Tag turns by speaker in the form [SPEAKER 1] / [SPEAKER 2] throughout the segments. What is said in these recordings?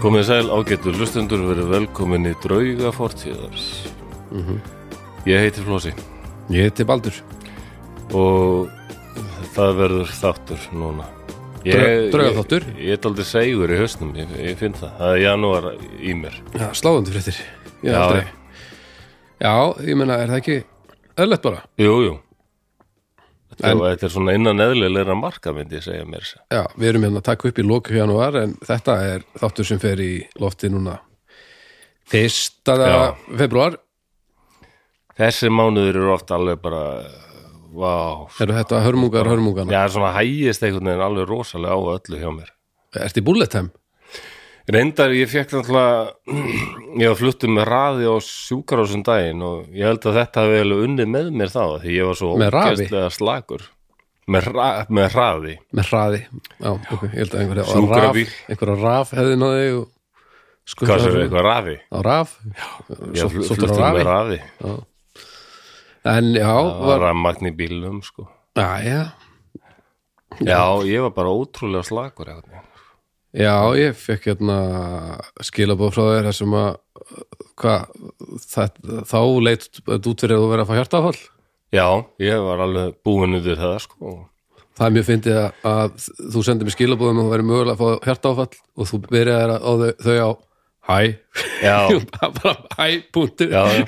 [SPEAKER 1] Komið sæl ágættu hlustundur verið velkomin í drauga fortíðar
[SPEAKER 2] Mhm.
[SPEAKER 1] Ég heiti Flósi
[SPEAKER 2] Ég heiti Baldur
[SPEAKER 1] og það verður þáttur núna
[SPEAKER 2] Draug- draugaþáttur?
[SPEAKER 1] Ég, ég er aldrei segur í hausnum, ég, ég finn það Það er janúar í mér
[SPEAKER 2] Já, sláðandi fréttir Ég
[SPEAKER 1] Já,
[SPEAKER 2] já, aldrei Já, ég meina, er það ekki öðlegt bara?
[SPEAKER 1] Jú, jú Þetta,
[SPEAKER 2] En-
[SPEAKER 1] en, þetta er svona innan eðlilegra marka myndi ég segja mér þess að.
[SPEAKER 2] Já, við erum hérna að taka upp í loku janúar en þetta er þáttur sem fer í lofti núna fyrsta
[SPEAKER 1] Já.
[SPEAKER 2] februar
[SPEAKER 1] Þessi mánuður eru oft alveg bara Vá
[SPEAKER 2] eru þetta hörmungar hörmungana
[SPEAKER 1] Já, svona hægist einhvern veginn alveg rosalega á öllu hjá mér
[SPEAKER 2] Ertu í bullet time?
[SPEAKER 1] Reyndar, ég fekk náttúrulega ég var fluttum með raði á sjúkarásum daginn og ég held að þetta hafi alveg unnið með mér þá því ég var svo
[SPEAKER 2] Með rafi?
[SPEAKER 1] ógeðslega slagur með, ra með raði
[SPEAKER 2] Með hraði Já, ok, ég held að einhverja raf,
[SPEAKER 1] Sjúkrabíl.
[SPEAKER 2] einhverja raf hefði náði og
[SPEAKER 1] hvað
[SPEAKER 2] skuttlaði
[SPEAKER 1] sem er
[SPEAKER 2] þessu.
[SPEAKER 1] eitthvað rafi
[SPEAKER 2] á raf
[SPEAKER 1] ég var
[SPEAKER 2] Sóttur
[SPEAKER 1] fl-
[SPEAKER 2] á
[SPEAKER 1] fluttum
[SPEAKER 2] rafi
[SPEAKER 1] með rafi
[SPEAKER 2] En já,
[SPEAKER 1] var
[SPEAKER 2] var,
[SPEAKER 1] rammagn í bílum sko
[SPEAKER 2] já, já
[SPEAKER 1] já, ég var bara ótrúlega slagur einhvern veginn.
[SPEAKER 2] Já, ég fekk hérna skilabóð frá þér þar sem að hvað, það, þá leit þetta út fyrir að þú verið að fá hjartafall
[SPEAKER 1] já, ég var alveg búin undir það sko
[SPEAKER 2] Það er mjög fyndið að, að þú sendir mér skilabóð um að þú verið mögulega að fá hjartafall og þú byrjaðir að- á þau, þau á hæ,
[SPEAKER 1] já,
[SPEAKER 2] bara hæ, punktur
[SPEAKER 1] já, já.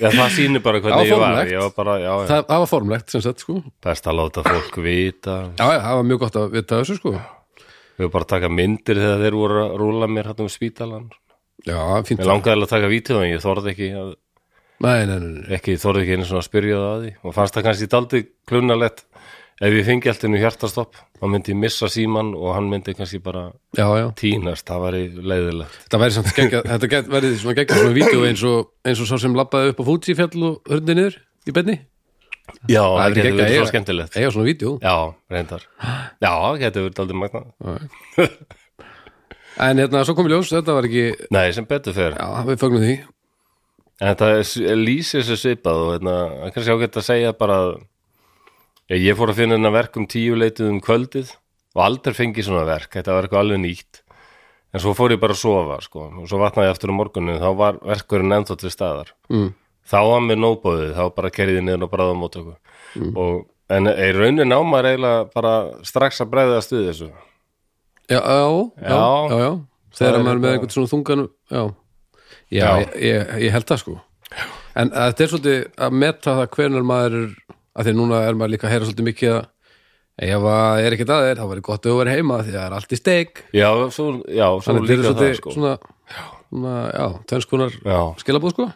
[SPEAKER 1] já það sýnir bara
[SPEAKER 2] Það var
[SPEAKER 1] hvernig ég var
[SPEAKER 2] formlegt.
[SPEAKER 1] ég var bara, já, já,
[SPEAKER 2] Það, það var formlegt sem sett sko Já,
[SPEAKER 1] best að láta fólk vita
[SPEAKER 2] já, það var mjög gott að vita þessu sko
[SPEAKER 1] Við varum bara að taka myndir þegar þeir voru að rúla mér hann um spítalan.
[SPEAKER 2] Já, fínt
[SPEAKER 1] Mér langaði alveg að taka vítið en ég þorði ekki, að,
[SPEAKER 2] Nei, nei, nei, nei.
[SPEAKER 1] ekki þorði ekki einu svona að spyrja það að því. Og fannst það kannski daldi klunalett ef ég fengi allt innu hjartastopp, þá myndi ég missa síman og hann myndi kannski bara
[SPEAKER 2] Já, já
[SPEAKER 1] tínast, það væri leiðilegt.
[SPEAKER 2] Þetta væri samt geggjað, þetta get, verið svona geggjað svona vídeo eins og, eins og sá sem labbaði upp á Fuji fjall og hörndi niður í benni
[SPEAKER 1] Já,
[SPEAKER 2] væri
[SPEAKER 1] það
[SPEAKER 2] geggjað
[SPEAKER 1] getur verið
[SPEAKER 2] að
[SPEAKER 1] svo
[SPEAKER 2] eiga-
[SPEAKER 1] skemmtilegt.
[SPEAKER 2] eiga svona vídeo
[SPEAKER 1] Já, reyndar. Já, það getur verið daldi magnað.
[SPEAKER 2] en hérna svo kom í ljós, þetta var ekki já,
[SPEAKER 1] Nei, sem betur fer.
[SPEAKER 2] við fögnum því
[SPEAKER 1] En það er- lýsir sér svipað og hérna, það er kannski ágætt að segja bara að ég, ég fór að finna hennar verk um tíu leitið um kvöldið og aldrei fengi svona verk, þetta var eitthvað alveg nýtt en svo fór ég bara að sofa sko. og svo vatnaði ég aftur um morguninu þá var verkurinn ennþá til staðar
[SPEAKER 2] mm.
[SPEAKER 1] þá var mér nóbóðið, þá bara kerði niður og bræða á mótöku
[SPEAKER 2] Mm.
[SPEAKER 1] og, en eh, í raunin á maður eiginlega bara strax að bræðast við þessu
[SPEAKER 2] já, já, já,
[SPEAKER 1] Já.
[SPEAKER 2] já, já.
[SPEAKER 1] er
[SPEAKER 2] þegar maður er
[SPEAKER 1] þetta-
[SPEAKER 2] með einhvern svona þungan já, já,
[SPEAKER 1] Já.
[SPEAKER 2] Ég, ég, ég held það sko en eh, þetta er svolítið að meta það hvenar maður er að því núna er maður líka að heyra svolítið mikið að ef að er ekkert aðeir, þá væri gott að þú verið heima því að það er allt í steik
[SPEAKER 1] já, svo, já, svo
[SPEAKER 2] þannig að þetta
[SPEAKER 1] líka
[SPEAKER 2] er
[SPEAKER 1] það
[SPEAKER 2] svolítið
[SPEAKER 1] sko.
[SPEAKER 2] svona, svona já, tvennskonar
[SPEAKER 1] já
[SPEAKER 2] skilabóð sko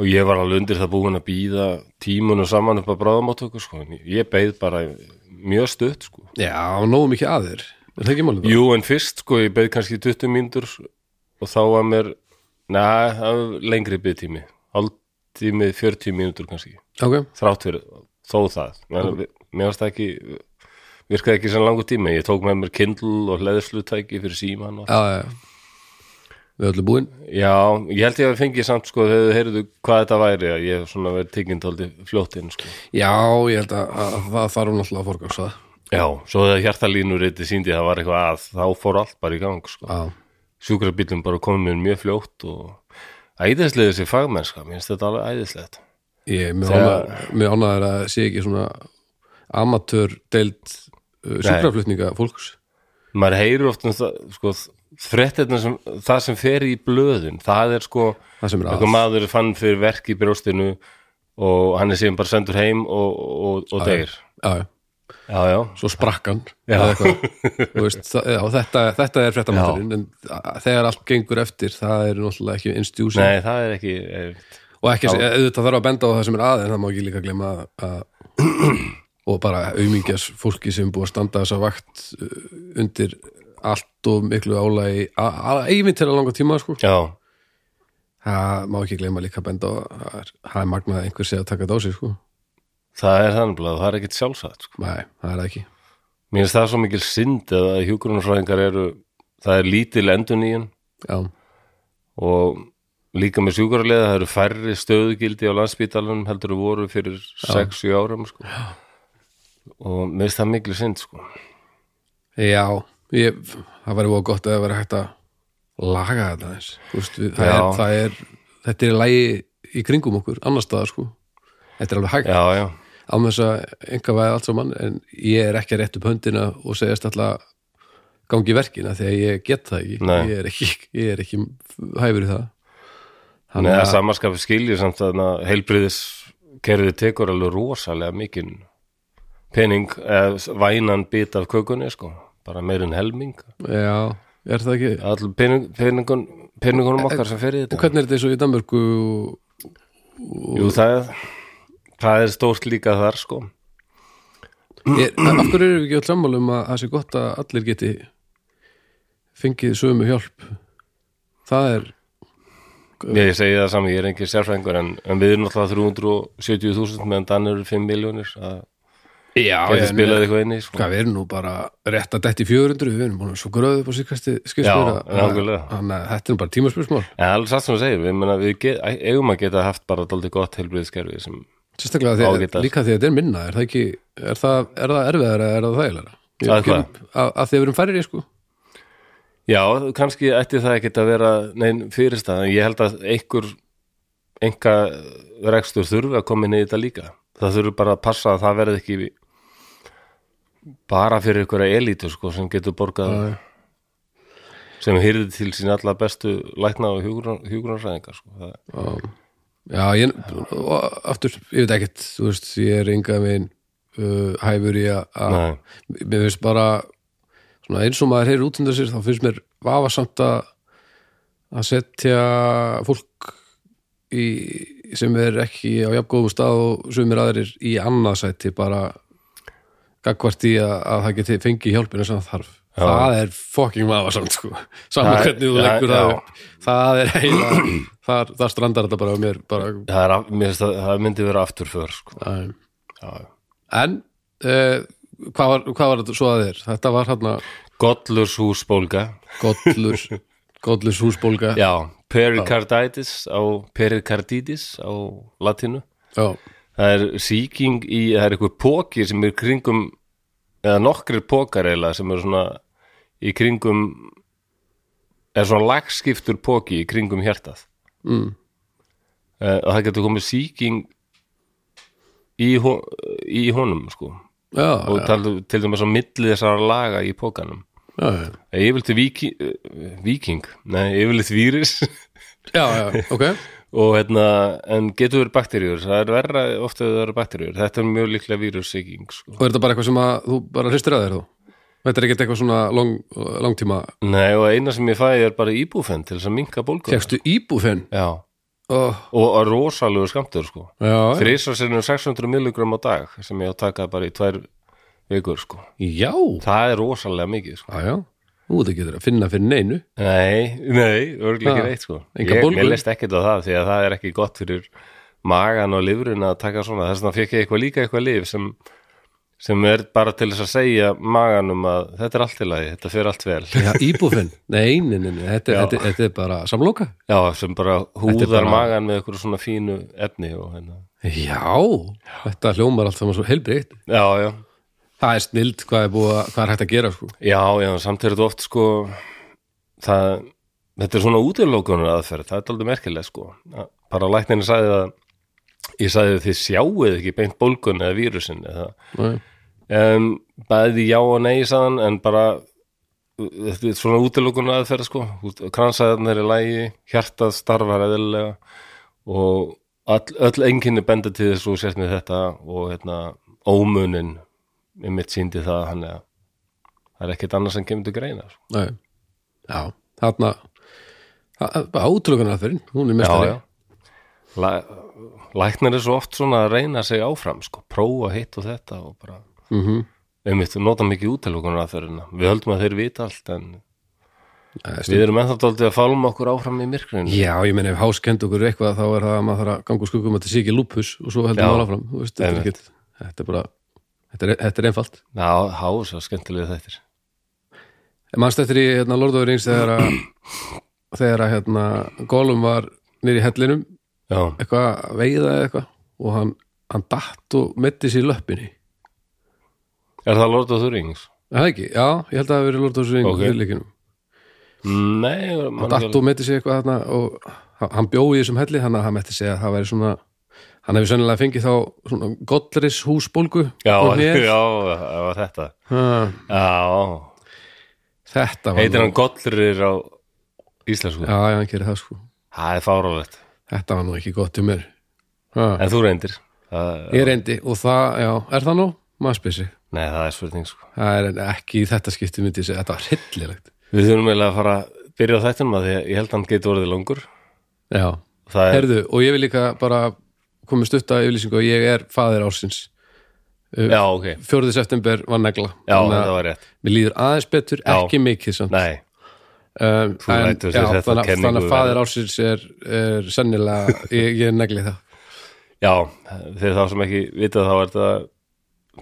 [SPEAKER 1] og ég var alveg undir það búin að býða tímunum saman upp að bráðamáttöku sko. en ég beið bara mjög stutt sko.
[SPEAKER 2] já, nógu mikið aðir er það ekki málið bara?
[SPEAKER 1] jú en fyrst sko, ég beið kannski 20 mínútur og þá var mér neða, það var lengri byggtími hálftími, 40 mínútur kannski
[SPEAKER 2] ok,
[SPEAKER 1] þrátt fyrir þó það en, okay. mér varst það ekki virkaði ekki sem langur tími, ég tók með mér kindl og leðslutæki fyrir síman og...
[SPEAKER 2] já, já, já við öllu búin
[SPEAKER 1] já, ég held ég að fengi samt sko þegar þið heyrðu hvað þetta væri að ég hef svona verið tiggindaldi fljóttinn sko.
[SPEAKER 2] já, ég held að, að það þarf náttúrulega að forgans það
[SPEAKER 1] Já, svo þegar hjartalínur eitthvað síndi að það var eitthvað að þá fór allt bara í gang sko.
[SPEAKER 2] já,
[SPEAKER 1] sjúkrabílum bara komið mér mjög fljótt og æðislega þessi fagmennska mér finnst þetta alveg æðislegt
[SPEAKER 2] ég
[SPEAKER 1] Þegar-
[SPEAKER 2] er mjög ánæður að sé ekki svona amatör deild uh, sjúkraflutninga fólks
[SPEAKER 1] maður heyrir oft um það sko, fréttirnar sem, það sem fer í blöðin það er sko
[SPEAKER 2] það sem er að
[SPEAKER 1] eitthvað maður fann fyrir verk í brjóstinu og hann er síðan bara sendur heim og, og, og deyr
[SPEAKER 2] já, já.
[SPEAKER 1] Já, já,
[SPEAKER 2] svo sprakkan
[SPEAKER 1] Já.
[SPEAKER 2] veist, það, já, þetta, þetta er fréttamætturinn en a- þegar allt gengur eftir það er náttúrulega ekki instjúsin
[SPEAKER 1] nei það er ekki er,
[SPEAKER 2] og ekki, auðvitað þarf að benda á það sem er að en það má ekki líka glema að- að og bara aumingjast fólki sem búið að standa þessa vakt uh, undir allt og miklu álægi eigin til að langa tíma sko.
[SPEAKER 1] Já,
[SPEAKER 2] það má ekki glema líka að benda á að það er- það er magnað að einhver sé að taka þetta á sig sko.
[SPEAKER 1] það er þannig að það er ekkit sjálfsagt sko.
[SPEAKER 2] nei, það er það ekki
[SPEAKER 1] Mér finnst það svo mikil synd að að hjúkrunarfræðingar eru, það er lítil enduníun
[SPEAKER 2] já,
[SPEAKER 1] og líka með sjúkrarlega það eru færri stöðugildi á landsbítalunum heldur að voru fyrir 6-7 árum sko. og mér finnst það mikil synd sko.
[SPEAKER 2] já, ég, það væri voða gott að það væri hægt að laga þetta eins Vist, við, það, er,
[SPEAKER 1] Já.
[SPEAKER 2] það er, þetta er í lægi í kringum okkur, annars staðar sko þetta er alveg hægt,
[SPEAKER 1] já, já,
[SPEAKER 2] án þess að enga væði allt saman, en ég er ekki að rétt upp höndina og segjast alltaf gangi verkina, því að ég get það ekki
[SPEAKER 1] Nei.
[SPEAKER 2] ég er ekki, ég er ekki hæfur í það
[SPEAKER 1] Nei,
[SPEAKER 2] Þannig
[SPEAKER 1] það
[SPEAKER 2] að-
[SPEAKER 1] samanskapi skilju samt að heilbriðis kerfið tekur alveg rosalega mikinn pening, eða s- vænan bit af kökunni, sko, bara meir en helming
[SPEAKER 2] já, er það ekki
[SPEAKER 1] all pening, peningun, peningunum okkar sem fer í
[SPEAKER 2] En
[SPEAKER 1] þetta
[SPEAKER 2] hvernig er þetta eins og í Danmörku og-
[SPEAKER 1] Jú, það er það er stórt líka þar, sko
[SPEAKER 2] er, af hverju erum við ekki öll sammála um að það sé gott að allir geti fengið sömu hjálp það er
[SPEAKER 1] Ég segi það saman, ég er engin sérfræðingur en, en við erum alltaf 370.000 meðan Danir eru 5 miljónir að
[SPEAKER 2] já, en,
[SPEAKER 1] geti spilað eitthvað inn í, sko
[SPEAKER 2] hvað við erum nú bara rétt að detti 400 við erum búin að svo gröðu upp á síkvæsti skilsmýra
[SPEAKER 1] Já, nákvæmlega.
[SPEAKER 2] að þetta er nú bara tímaspursmál
[SPEAKER 1] En alveg satt sem þú segir, við, meina, við get, eigum að geta haft bara daldið gott heilbriðiskerfi sem
[SPEAKER 2] sérstaklega því
[SPEAKER 1] Ágætast.
[SPEAKER 2] að líka því að þetta er minna er það, ekki, er það, er það erfiðara eða er það þægilega
[SPEAKER 1] Það er hvað?
[SPEAKER 2] að, að því að við erum færri sko
[SPEAKER 1] Já, kannski ætti það ekkit að vera neinn fyrirstað, en ég held að einhver enga rekstur þurfi að koma inn í þetta líka það þurfi bara að passa að það verði ekki bara fyrir einhverja elítu sko, sem getur borgað sem hyrði til sín alla bestu lækna og hjúgrunarfræðingar sko. Það-
[SPEAKER 2] Já, já ég, og aftur, ég veit ekkert þú veist, ég er enga minn uh, hæfur í að- að
[SPEAKER 1] Nei.
[SPEAKER 2] mér finnst bara svona, eins og maður heyrir út undan sér þá finnst mér vafasamt að að setja fólk í, sem er ekki á jafn góðum stað og sumir aðrir í annað sæti bara gagvart í að, að það geti fengið hjálpina sem það þarf það er fucking vafasamt sko saman
[SPEAKER 1] Það-
[SPEAKER 2] hvernig þú
[SPEAKER 1] já,
[SPEAKER 2] leggur
[SPEAKER 1] já.
[SPEAKER 2] það upp það er heila þar, þar strandar þetta bara á mér bara,
[SPEAKER 1] það, er af- mér finnst að, það myndi vera afturför sko.
[SPEAKER 2] að,
[SPEAKER 1] Já.
[SPEAKER 2] en uh, hvað, var, hvað var þetta svo að þér? þetta var hérna
[SPEAKER 1] Godlurs húsbólga
[SPEAKER 2] gollur gollurs húsbólga já.
[SPEAKER 1] Já, pericarditis á pericarditis á latinu
[SPEAKER 2] Já.
[SPEAKER 1] það er sýking í, það er eitthvað póki sem er kringum eða nokkrir pókar eiginlega sem eru svona í kringum eða svona lagskiptur póki í kringum hjartað
[SPEAKER 2] Mm.
[SPEAKER 1] Eh, og það getur komið sýking í, hon, í honum sko
[SPEAKER 2] Já,
[SPEAKER 1] og taldu, til dæmis á milli þessara laga í pókanum
[SPEAKER 2] já, já,
[SPEAKER 1] yfirleitt er viki, eh, viking nei, yfirleitt víris
[SPEAKER 2] já, já, ok
[SPEAKER 1] og hérna, en getur verið bakteríur það er verra ofta að það eru bakteríur þetta er mjög líklega vírussýking sko
[SPEAKER 2] og er þetta bara eitthvað sem að þú bara hristir að þér þú? Þetta er ekkert eitthvað svona long, langtíma
[SPEAKER 1] Nei og eina sem ég fæ er bara íbúfen til þess að minka bólgu
[SPEAKER 2] Fekstu íbúfinn?
[SPEAKER 1] Já,
[SPEAKER 2] Oh,
[SPEAKER 1] og að rosalegu skamtur sko
[SPEAKER 2] já,
[SPEAKER 1] Þrísar sinnum 600 milligram á dag sem ég á að taka bara í tvær vikur sko
[SPEAKER 2] já,
[SPEAKER 1] Það er rosalega mikið sko
[SPEAKER 2] já, já. Nú þetta getur að finna fyrir neinu
[SPEAKER 1] Nei, nei, örgulega
[SPEAKER 2] Ha,
[SPEAKER 1] ekki reitt sko
[SPEAKER 2] engar
[SPEAKER 1] Ég,
[SPEAKER 2] bólgur.
[SPEAKER 1] ég leist ekkert á það því að það er ekki gott fyrir magan og lifrin að taka svona þess vegna fekk ég eitthvað líka eitthvað lif sem, sem er bara til þess að segja maganum að þetta er allt í lagi þetta fer allt vel
[SPEAKER 2] Já, íbúfinn, nei, nei, nei, nei þetta,
[SPEAKER 1] Já.
[SPEAKER 2] þetta, þetta er bara samloka
[SPEAKER 1] Já, sem bara húðar
[SPEAKER 2] bara-
[SPEAKER 1] magan með eitthvað svona fínu efni og hérna
[SPEAKER 2] Já, þetta hljómar allt saman svo heilbreykt
[SPEAKER 1] Já, já,
[SPEAKER 2] Það er snild hvað er, búið, að- hvað er hægt að gera sko.
[SPEAKER 1] já, já, samt er þetta oft sko það, þetta er svona útilókunar aðferð, það er aldrei merkilega sko, Að- bara læknirinn sagði að ég sagði að þið sjáuð ekki beint bólgun eða vírusin eða.
[SPEAKER 2] Nei.
[SPEAKER 1] Um, bæði já og nei sagðan en bara þetta er svona útilókunar aðferð sko kransæðarnar er í lægi, hjartað starfar eðlilega og all, öll enginni benda til þess og sért með þetta og hérna ómunin, einmitt síndi það hann eða það er ekkert annars sem kemur til greina sko.
[SPEAKER 2] Nei. Já, þarna átrökunar aðferðin, hún er mestari
[SPEAKER 1] já. Læ, læknar er svo oft svona að reyna sig áfram sko, prófa hitt og þetta og bara,
[SPEAKER 2] mm -hmm.
[SPEAKER 1] einmitt, nota mikið útilokunar aðferðina, við höldum að þeir vita allt en við erum ennþá daldið að fálma okkur áfram í myrkrinu
[SPEAKER 2] Já, ég meina ef háskend okkur er eitthvað þá er það að maður þarf að ganga úr skuggum að þetta sé ekki lúpus og svo heldur
[SPEAKER 1] Já.
[SPEAKER 2] maður áfram þú veist, þetta, er
[SPEAKER 1] Einmitt.
[SPEAKER 2] ekkit, þetta er bara þetta er, þetta er einfalt
[SPEAKER 1] Já, há, svo skemmtilega þættir
[SPEAKER 2] Manst eftir í hérna, Lord of the Rings þegar að þegar að hérna, Gollum var nýri í hellinum
[SPEAKER 1] Já,
[SPEAKER 2] eitthvað að veiða eða eitthvað og hann, hann datt og metti sér í löppinni
[SPEAKER 1] er það Lord of the Rings?
[SPEAKER 2] það ekki, já, ég held að það hafi verið Lord of the Rings
[SPEAKER 1] Ok.
[SPEAKER 2] okay. viðleikinum
[SPEAKER 1] Nei, mann
[SPEAKER 2] og Datto metti sig eitthvað þarna og hann- hann bjóði í þessum helli þannig að hann metti sig að það væri svona hann hefur sennilega fengið þá svona gottleris húsbólgu
[SPEAKER 1] Já,
[SPEAKER 2] og
[SPEAKER 1] já,
[SPEAKER 2] hnéð.
[SPEAKER 1] það var þetta
[SPEAKER 2] Ha,
[SPEAKER 1] Já,
[SPEAKER 2] þetta var
[SPEAKER 1] heitir
[SPEAKER 2] nú-
[SPEAKER 1] hann Gollrir á íslensku
[SPEAKER 2] já, já, hann gerir það sko
[SPEAKER 1] Það er fárálegt
[SPEAKER 2] þetta var nú ekki gott hjá mér ha,
[SPEAKER 1] En þú reyndir það,
[SPEAKER 2] ég reyndi og það, já, er það nú? maður spyr sig,
[SPEAKER 1] Nei, það er spurning sko
[SPEAKER 2] það er ekki í þetta skipti myndi ég segja, þetta var hryllilegt
[SPEAKER 1] Við þurfum eiginlega að fara að byrja á þættinum að því að ég held að hann geti orðið langur
[SPEAKER 2] já,
[SPEAKER 1] Það er,
[SPEAKER 2] herðu, og ég vil líka bara komið stutta yfirlýsingu og ég er faðir ársins
[SPEAKER 1] já, ok Já,
[SPEAKER 2] 4. september var negla
[SPEAKER 1] þetta var rétt
[SPEAKER 2] Mér líður aðeins betur,
[SPEAKER 1] Já.
[SPEAKER 2] ekki mikið samt.
[SPEAKER 1] Nei,
[SPEAKER 2] um,
[SPEAKER 1] Þú
[SPEAKER 2] en-
[SPEAKER 1] lætur þér
[SPEAKER 2] já,
[SPEAKER 1] þetta
[SPEAKER 2] þannig,
[SPEAKER 1] kenningu
[SPEAKER 2] þannig að faðir ársins er, er sennilega, ég, ég negli það
[SPEAKER 1] já, þegar þá sem ekki vitað þá er þetta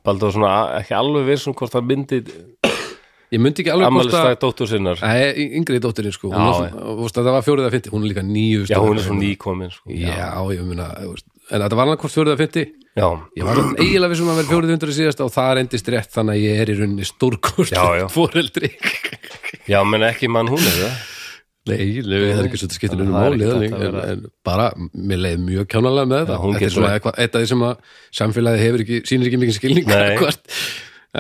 [SPEAKER 1] Baldur svona a- ekki alveg vissum hvort það myndi
[SPEAKER 2] Ég myndi ekki alveg
[SPEAKER 1] ammæli stæð dóttur sinnar
[SPEAKER 2] Nei, yngri dóttirinn sko
[SPEAKER 1] Já,
[SPEAKER 2] hún, var- þú veist, Þetta var fjórið að fyndi, hún er líka nýju
[SPEAKER 1] Já, hún er svo nýkomin sko
[SPEAKER 2] Já, ég muna þú veist, En þetta var hann hvort fjórið að fyndi
[SPEAKER 1] já,
[SPEAKER 2] Ég var eiginlega vissum að vera fjórið hundur síðast og það reyndist rétt þannig að ég er í rauninni stórkort
[SPEAKER 1] Já, já.
[SPEAKER 2] fóreldri
[SPEAKER 1] já menn ekki mann hún er það
[SPEAKER 2] Nei, nei, það er ekki svo þetta skiptir nefnum
[SPEAKER 1] Það er
[SPEAKER 2] máli
[SPEAKER 1] ekki
[SPEAKER 2] þannig,
[SPEAKER 1] þetta að
[SPEAKER 2] en, en bara, mér leið mjög kjánalega með það
[SPEAKER 1] hún
[SPEAKER 2] Þetta er
[SPEAKER 1] getur
[SPEAKER 2] svona eitthvað, eitt af því sem að samfélagi hefur ekki, sýnir ekki mikið skilning
[SPEAKER 1] Nei.
[SPEAKER 2] hvort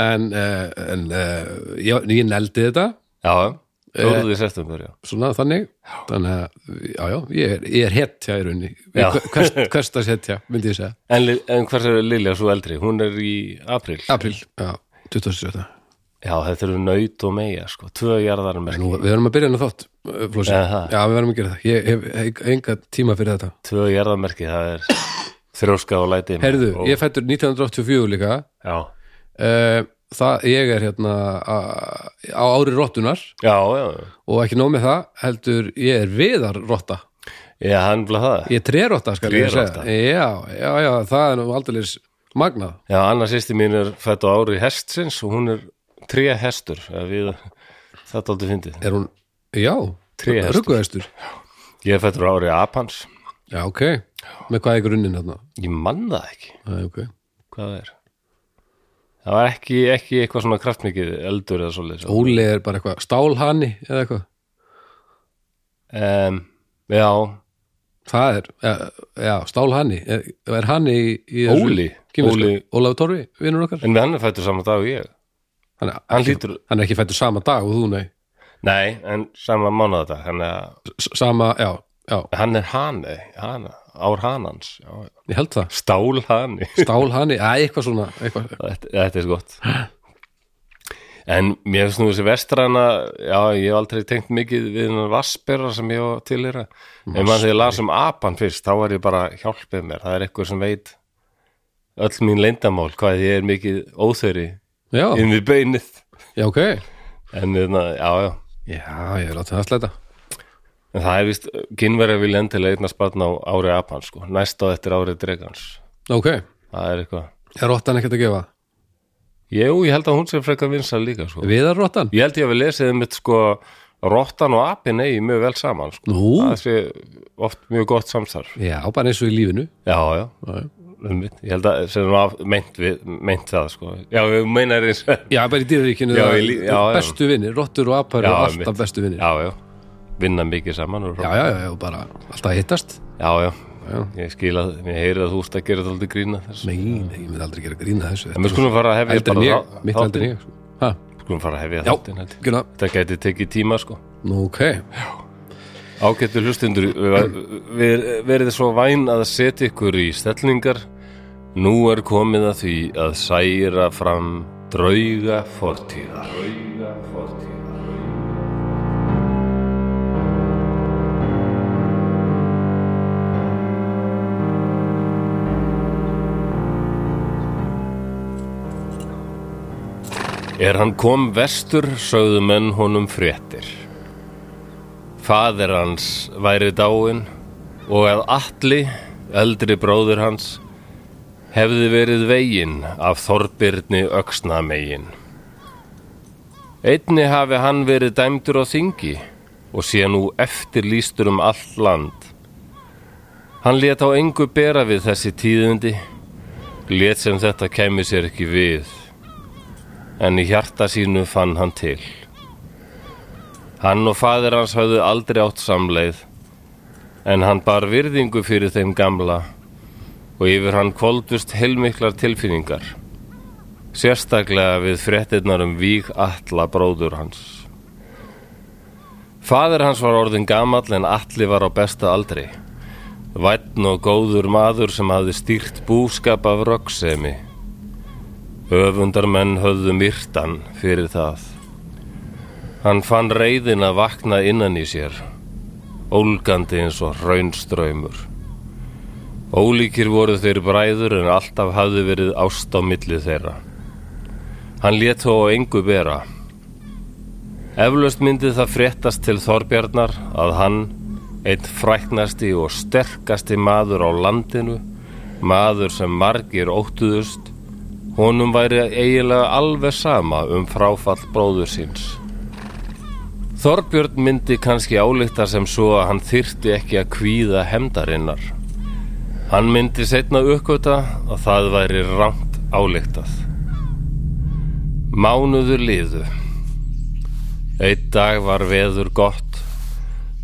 [SPEAKER 2] en, uh, en uh, ég, ég neldi þetta
[SPEAKER 1] Já,
[SPEAKER 2] Eh.
[SPEAKER 1] fjóruðu í september, já
[SPEAKER 2] svona þannig þannig að, já, já, ég er, ég er hetja í raunni,
[SPEAKER 1] Já.
[SPEAKER 2] hverstars hetja myndi ég segja,
[SPEAKER 1] En, Li- en hvers er Lilja svo eldri? Hún er í april
[SPEAKER 2] april, já, 27
[SPEAKER 1] Já, þetta eru nöyt og meia, sko Tvö jarðar
[SPEAKER 2] Nú, við erum að byrja hennar þátt, Flósi
[SPEAKER 1] Já, það.
[SPEAKER 2] Já, við verðum að gera það, ég hef- hef enga tíma fyrir þetta
[SPEAKER 1] tvö jarðamerki, það er þrjóska og læti
[SPEAKER 2] Herðu,
[SPEAKER 1] og,
[SPEAKER 2] ég er fættur 1984 líka
[SPEAKER 1] já,
[SPEAKER 2] Eh, það, ég er hérna a- á ári rottunar
[SPEAKER 1] já, já,
[SPEAKER 2] og ekki nóg með það, heldur ég er viðar rotta,
[SPEAKER 1] já, hann blá það
[SPEAKER 2] ég er trerotta skal ég
[SPEAKER 1] Trérotta?
[SPEAKER 2] segja, já, já, já það er nú aldeilis magnað,
[SPEAKER 1] Já, annars sýsti mín er fætt á ári hestsins og hún er tré hestur við, þetta er aldrei fyndið
[SPEAKER 2] er hún já,
[SPEAKER 1] Tréhestur.
[SPEAKER 2] rugguhestur
[SPEAKER 1] Ég er fættur á ári apans
[SPEAKER 2] já, ok, með hvað er grunnin þarna
[SPEAKER 1] Ég man það ekki,
[SPEAKER 2] Æ, ok,
[SPEAKER 1] hvað það er Það var ekki, ekki eitthvað svona kraftmikið eldur eða svoleiðis
[SPEAKER 2] Óli er bara eitthvað stálhanni eða eitthvað,
[SPEAKER 1] um, Já,
[SPEAKER 2] það er já, já stálhanni, er, er hanni í, í
[SPEAKER 1] Óli? Óli-
[SPEAKER 2] Óli, Ólaf Torfi, vinnur okkar
[SPEAKER 1] En við hann er fættur saman dag og ég
[SPEAKER 2] hann, er-
[SPEAKER 1] Hann hlýtur,
[SPEAKER 2] hann er ekki fættur sama dag og þú, nei
[SPEAKER 1] nei, en sama mánuðardag Hann er,
[SPEAKER 2] S- sama, já, já,
[SPEAKER 1] hann er hane, hana, ár hanans já, já.
[SPEAKER 2] ég held það
[SPEAKER 1] Stál hani
[SPEAKER 2] stál hann í, að eitthvað svona eitthvað.
[SPEAKER 1] þetta, þetta er svo gott En mér finnst nú þessi vestrana Já, ég hef aldrei tengt mikið við hennar vassbera sem ég var til þeirra En maður þegar ég las um apan fyrst þá var ég bara hjálpið mér Það er eitthvað sem veit öll mín leyndamál hvað ég er mikið óþöri
[SPEAKER 2] já,
[SPEAKER 1] inn við beinið
[SPEAKER 2] já, ok
[SPEAKER 1] En þarna, já, já
[SPEAKER 2] já, ég láti það slæta
[SPEAKER 1] En það er vist, kynverja vilja endilega eignast barn á ári apans, sko, næst á eftir árið dregans.
[SPEAKER 2] ok,
[SPEAKER 1] Það er eitthvað.
[SPEAKER 2] er rottan ekkert að gefa
[SPEAKER 1] Jú, ég held að hún sem frekar vinsal líka, sko.
[SPEAKER 2] viðar rottan,
[SPEAKER 1] Ég held ég að við lesið um sko, rottan og apin eigi mjög vel saman, sko.
[SPEAKER 2] nú
[SPEAKER 1] Það sé oft mjög gott samstarf.
[SPEAKER 2] já, bara eins og í lífinu
[SPEAKER 1] Já, já.
[SPEAKER 2] já,
[SPEAKER 1] Um ég held að sem var meint, við, meint það, sko. Já, við meinar eins. já,
[SPEAKER 2] já bara í dýraríkinu
[SPEAKER 1] Já,
[SPEAKER 2] það-
[SPEAKER 1] í lí- já, já.
[SPEAKER 2] bestu vinni, rottur og apar
[SPEAKER 1] Já,
[SPEAKER 2] eru
[SPEAKER 1] einmitt.
[SPEAKER 2] alltaf bestu vinni já,
[SPEAKER 1] já. Vinna mikið saman. og-
[SPEAKER 2] já, já, já, bara alltaf að hittast
[SPEAKER 1] já. já.
[SPEAKER 2] Já.
[SPEAKER 1] Ég skil að, ég heyri að þú úrst að gera þetta aldrei grína þessu.
[SPEAKER 2] nei, nei, ég myndi aldrei gera grína þessu
[SPEAKER 1] En við skulum fara að hefja
[SPEAKER 2] eldri en ég,
[SPEAKER 1] þá-
[SPEAKER 2] mitt eldri en ég sko. Ha,
[SPEAKER 1] Skulum fara að hefja
[SPEAKER 2] já,
[SPEAKER 1] þáttinn, held ég.
[SPEAKER 2] gula
[SPEAKER 1] Það gæti tekið tíma sko
[SPEAKER 2] nú, ok,
[SPEAKER 1] Ágættu hlustundur við verið svo væn að setja ykkur í stellingar Nú er komið að því að særa fram drauga fortíðar Drauga fortíðar Er hann kom vestur, sögðu menn honum fréttir Fadir hans væri dáinn og að Atli, eldri bróður hans, hefði verið veginn af Þorbirni öxnamegin. Einni hafi hann verið dæmdur á þingi og sé nú eftirlýstur um allt land. Hann lét á engu bera við þessi tíðindi, lét sem þetta kæmi sér ekki við. en í hjarta sínu fann hann til. Hann og faðir hans höfðu aldrei átt samleið, en hann bar virðingu fyrir þeim gamla og yfir hann koldust heilmiklar tilfinningar, sérstaklega við fréttinnar um víg alla bróður hans. Faðir hans var orðin gamall en allir var á besta aldri. Vætn og góður maður sem hafði stýrt búskap af röggsemi. Öfundarmenn höfðu myrtan fyrir það. Hann fann reyðin að vakna innan í sér, ólgandi eins og raunströymur. Ólíkir voru þeir bræður en alltaf hafði verið ást á milli þeirra. Hann lét þó á engu bera. Eflaust myndi það fréttast til Þorbjarnar að hann, einn fræknasti og sterkasti maður á landinu, maður sem margir óttuðust, honum væri eiginlega alveg sama um fráfall bróður síns. Þorbjörn myndi kannski álíkta sem svo að hann þyrfti ekki að kvíða hemdarinnar. Hann myndi setna uppgöta að það væri rangt álíktað. Mánuður liðu. Eitt dag var veður gott,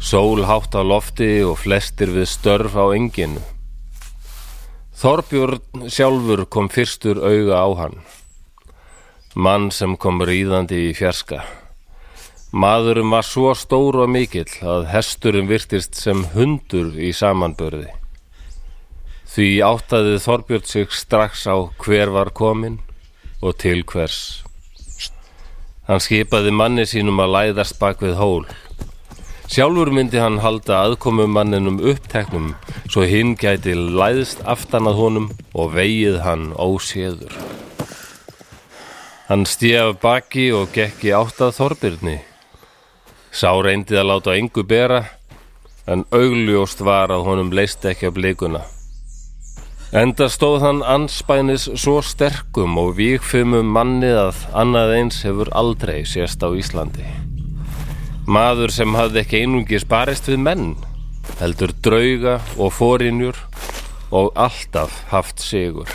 [SPEAKER 1] sól hátt á lofti og flestir við störf á enginu. Þorbjörn sjálfur kom fyrstur auga á hann. Mann sem kom ríðandi í fjarska. Maðurum var svo stór og mikill að hesturinn virtist sem hundur í samanbörði. Því áttaði Þorbjörn sig strax á hver var komin og til hvers. Hann skipaði manni sínum að læðast bak við hól. Sjálfur myndi hann halda aðkomum manninum uppteknum svo hinn gæti læðst aftan að honum og vegið hann óséður. Hann stíði af baki og gekk í áttað Þorbirni. Sá reyndi að láta engu bera en augljóst var að honum leist ekki af leikuna. Enda stóð hann anspænis svo sterkum og víkfumum manni að annað eins hefur aldrei sést á Íslandi. Maður sem hafði ekki einungis barist við menn, heldur drauga og fórinjur og alltaf haft sigur.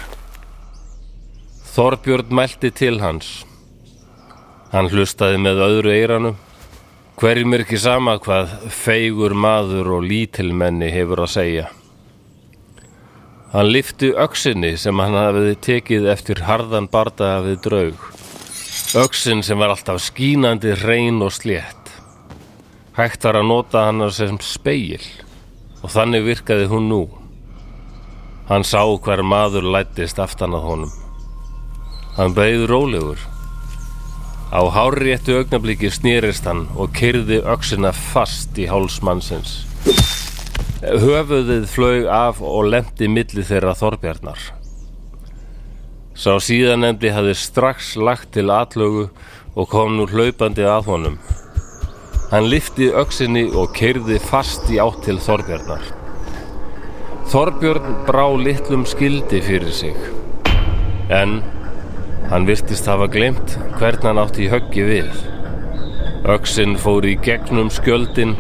[SPEAKER 1] Þorbjörn mælti til hans. Hann hlustaði með öðru eiranum. Hverjum er ekki sama hvað feigur maður og lítilmenni hefur að segja. Hann lifti öksinni sem hann hafði tekið eftir harðan bardaða við draug. Öksin sem var alltaf skínandi reyn og slétt. Hægt var að nota hann sem speil og þannig virkaði hún nú. Hann sá hver maður lættist aftan að honum. Hann beigð rólegur. Á háréttu augnabliki snýrist hann og kyrði öksina fast í hálsmannsins. Höfuðið flög af og lendi milli þeirra Þorbjarnar. Sá síðanemdi hafði strax lagt til atlögu og kom nú hlaupandi að honum. Hann lifti öksinni og keirði fast í átt til Þorbjarnar. Þorbjörn brá litlum skildi fyrir sig. En hann virtist hafa glemt hvern hann átti í höggi við. Öksinn fór í gegnum skjöldin,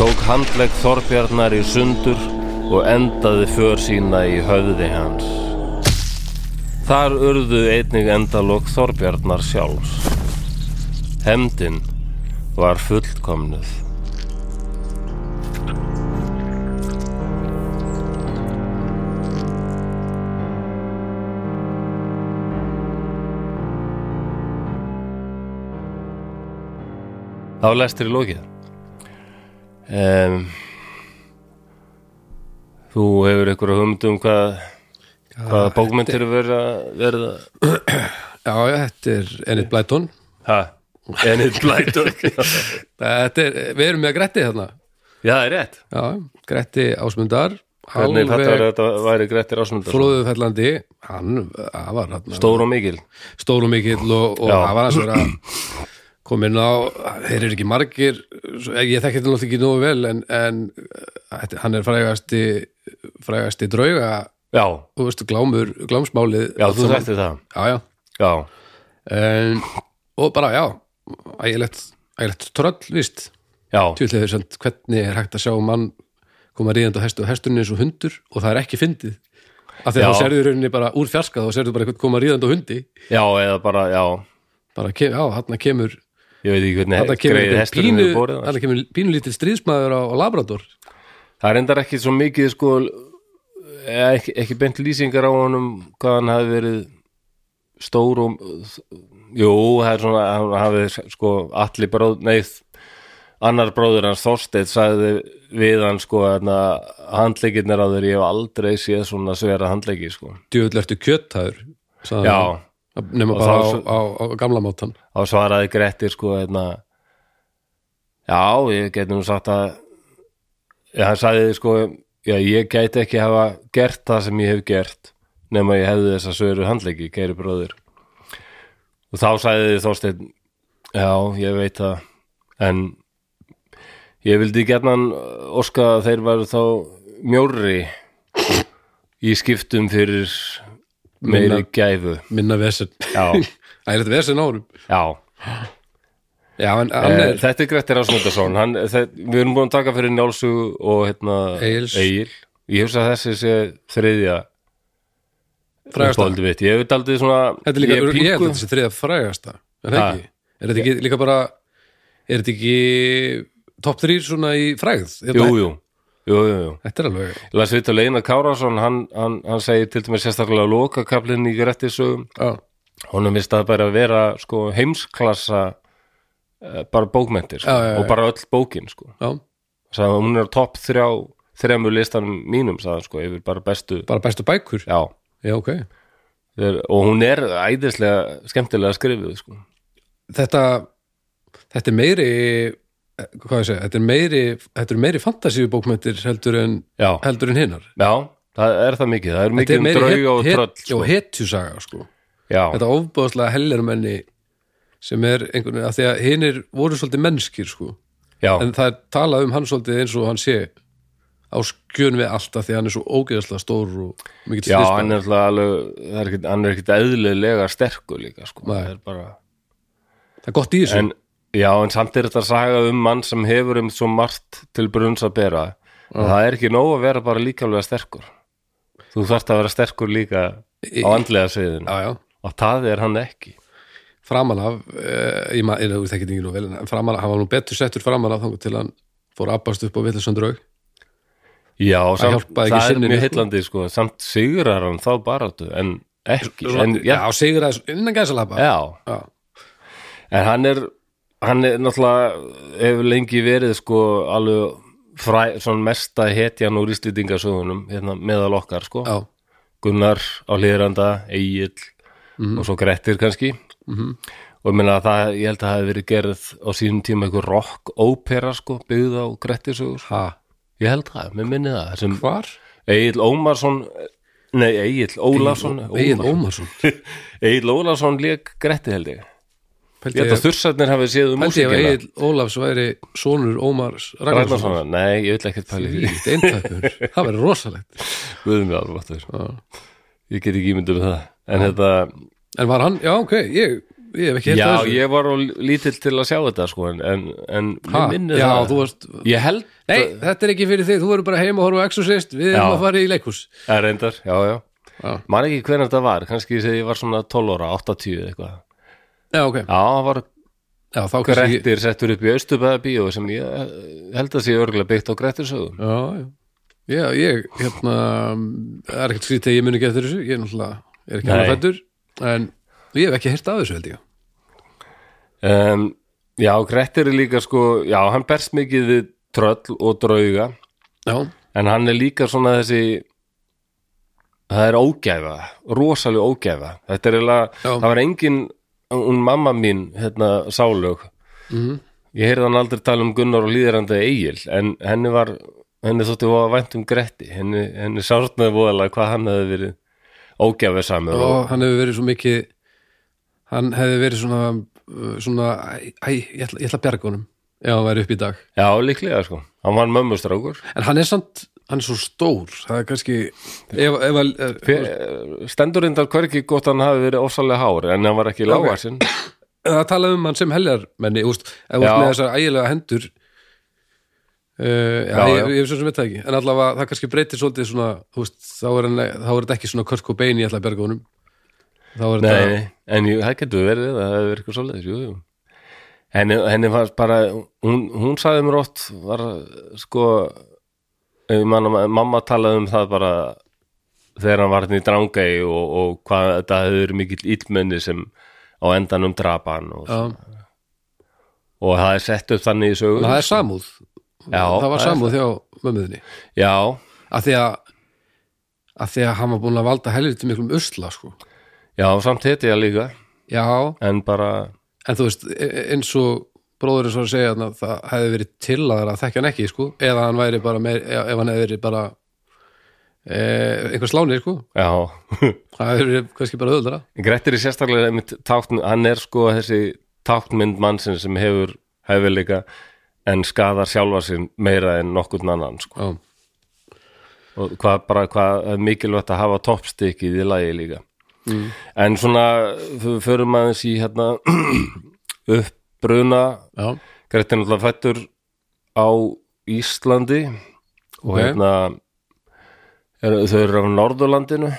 [SPEAKER 1] tók handlegg Þorbjarnar í sundur og endaði för sína í höfði hans. Þar urðu einnig endalok Þorbjarnar sjálfs. Hemdin var fullkomnuð. Þá lestir í lókið. Um, þú hefur einhverja hugmynd um hvað, hvaða bókmyndir verða, verða
[SPEAKER 2] Já, já, þetta er Enid Blyton
[SPEAKER 1] ha, en eitt blætur.
[SPEAKER 2] þetta er, Við erum með Gretti þarna
[SPEAKER 1] Já, það er rétt.
[SPEAKER 2] Já, Gretti Ásmundar
[SPEAKER 1] Hvernig þetta
[SPEAKER 2] alveg
[SPEAKER 1] var, þetta væri Grettir Ásmundar.
[SPEAKER 2] flóðufellandi Hann hann var hann
[SPEAKER 1] Stór og mikil.
[SPEAKER 2] stór og mikill og, og
[SPEAKER 1] Já.
[SPEAKER 2] það var hans verið að koma inn á, þeir eru ekki margir svo- ég þekki þetta náttúrulega ekki nógu vel en, en eh, þetta- hann er frægasti frægasti drauga
[SPEAKER 1] Já,
[SPEAKER 2] þú veist, glámur, glámsmálið
[SPEAKER 1] já, þú
[SPEAKER 2] Allt saman.
[SPEAKER 1] þekktir það.
[SPEAKER 2] já, já.
[SPEAKER 1] Já,
[SPEAKER 2] En, og bara, já ægilegt, ægilegt tröll, víst
[SPEAKER 1] já,
[SPEAKER 2] tjúlega þeir sent, hvernig er hægt að sjá mann koma ríðandi á hestu og hesturinn er eins og hundur og það er ekki fyndið af því
[SPEAKER 1] Já.
[SPEAKER 2] að þá serðu rauninni bara úr fjarska þá serðu bara eitthvað koma ríðandi á hundi
[SPEAKER 1] já, eða bara, já,
[SPEAKER 2] bara, kem, já, hann kemur
[SPEAKER 1] Ég veit ekki
[SPEAKER 2] hann
[SPEAKER 1] hvernig
[SPEAKER 2] kemur,
[SPEAKER 1] greið
[SPEAKER 2] einhver
[SPEAKER 1] Eh, hesturinn
[SPEAKER 2] pínu,
[SPEAKER 1] hefur borið það.
[SPEAKER 2] þarna kemur pínulítið stríðsmaður á, á Labrador
[SPEAKER 1] Það er endar ekki svo mikið sko eh, ekki, ekki beint lýsingar á honum hvað hann hafi verið stór og jú, það er svona hann hafi sko allir bróð, nei annar bróður hans Þorsteinn sagði við hann sko handleikirnir á þeir, ég hef aldrei séð svona svera handleiki sko
[SPEAKER 2] djöðlega ertu kjöttaður sagði
[SPEAKER 1] Já,
[SPEAKER 2] hann. nema
[SPEAKER 1] Og
[SPEAKER 2] bara á,
[SPEAKER 1] þá-
[SPEAKER 2] á, á gamla mátan
[SPEAKER 1] þá svaraði Grettir sko hérna já, ég geti nú sagt að já, hann sagði sko já, ég gæti ekki hafa gert það sem ég hef gert nema ég hefði þessa söru handleiki, kæri bróðir og þá sagði Þorsteinn já, ég veit það en ég vildi gernan óska að þeir væru þá mjórri í skiptum fyrir meiri
[SPEAKER 2] Minna-
[SPEAKER 1] gæfu
[SPEAKER 2] minna vesen
[SPEAKER 1] Já.
[SPEAKER 2] það er þetta vesen á honum
[SPEAKER 1] já
[SPEAKER 2] já, en hann
[SPEAKER 1] Eh,
[SPEAKER 2] er,
[SPEAKER 1] Þetta er Grettir Ásmundarsson hann, þe- Við erum búin að taka fyrir Njálsú og hérna,
[SPEAKER 2] Egils.
[SPEAKER 1] Egil Ég hefst að þessi sé þriðja
[SPEAKER 2] Frægasta.
[SPEAKER 1] uppáhaldið mitt. Ég hef daldið svona
[SPEAKER 2] þetta er líka,
[SPEAKER 1] ég
[SPEAKER 2] ég, held að
[SPEAKER 1] pingu,
[SPEAKER 2] þetta sé þriða frægasta er það
[SPEAKER 1] Ha.
[SPEAKER 2] ekki? er þetta ekki líka bara er þetta ekki top 3 svona í frægð?
[SPEAKER 1] Jú,
[SPEAKER 2] Þetta,
[SPEAKER 1] jú, jú, jú, jú.
[SPEAKER 2] þetta er alveg
[SPEAKER 1] Ég Las við til Einar Kárásson hann, hann, hann segir til dæmis sérstaklega lokakablinn í Grettisögum
[SPEAKER 2] já,
[SPEAKER 1] honum er stað bara að vera sko, heimsklassa eh, bara bókmentir sko,
[SPEAKER 2] Já, já, já.
[SPEAKER 1] og bara öll bókin sko.
[SPEAKER 2] já,
[SPEAKER 1] sagði, að hún er á topp þrjá þremur listanum mínum sagði, hann, sko, yfir bara bestu
[SPEAKER 2] bara bestu bækur
[SPEAKER 1] Já,
[SPEAKER 2] já, ok
[SPEAKER 1] er, og hún er æðislega skemmtilega skrifuð sko.
[SPEAKER 2] þetta þetta er meiri eh, hvað ég segja, þetta er meiri þetta er meiri fantasíubókmyndir heldur en
[SPEAKER 1] já.
[SPEAKER 2] heldur en hinnar
[SPEAKER 1] já, það er það mikið það er
[SPEAKER 2] þetta
[SPEAKER 1] mikið
[SPEAKER 2] er
[SPEAKER 1] um
[SPEAKER 2] meiri
[SPEAKER 1] drauga og
[SPEAKER 2] het-
[SPEAKER 1] tröll
[SPEAKER 2] het-
[SPEAKER 1] sko.
[SPEAKER 2] og hetjusaga sko
[SPEAKER 1] já,
[SPEAKER 2] þetta ofbáðslega hellermenni sem er einhvern veginn, af því að hinnir voru svolítið mennskir sko
[SPEAKER 1] já,
[SPEAKER 2] en það er talað um hann svolítið eins og hann sé á skjön við allt af því að hann er svo ógeðslega stór og mikill
[SPEAKER 1] já
[SPEAKER 2] styrsta
[SPEAKER 1] hann er alltaf alveg það er ekkit, hann er ekkit eðlilega sterkur líka sko.
[SPEAKER 2] Nei.
[SPEAKER 1] það er bara
[SPEAKER 2] það er gott í þessu
[SPEAKER 1] en, já, en samt er þetta saga um mann sem hefur um svo margt til brunns að bera að það er ekki nóg að vera bara líkamlega sterkur þú þarft að vera sterkur líka
[SPEAKER 2] Í-
[SPEAKER 1] á andlega sviðin
[SPEAKER 2] já, já,
[SPEAKER 1] og það er hann ekki
[SPEAKER 2] framan af eh, ég maður, þú þekkir ekki nú vel en framan af, hann var nú betur settur framan af þangar til hann fór abbast upp á villisöndraug
[SPEAKER 1] Já, samt,
[SPEAKER 2] hjálpaði ekki
[SPEAKER 1] það er
[SPEAKER 2] synninu,
[SPEAKER 1] mjög
[SPEAKER 2] sko.
[SPEAKER 1] heillandi sko. samt sigurar hann þá baráttu en ekki en,
[SPEAKER 2] já,
[SPEAKER 1] já,
[SPEAKER 2] sigur aðeins innan gæsalapa
[SPEAKER 1] já,
[SPEAKER 2] já,
[SPEAKER 1] en hann er hann er náttúrulega hefur lengi verið sko alveg fræ, svona mesta hetjan úr íslýtingasögunum hérna, meðal okkar sko
[SPEAKER 2] já,
[SPEAKER 1] Gunnar á hlýranda, Egil
[SPEAKER 2] Mhm.
[SPEAKER 1] og svo Grettir kannski og ég meina að það, ég held að það hefði verið gerð á sínum tíma einhver rock ópera sko, byggð á Grettirsögur
[SPEAKER 2] ha,
[SPEAKER 1] ég held það, mér minni það sem
[SPEAKER 2] hvar?
[SPEAKER 1] Egil Ómarsson Nei, Egil Ólafsson
[SPEAKER 2] Egil Ómarsson
[SPEAKER 1] Egil Ólafsson lék Gretti held ég Ég
[SPEAKER 2] pældi
[SPEAKER 1] held að þursarnir hafi séð um
[SPEAKER 2] Pældi ef
[SPEAKER 1] músikina
[SPEAKER 2] Egil Ólafs væri sonur Ómars Ragnarsson
[SPEAKER 1] Ragnarssonar, nei, ég vil ekkert pæli því
[SPEAKER 2] Þvílíkt eintakkur, það verður rosalegt
[SPEAKER 1] Guðum við alveg áttur Ég get ekki ímyndum með það En þetta,
[SPEAKER 2] En var hann, já ok, ég, ég hef ekki
[SPEAKER 1] já,
[SPEAKER 2] heyrt af þessu.
[SPEAKER 1] ég var á lítill til að sjá þetta sko En, en, en
[SPEAKER 2] Ha,
[SPEAKER 1] mér minnir
[SPEAKER 2] já,
[SPEAKER 1] það
[SPEAKER 2] þú varst
[SPEAKER 1] Ég held,
[SPEAKER 2] Nei, þetta er ekki fyrir þig, þú verður bara heima að horfa á Exorcist, við erum
[SPEAKER 1] Já.
[SPEAKER 2] að fara í leikhús
[SPEAKER 1] er reyndar, já, já
[SPEAKER 2] Já,
[SPEAKER 1] Man ekki hvernig þetta var, kannski ég segi ég var svona 12 ára, 80 eða eitthvað
[SPEAKER 2] já ok,
[SPEAKER 1] Já, það var
[SPEAKER 2] já þá kannski Já,
[SPEAKER 1] Grettir settur upp í Austurbæðabíó sem ég eh, held að sé örgulega byggt á Grettirsögum
[SPEAKER 2] já, já, ég, hérna það er ekkert skrítið að ég muni ekki eftir þessu ég er náttúrulega, er ekki
[SPEAKER 1] Nei.
[SPEAKER 2] hann fættur en ég hef ekki heyrt af þessu held ég
[SPEAKER 1] um, Já, Grettir er líka sko Já, hann berst mikið við tröll og drauga
[SPEAKER 2] Já,
[SPEAKER 1] En hann er líka svona þessi Það er ógæfa Rosalega ógæfa Þetta er eiginlega,
[SPEAKER 2] Já.
[SPEAKER 1] það var engin Hún mamma mín, hérna, sálög
[SPEAKER 2] Mhm.
[SPEAKER 1] Ég heyrði hann aldrei tala um Gunnar og líðrandi Egil En henni var, henni þótti voða vænt um Gretti Henni, henni sárnaði voðalega hvað hann hefði verið ógæfisamur og,
[SPEAKER 2] og hann hefur verið svo mikið hann hefði verið svona uh, svona, æ, æ, ég ætla, ég ætla að bjarga honum ef hann væri upp í dag
[SPEAKER 1] Já, líklega sko Hann var mömmustrákur
[SPEAKER 2] En hann er samt, hann er svo stór það er kannski ef, ef, ef,
[SPEAKER 1] Fe- eh, stendur reyndar hverki gott hann hafi verið ofsalega hár en hann var ekki lágar sinn
[SPEAKER 2] það talaði um hann sem heljarmenni úst, ef þú
[SPEAKER 1] Já.
[SPEAKER 2] ert með þessar ægilega hendur uh, já,
[SPEAKER 1] Já,
[SPEAKER 2] ég,
[SPEAKER 1] já.
[SPEAKER 2] ég, ég svo sem veit það ekki en allavega það kannski breytir svolítið svona úst, þá, er hann, þá er þetta ekki svona Kurt Cobain ég ætla að berga honum þá er
[SPEAKER 1] Nei,
[SPEAKER 2] þetta
[SPEAKER 1] nei, en jú, það getur verið það hefur verið eitthvað svoleiðis, jú, jú henni, henni fannst bara hún, hún sagði mér oft var sko ef ég manna, mamma talaði um það bara þegar hann var hérna í drangæi og, og hvað þetta hefur verið mikill illmenni sem á endanum drapa hann og,
[SPEAKER 2] já,
[SPEAKER 1] og það er sett upp þannig í sögur
[SPEAKER 2] það er samúð
[SPEAKER 1] Já,
[SPEAKER 2] það var
[SPEAKER 1] það er
[SPEAKER 2] samúð hjá mömmuðinni
[SPEAKER 1] Já,
[SPEAKER 2] af því að af því að hann var búin að valda helviti miklum usla sko.
[SPEAKER 1] já, samt hitti ég líka
[SPEAKER 2] já,
[SPEAKER 1] en bara,
[SPEAKER 2] en þú veist e- e- eins og bróðurinn svo að segja þarna, það hefði verið til að það þekkja hann ekki sko. eða hann væri bara meir, e- ef hann hefði verið bara e, einhver slánir sko.
[SPEAKER 1] já
[SPEAKER 2] það hefði verið kannski bara öðuldara
[SPEAKER 1] Grettir er sérstaklega einmitt tákn, hann er sko þessi táknmynd mannsinn sem hefur hefileika en skadar sjálfa sín meira en nokkurn annan sko.
[SPEAKER 2] já,
[SPEAKER 1] og hvað bara hvað er mikilvægt að hafa toppstykkið í lagi líka en svona f- förum aðeins í hérna uppbruna
[SPEAKER 2] já,
[SPEAKER 1] Grettir er náttúrulega fættur á Íslandi og
[SPEAKER 2] Ok.
[SPEAKER 1] hérna er, þau eru á Norðurlandinu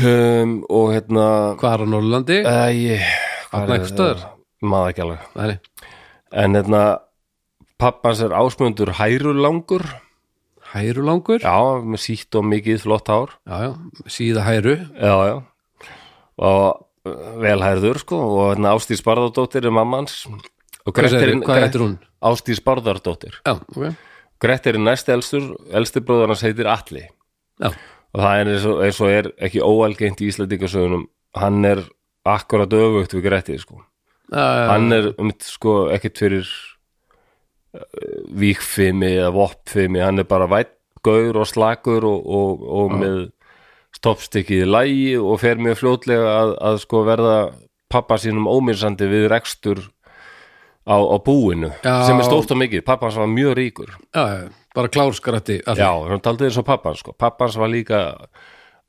[SPEAKER 1] um, og hérna
[SPEAKER 2] hvað er á Norrlandi
[SPEAKER 1] Æ, hvað
[SPEAKER 2] Þarna
[SPEAKER 1] er
[SPEAKER 2] einhvers staðar?
[SPEAKER 1] Maður ekki alveg
[SPEAKER 2] Nei,
[SPEAKER 1] En hérna, pappans er ásmundur hærulangur
[SPEAKER 2] hærulangur já,
[SPEAKER 1] Já, með sítt og mikið flott hár
[SPEAKER 2] já, síða hæru
[SPEAKER 1] Já, já Og uh, velhærður, sko Og hérna, Ástís Barðardóttir er mamma hans Og
[SPEAKER 2] hvað, segirðu?
[SPEAKER 1] Grettirinn-
[SPEAKER 2] hvað heitir hún?
[SPEAKER 1] Ástís Barðardóttir
[SPEAKER 2] já, ok,
[SPEAKER 1] Grettir er næst elstur, elstur bróður hans heitir Atli
[SPEAKER 2] já,
[SPEAKER 1] og það er eins og, eins og er ekki óalgengt í Íslandingasögunum hann er akkurat öfugt við Grettir sko.
[SPEAKER 2] já,
[SPEAKER 1] hann er um, sko, ekkert fyrir uh, víkfimi eða voppfimi, hann er bara vætt gaur og slakur og, og, og með stoppstykkið í lægi og fer mjög fljótlega að, að sko verða pappa sínum ómýrsandi við rekstur á, á búinu
[SPEAKER 2] Já.
[SPEAKER 1] sem er stórt og mikið, pappa hans var mjög ríkur
[SPEAKER 2] já, já, bara klársgrætti
[SPEAKER 1] Já, hann taldi eins og pappans sko. pappans var líka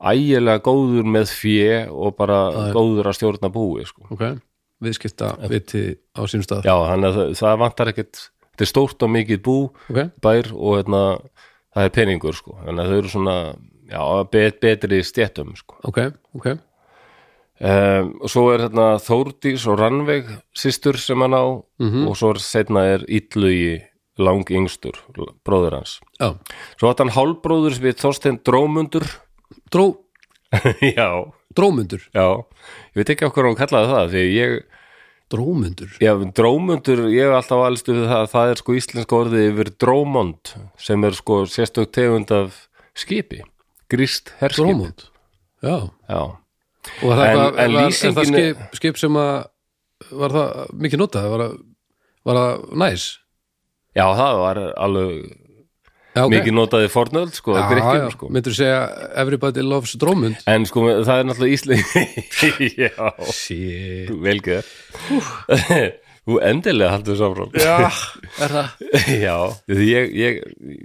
[SPEAKER 1] ægilega góður með fjö og bara góður að stjórna búi sko.
[SPEAKER 2] ok, viðskipta viti á sínum stað
[SPEAKER 1] Já, þannig að það, það vantar ekkit þetta er stórt og mikið bú
[SPEAKER 2] ok,
[SPEAKER 1] bær og hérna, það er peningur sko. þannig að þau eru svona já, bet, betri í stjettum sko.
[SPEAKER 2] ok, ok
[SPEAKER 1] um, og svo er hérna, Þórdís og Rannveig systur sem hann á og svo er setna er Ítlugi lang yngstur, bróður hans
[SPEAKER 2] já,
[SPEAKER 1] Svo átt hann hálbróður sem við Þorstein Drómundur
[SPEAKER 2] dró,
[SPEAKER 1] Já
[SPEAKER 2] drómundur
[SPEAKER 1] Já, ég veit ekki okkur hún kallaði það því ég,
[SPEAKER 2] drómundur,
[SPEAKER 1] já, drómundur ég hef alltaf alist við það, það er sko íslenska orðið yfir drómond sem er sko sérstök tegund af skipi, gríst herskip
[SPEAKER 2] drómund já,
[SPEAKER 1] Já,
[SPEAKER 2] og var það
[SPEAKER 1] En-
[SPEAKER 2] eitthvað
[SPEAKER 1] en
[SPEAKER 2] var- er það
[SPEAKER 1] lýsingin er-
[SPEAKER 2] skip, skip sem að var það mikið notað, var það var það næs,
[SPEAKER 1] já, það var alveg
[SPEAKER 2] já, ok
[SPEAKER 1] mikið notaði fornöld sko,
[SPEAKER 2] já, já,
[SPEAKER 1] gríkjum sko
[SPEAKER 2] myndur segja everybody loves drómund
[SPEAKER 1] En sko, það er náttúrulega íslensk Já,
[SPEAKER 2] shit,
[SPEAKER 1] velgeð Þú endilega haldur samrúm Já,
[SPEAKER 2] er það
[SPEAKER 1] já því ég, ég,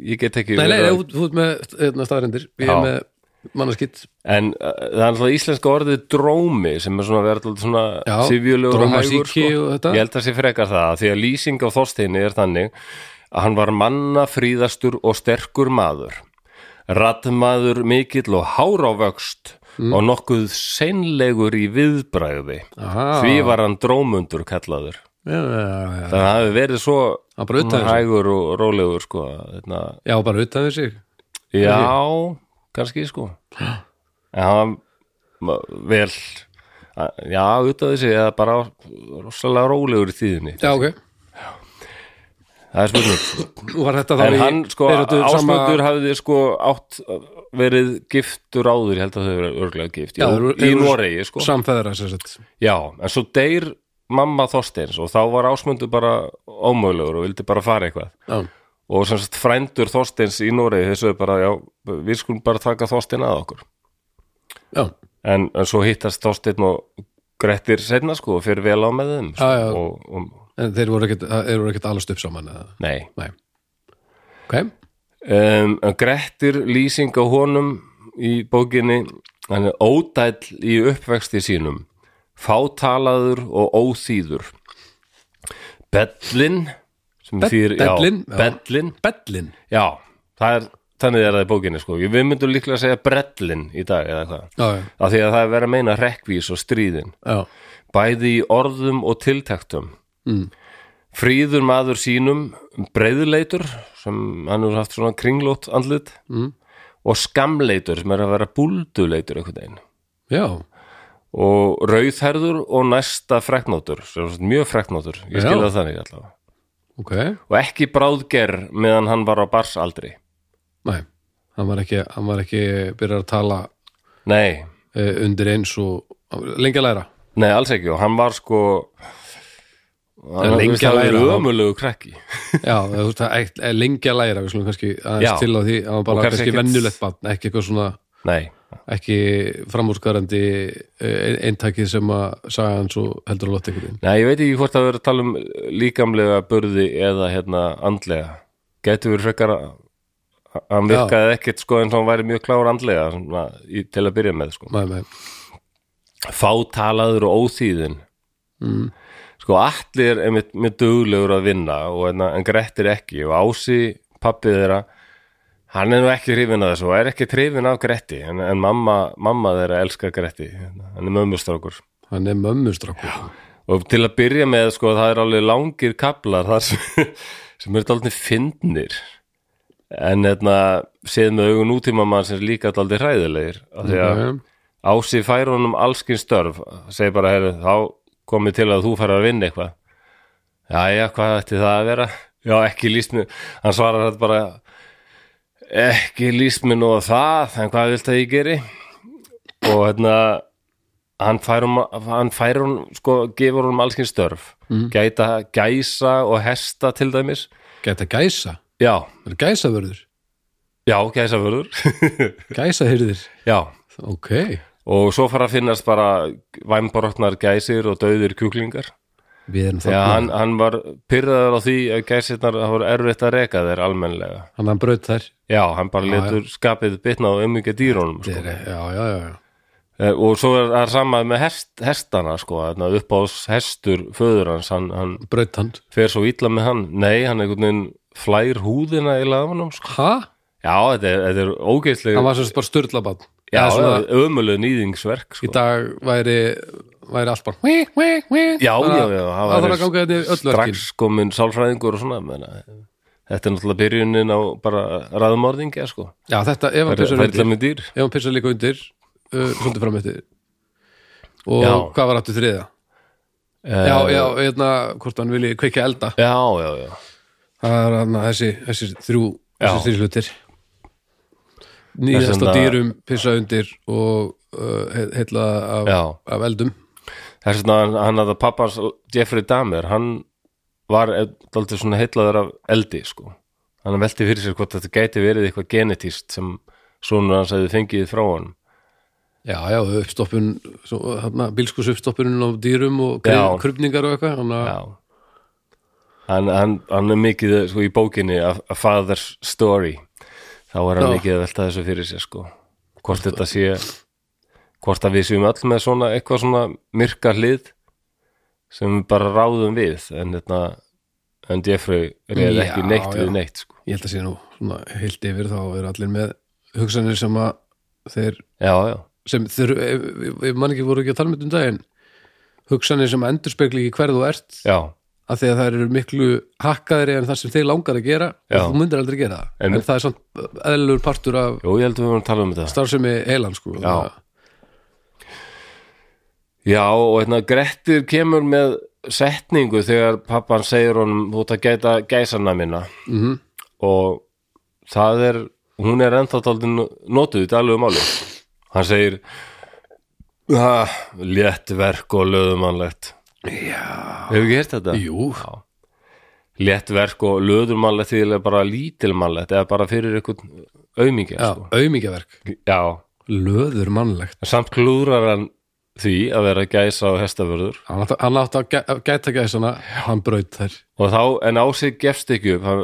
[SPEAKER 1] ég get ekki
[SPEAKER 2] Nei, nei,
[SPEAKER 1] verið
[SPEAKER 2] nei,
[SPEAKER 1] að-
[SPEAKER 2] þú þú ert með hérna, staðarindir Ég
[SPEAKER 1] Já.
[SPEAKER 2] er með mannaskitt
[SPEAKER 1] En uh, það er alltaf íslenska orðið drómi sem er svona verið alltaf svona
[SPEAKER 2] Já,
[SPEAKER 1] sifjulegur og hægur sko.
[SPEAKER 2] drómasýki og þetta.
[SPEAKER 1] Ég held að sé frekar það því að lýsing á Þorsteini er þannig að hann var manna fríðastur og sterkur maður Rattmaður mikill og hárávöxt
[SPEAKER 2] Mm.
[SPEAKER 1] og nokkuð seinlegur í viðbræði
[SPEAKER 2] Aha.
[SPEAKER 1] Því var hann drómundur kallaður
[SPEAKER 2] Já, já, já.
[SPEAKER 1] Þannig að það hefur verið svo
[SPEAKER 2] Hann bara utan þessu.
[SPEAKER 1] hægur og rólegur sko þetta,
[SPEAKER 2] já, bara utan við sig
[SPEAKER 1] Já, kannski sko En hann var vel að- Já, auðvitað þessi eða bara rosalega rólegur í tíðinni
[SPEAKER 2] Já, ok,
[SPEAKER 1] Það er spurning
[SPEAKER 2] nú var þetta þá
[SPEAKER 1] En
[SPEAKER 2] í-
[SPEAKER 1] hann sko,
[SPEAKER 2] þeir áttu sama-
[SPEAKER 1] ásmöndur hafði sko átt verið giftur áður, ég held að þau verið örglega gift já,
[SPEAKER 2] Já, þeir eru-
[SPEAKER 1] í
[SPEAKER 2] þeir eru-
[SPEAKER 1] Noregi sko
[SPEAKER 2] Samfeðra, sem sagt
[SPEAKER 1] Já, en svo deyr mamma Þorsteins og þá var ásmöndur bara ómögulegur og vildi bara fara eitthvað
[SPEAKER 2] Já,
[SPEAKER 1] og sem sagt frændur Þorsteins í Noregi þessu bara, já, við skulum bara taka Þorstein að okkur
[SPEAKER 2] já,
[SPEAKER 1] en, en svo hittast Þorsteinn og Grettir setna sko og fyrir vel á með þeim sko,
[SPEAKER 2] Já, já.
[SPEAKER 1] Og, og
[SPEAKER 2] en þeir voru ekkert þeir voru ekkert alast upp saman eða
[SPEAKER 1] nei
[SPEAKER 2] Nei, ok,
[SPEAKER 1] um, en Grettir lýsing á honum í bókinni hann er ódæll í uppvexti sínum fátalaður og óþýður Bellin sem þýðir, já,
[SPEAKER 2] Bellin, já.
[SPEAKER 1] Bellin
[SPEAKER 2] bellin
[SPEAKER 1] já, það er þannig er það í bókinni sko Ég- við myndum líklega að segja brellin í dag eða hvað
[SPEAKER 2] já, já,
[SPEAKER 1] af því að það er verið að meina rekkvís og stríðin
[SPEAKER 2] já,
[SPEAKER 1] bæði í orðum og tiltektum
[SPEAKER 2] Mm.
[SPEAKER 1] fríður maður sínum breyðleitur sem hann hefur haft svona kringlót andlit
[SPEAKER 2] Mm.
[SPEAKER 1] og skamleitur sem er að vera búlduleitur einhvern veginn
[SPEAKER 2] já,
[SPEAKER 1] og rauðherður og næsta freknótur sem er mjög freknótur, ég skil
[SPEAKER 2] Já.
[SPEAKER 1] það þannig allavega
[SPEAKER 2] ok
[SPEAKER 1] og ekki bráðger meðan hann var á barsaldri
[SPEAKER 2] nei, hann var ekki, hann var ekki byrjar að tala
[SPEAKER 1] nei,
[SPEAKER 2] uh, undir eins og lengi að læra
[SPEAKER 1] nei alls ekki og hann var sko hann
[SPEAKER 2] lengi
[SPEAKER 1] veist, hann
[SPEAKER 2] að
[SPEAKER 1] var
[SPEAKER 2] læra, hann-
[SPEAKER 1] ömulegu krakki
[SPEAKER 2] já, þú veist, það er- er lengi að læra við slum kannski
[SPEAKER 1] Já.
[SPEAKER 2] aðeins til á því að hann
[SPEAKER 1] Og
[SPEAKER 2] bara
[SPEAKER 1] kannski
[SPEAKER 2] kannski
[SPEAKER 1] ekkert-
[SPEAKER 2] vennulegt barn, ekki eitthvað svona
[SPEAKER 1] nei,
[SPEAKER 2] ekki framúrskarandi eh, eintakið sem að saga hann svo heldur að lotta ykkur inn
[SPEAKER 1] nei, ég veit ekki hvort það verið að tala um líkamlega burði eða hérna andlega gætu verið frekar að hann
[SPEAKER 2] Já.
[SPEAKER 1] virkaði ekkert sko eins og hann væri mjög klár andlega svona, í, til að byrja með sko
[SPEAKER 2] Nei, nei,
[SPEAKER 1] fátalaður og óþýðin
[SPEAKER 2] Mm.
[SPEAKER 1] sko allir er með, með duglegur að vinna og, en, en Grettir ekki og Ási pappið þeirra hann er nú ekki hrifin að þessu og er ekki hrifin af Gretti en, en mamma, mamma þeirra elskar Gretti hérna. hann er mömmustrákur
[SPEAKER 2] hann er mömmustrakkur
[SPEAKER 1] og til að byrja með sko það er alveg langir kaplar þar sem, sem eru daldið fyndnir en hérna séð með augun útíma mann sem er líka daldið hræðilegir af því að
[SPEAKER 2] Ok.
[SPEAKER 1] Ási fær honum allskins störf segir bara, heyrðu, þá komið til að þú fær að vinna eitthvað Jæja, hvað ætti það að vera? Já, ekki líst mér, hann svarar þetta bara ekki líst mér nú á það, en hvað vilt að ég geri? Og hérna hann fær hún, hann fær hún sko, gefur honum allskins störf
[SPEAKER 2] Mm.
[SPEAKER 1] gæta, gæsa og hesta til dæmis
[SPEAKER 2] gæta gæsa,
[SPEAKER 1] Já,
[SPEAKER 2] það er gæsavörður
[SPEAKER 1] já, gæsavörður
[SPEAKER 2] gæsahyrðir,
[SPEAKER 1] Já,
[SPEAKER 2] ok
[SPEAKER 1] og svo fara að finnast bara væmbrotnar gæsir og döðir kjúklingar
[SPEAKER 2] við erum
[SPEAKER 1] Já,
[SPEAKER 2] þarna,
[SPEAKER 1] hann,
[SPEAKER 2] hann,
[SPEAKER 1] hann var pyrraður á því að gæsirnar það voru erfitt að reka þeir almennlega.
[SPEAKER 2] hann, braut þær
[SPEAKER 1] Já, hann bara
[SPEAKER 2] Já,
[SPEAKER 1] letur skapið bitna á umvika dýrónum. Sko.
[SPEAKER 2] Þeir, já, já, já, já,
[SPEAKER 1] Eh, Og svo er það sama með hest, hestana, sko, þarna upp á hestur föður hans, hann, hann
[SPEAKER 2] braut hann
[SPEAKER 1] fer svo illa með hann. Nei, hann einhvern veginn flær húðina í lagunum, sko.
[SPEAKER 2] ha?
[SPEAKER 1] Já, þetta er, þetta er
[SPEAKER 2] hann
[SPEAKER 1] ógeðslega,
[SPEAKER 2] var sem sagt bara styrlabann
[SPEAKER 1] já,
[SPEAKER 2] svona,
[SPEAKER 1] ömuleg nýðingsverk,
[SPEAKER 2] í
[SPEAKER 1] sko.
[SPEAKER 2] dag væri væri allt bara hví, hví, hví
[SPEAKER 1] Já,
[SPEAKER 2] Bara-
[SPEAKER 1] já, já, það
[SPEAKER 2] það þarf
[SPEAKER 1] væri
[SPEAKER 2] að ganga þetta öll verkin
[SPEAKER 1] Strax komin sálfræðingur og svona, menna, þetta er náttúrulega byrjunin á bara raðmörðingja, sko.
[SPEAKER 2] já, þetta, ef hann
[SPEAKER 1] Það
[SPEAKER 2] pissar
[SPEAKER 1] er illa
[SPEAKER 2] undir
[SPEAKER 1] með dýr.
[SPEAKER 2] ef hann pissar líka undir uh, svolítið fram eftir og
[SPEAKER 1] Já. Eh.
[SPEAKER 2] hvað var aftur þriða? já, já, hérna, hvort hann vilji kveikja elda
[SPEAKER 1] Já, já, já.
[SPEAKER 2] það er hann þessi, þessi þrjú þessi
[SPEAKER 1] Já.
[SPEAKER 2] þrjú hlutir
[SPEAKER 1] Þess
[SPEAKER 2] nýðast á
[SPEAKER 1] vegna-
[SPEAKER 2] dýrum, pissa undir og uh, heilla af,
[SPEAKER 1] Já.
[SPEAKER 2] af eldum
[SPEAKER 1] Þess vegna hann, hann að pappans Jeffrey Dahmer, hann var aldrei svona heitlaður af eldi, sko. Hann velti fyrir sér hvort þetta gæti verið eitthvað genetíst sem svona hans hefði fengið frá hann.
[SPEAKER 2] já, já, uppstoppun hana, bílskus uppstoppunin á dýrum og
[SPEAKER 1] Já.
[SPEAKER 2] krupningar og eitthvað hana,
[SPEAKER 1] Já. Hann, hann, hann er mikið, sko, í bókinni A, A Father's Story. Þá er hann
[SPEAKER 2] Já.
[SPEAKER 1] mikið að velta þessu fyrir sér, sko. Hvort þetta sé, hvort að við séum öll með svona eitthvað svona myrka hlið sem við bara ráðum við, en þetta, en Jeffrey reyði
[SPEAKER 2] Já,
[SPEAKER 1] ekki neitt
[SPEAKER 2] já.
[SPEAKER 1] við neitt, sko.
[SPEAKER 2] ég held að sé nú svona, heilt yfir þá er allir með hugsanir sem að þeir
[SPEAKER 1] Já, já,
[SPEAKER 2] sem þeir, ef, ef- ef mann ekki voru ekki að tala með um daginn hugsanir sem endur spekli ekki hver þú ert
[SPEAKER 1] já.
[SPEAKER 2] af því að það eru miklu hakkaðri en það sem þeir langar að gera
[SPEAKER 1] Já.
[SPEAKER 2] og þú myndir aldrei gera það en,
[SPEAKER 1] Einmitt.
[SPEAKER 2] það er samt eðlur partur af
[SPEAKER 1] Jú, ég held að við vorum að tala um þetta.
[SPEAKER 2] starfsemi heilan sko
[SPEAKER 1] Já. Já, og hérna Grettir kemur með setningu þegar pappan segir honum þú út að gæta gæsana minna
[SPEAKER 2] Mhm.
[SPEAKER 1] og það er, hún er ennþá taldin notuð í daglegu máli hann segir ah, létt verk og löðumannlegt
[SPEAKER 2] Já.
[SPEAKER 1] Hefur ekki hert þetta?
[SPEAKER 2] Jú,
[SPEAKER 1] Létt verk og löðumannlegt því er bara lítilmannlegt eða bara fyrir einhvern aumingja
[SPEAKER 2] já,
[SPEAKER 1] Sko.
[SPEAKER 2] aumingjaverk
[SPEAKER 1] Já,
[SPEAKER 2] löður mannlegt
[SPEAKER 1] en samt klúrar hann því að vera gæsa og hestaförður
[SPEAKER 2] hann átti, hann átti að gæ- að gæta gæsana hann braut þær
[SPEAKER 1] og þá, en á sig gefst ekki upp hann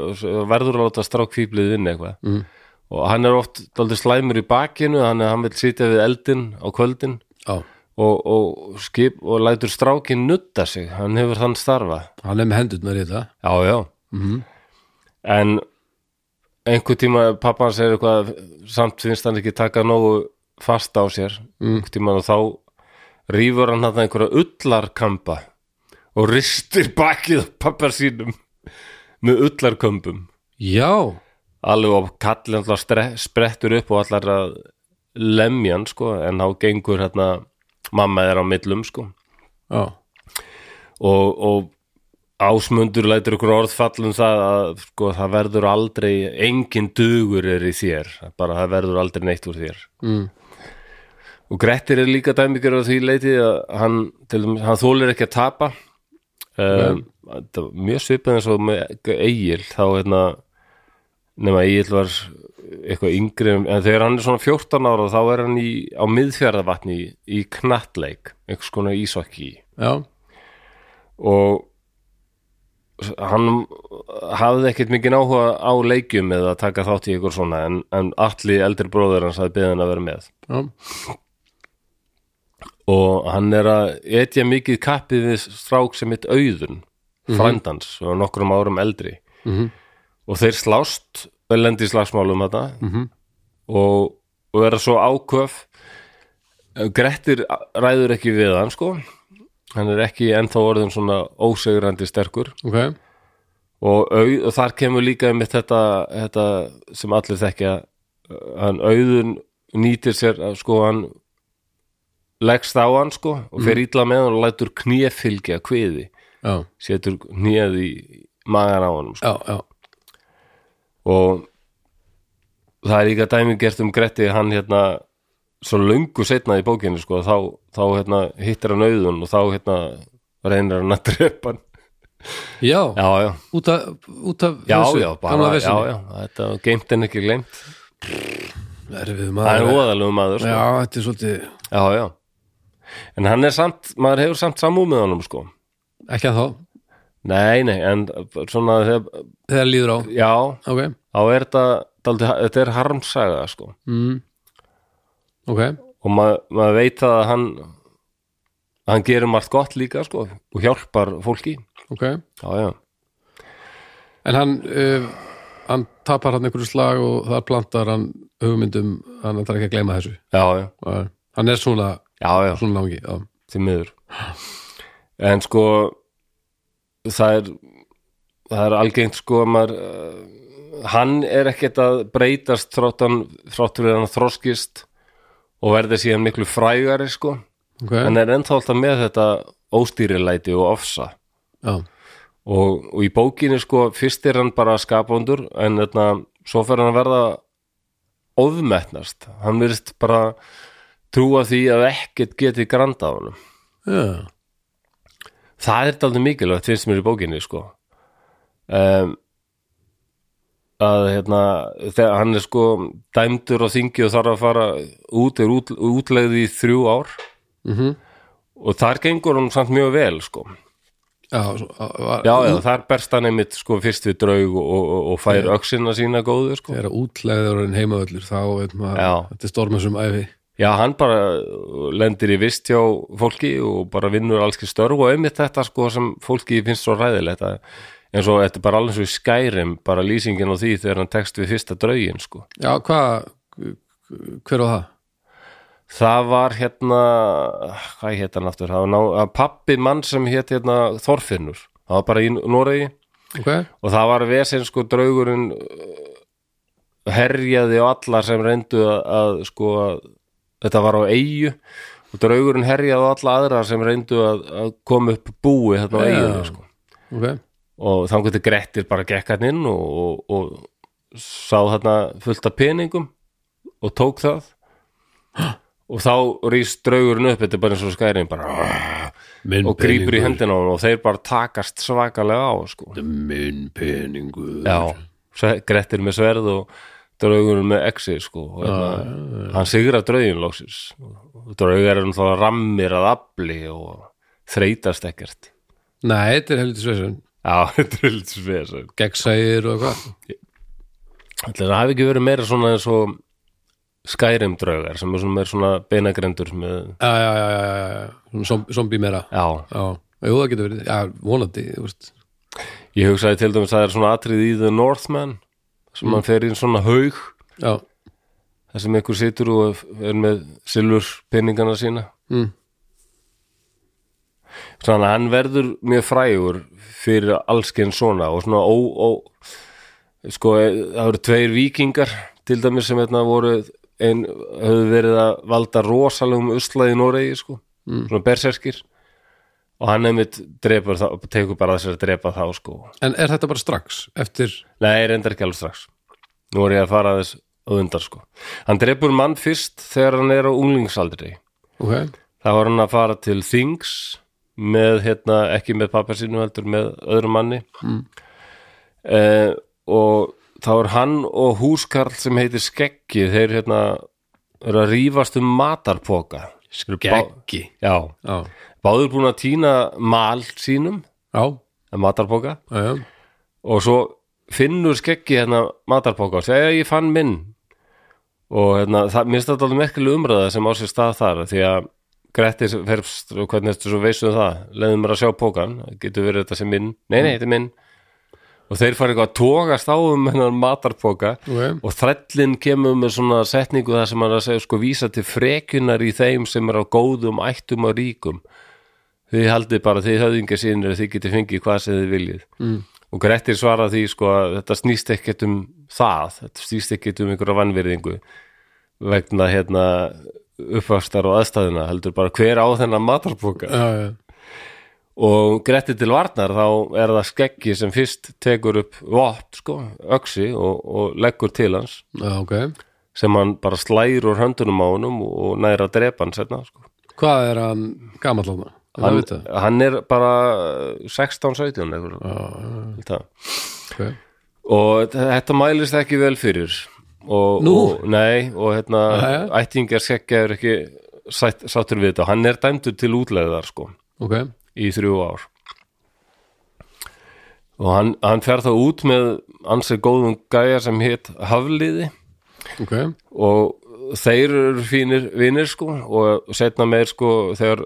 [SPEAKER 1] verður að láta strák fýblið inn eitthvað mm. og hann er oft daldið slæmur í bakinu, hann, hann vil sitja við eldin á kvöldin
[SPEAKER 2] já.
[SPEAKER 1] og, og skip og lætur strákin nutta sig, hann hefur þann starfa
[SPEAKER 2] Mhm. hann er með hendurnar í þetta
[SPEAKER 1] já, já mm. en einhver tíma pappan segir eitthvað samt finnst hann ekki taka nógu fast á sér einhver tíma og þá rýfur hann hann einhverja ullarkamba og ristir bakið á pappar sínum með ullarkömbum
[SPEAKER 2] Já,
[SPEAKER 1] alveg og kallið alltaf stre- sprettur upp og allar að lemja hann sko en þá gengur hérna mamma er á millum sko
[SPEAKER 2] já,
[SPEAKER 1] og, og ásmundur lætur ykkur orð falla um það að sko, það verður aldrei engin dugur er í þér bara það verður aldrei neitt úr þér mm. og Grettir er líka dæmigur á því leiti að hann, til, dæmis- hann þólir ekki að tapa um, þetta var mjög svipað eins og með Egil þá hérna nema Egil var eitthvað yngri en þegar hann er svona 14 ára þá er hann í, á miðfjörðavatni í, í knattleik, einhvers konar ísokki
[SPEAKER 2] já,
[SPEAKER 1] og hann hafði ekkert mikið áhuga á leikjum eða að taka þátt í ykkur svona en, en allir eldri bróður hans hafði beðið hann að vera með
[SPEAKER 2] já,
[SPEAKER 1] og hann er að etja mikið kappið við strák sem mitt auðun frændans og nokkrum árum eldri
[SPEAKER 2] Mhm.
[SPEAKER 1] og þeir slást lendi í slagsmálum þetta -hmm. og, og vera svo áköf Grettir ræður ekki við hann sko hann er ekki ennþá orðin svona ósegrandi sterkur
[SPEAKER 2] ok,
[SPEAKER 1] og, au, og þar kemur líka einmitt þetta, þetta sem allir þekkja uh, hann auðun nýtir sér að sko hann leggst á hann sko og fer illa með hann og lætur knéfylgja kviði,
[SPEAKER 2] já,
[SPEAKER 1] setur knéð í magan á hann sko.
[SPEAKER 2] já, já,
[SPEAKER 1] og það er líka dæmi gert um Gretti hann hérna svo löngu setna í bókinu sko þá, þá hérna hittir hann auðun og þá hérna reynir hann að drepa hann
[SPEAKER 2] já,
[SPEAKER 1] já, já,
[SPEAKER 2] Út, af, út af
[SPEAKER 1] já,
[SPEAKER 2] þessu,
[SPEAKER 1] já,
[SPEAKER 2] gamla
[SPEAKER 1] bara, já,
[SPEAKER 2] vesinni.
[SPEAKER 1] já þetta var geimt en ekki glemt
[SPEAKER 2] Erfið
[SPEAKER 1] Það
[SPEAKER 2] maður
[SPEAKER 1] er óðalegu maður sko.
[SPEAKER 2] Já, þetta er svolítið,
[SPEAKER 1] já, já En hann er samt, maður hefur samt samúð með honum sko
[SPEAKER 2] ekki að þá
[SPEAKER 1] Nei, nei, en svona þegar,
[SPEAKER 2] Þegar líður á,
[SPEAKER 1] Já,
[SPEAKER 2] ok,
[SPEAKER 1] þá er þetta daldi, þetta er harmsaga sko
[SPEAKER 2] mm. ok,
[SPEAKER 1] og maður, maður veit það að hann hann gerir margt gott líka sko og hjálpar fólki
[SPEAKER 2] ok
[SPEAKER 1] Já, já,
[SPEAKER 2] En hann, uh, hann tapar hann einhverju slag og þar plantar hann hugmyndum, hann ætlar ekki að gleyma þessu
[SPEAKER 1] já, já,
[SPEAKER 2] og hann er svona,
[SPEAKER 1] já, já
[SPEAKER 2] svona langi já.
[SPEAKER 1] til miður En sko það er það er algengt sko að maður uh, hann er ekkert að breytast þróttan, þróttur við hann þroskist og verði síðan miklu frægari sko,
[SPEAKER 2] ok,
[SPEAKER 1] en er ennþá alltaf með þetta óstýrilæti og ofsa
[SPEAKER 2] já,
[SPEAKER 1] og, og í bókinni sko, fyrst er hann bara skapandur en þarna, svo fer hann að verða ofmetnast hann virðist bara trúa því að ekkert geti granda á honum
[SPEAKER 2] já,
[SPEAKER 1] það er daldið mikilvægt finnst mér í bókinni sko um, að hérna þegar hann er sko dæmdur á þingi og þarf að fara út er út, útlegði í þrjú ár
[SPEAKER 2] Mhm.
[SPEAKER 1] og þar gengur hann samt mjög vel sko
[SPEAKER 2] já, svo, var,
[SPEAKER 1] já, já, þar berst hann einmitt sko fyrst við draug og, og, og fær öxina sína góðu sko
[SPEAKER 2] þegar útlegðurinn heimavöllur þá veit maður,
[SPEAKER 1] Já.
[SPEAKER 2] þetta er stormasum æfi
[SPEAKER 1] já, hann bara uh, lendir í vist hjá fólki og bara vinnur allski störf og einmitt þetta sko sem fólki finnst svo ræðilegt að eins og þetta er bara alveg svo í skærim bara lýsingin á því þegar hann tekst við fyrsta draugin sko.
[SPEAKER 2] Já, hvað, hver var það?
[SPEAKER 1] það var hérna hvað hétt hann aftur, það var ná, pappi mann sem hétt hérna Þorfinnur það var bara í Noregi
[SPEAKER 2] Ok,
[SPEAKER 1] og það var vesinn sko draugurinn uh, herjaði á alla sem reyndu að, að sko að, þetta var á eigu og draugurinn herjaði á alla aðra sem reyndu að, að koma upp búi þarna á
[SPEAKER 2] Já.
[SPEAKER 1] eiginu sko.
[SPEAKER 2] ok,
[SPEAKER 1] og þannig til Grettir bara gekk hann inn og, og, og sá þarna fullt af peningum og tók það og þá rýst draugurinn upp þetta er bara eins og skærin bara
[SPEAKER 2] minn
[SPEAKER 1] og grýpur í hendina á hann og þeir bara takast svakalega á sko.
[SPEAKER 2] Minn peningur
[SPEAKER 1] Já, sve- Grettir með sverð og draugunum með exi sko og hérna, hann sigra draugin lóksins draugar er um þá rammir að afli og þreytast ekkert
[SPEAKER 2] Nei, þetta er helviti svesun
[SPEAKER 1] Já, þetta er lítið spes
[SPEAKER 2] Gegnsægir og eitthvað
[SPEAKER 1] Það hafi ekki verið meira svona eins og skærim draugar sem er svona, meira svona beinagrendur með,
[SPEAKER 2] Já, já, já, já, já, já, svona zomb- zombi meira
[SPEAKER 1] já,
[SPEAKER 2] Já, jú, það getur verið, já, vonandi, þú veist
[SPEAKER 1] ég hugsaði til dæmis að það er svona atrið í The Northman sem mann fer inn svona haug
[SPEAKER 2] já,
[SPEAKER 1] þar sem einhver situr og er með silfur pinningana sína
[SPEAKER 2] mm.
[SPEAKER 1] þannig að hann verður mjög frægur fyrir allsken svona og svona ó, ó sko, e, það eru tveir vikingar til dæmis sem hérna voru ein, höfðu verið að valda rosalegum uslaði í Noregi sko, svona berserkir og hann einmitt drepur þá, tekur bara þess að drepa þá sko
[SPEAKER 2] en er þetta bara strax eftir,
[SPEAKER 1] Nei, reyndar ekki alveg strax Nú er ég að fara þess að undar sko Hann drepur mann fyrst þegar hann er á unglingsaldri
[SPEAKER 2] ok
[SPEAKER 1] þá var hann að fara til Things með, hérna, ekki með pappa sínu heldur með öðrum manni mm. og þá er hann og húskarl sem heitir Skeggi þeir hérna eru að rífast um matarpoka
[SPEAKER 2] Skeggi?
[SPEAKER 1] Já,
[SPEAKER 2] já,
[SPEAKER 1] báður búin að týna mal sínum,
[SPEAKER 2] já,
[SPEAKER 1] matarpoka
[SPEAKER 2] já, já.
[SPEAKER 1] og svo finnur skeggi hérna matarpóka og segja ég fann minn og hérna, það, mér stætti alveg merkileg umræða sem á sér stað þar því að Grettir ferst og hvernig ertu svo veist um það, leiðum mér að sjá pókan getur verið þetta sem minn, nei nei þetta er minn og þeir fara eitthvað að tókast á um hennan matarpóka
[SPEAKER 2] Ok.
[SPEAKER 1] og þrællin kemur með svona setningu það sem hann er að segja sko vísa til frekunar í þeim sem er á góðum, ættum og ríkum þið haldið bara þið höfðingar sínir þið getið fengið hvað sem þið viljið mm. og Grettir svarar því sko að þetta snýst ekkert um það þetta snýst ekkert um einhverja vannverðingu vegna hérna uppvastar og aðstæðina heldur bara hver á þennan matarpoka
[SPEAKER 2] já, já.
[SPEAKER 1] og Grettir til varnar þá er það skeggi sem fyrst tekur upp vopn sko, öxi og, og leggur til hans
[SPEAKER 2] já ok
[SPEAKER 1] sem hann bara slægir úr höndunum á honum og næra að drepa hann setna sko.
[SPEAKER 2] hvað er hann gamall á
[SPEAKER 1] hann,
[SPEAKER 2] það?
[SPEAKER 1] hann er bara 16-17 einhver, þetta.
[SPEAKER 2] Okay.
[SPEAKER 1] og þe- þetta mælist ekki vel fyrir og,
[SPEAKER 2] Nú?
[SPEAKER 1] og nei og hérna
[SPEAKER 2] Jæja.
[SPEAKER 1] ættingar skeggi er ekki sætt, sáttur við þetta, hann er dæmdur til útlegðar sko
[SPEAKER 2] ok,
[SPEAKER 1] í þrjú ár og hann, hann fer þá út með ansið góðum gæja sem hétt Hafliði
[SPEAKER 2] ok
[SPEAKER 1] og þeir eru fínir vinnir sko og setna meir sko þegar